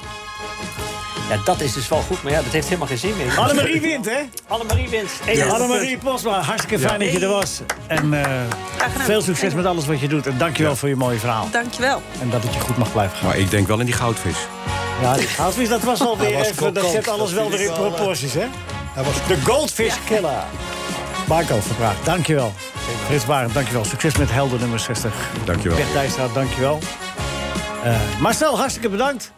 S4: Ja, dat is dus wel goed, maar ja, dat heeft helemaal geen zin meer.
S3: Annemarie wint, hè?
S4: Annemarie wint.
S3: Ja. Annemarie Posma, hartstikke fijn
S4: Ja.
S3: dat je er was. En eh, veel succes met alles wat je doet. En dankjewel voor je mooie verhaal.
S7: Dankjewel.
S3: En dat het je goed mag blijven gaan.
S6: Maar ik denk wel in die goudvis.
S3: Ja, die goudvis, dat was alweer
S6: Hij was
S3: even... Dat
S6: kokant,
S3: zet alles
S6: dat
S3: wel
S6: vind
S3: weer in
S6: ik wel, eh,
S3: proporties, hè? de Goldfish Killer. Marco Verbraak, dankjewel. Frits Barend, dankjewel. Succes met helder nummer 60.
S6: Dankjewel.
S3: Bert Dijstra, dankjewel. Eh Marcel, hartstikke bedankt.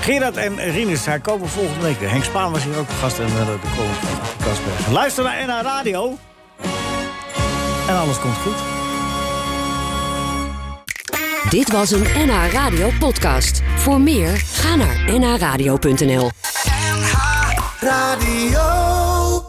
S3: Gerard en Rinus, zij komen volgende week weer. Henk Spaan was hier ook een gast en eh, de column van Kasberg. Luister naar NH Radio. En alles komt goed.
S13: Dit was een NH Radio podcast. Voor meer, ga naar nhradio.nl.
S1: Radio.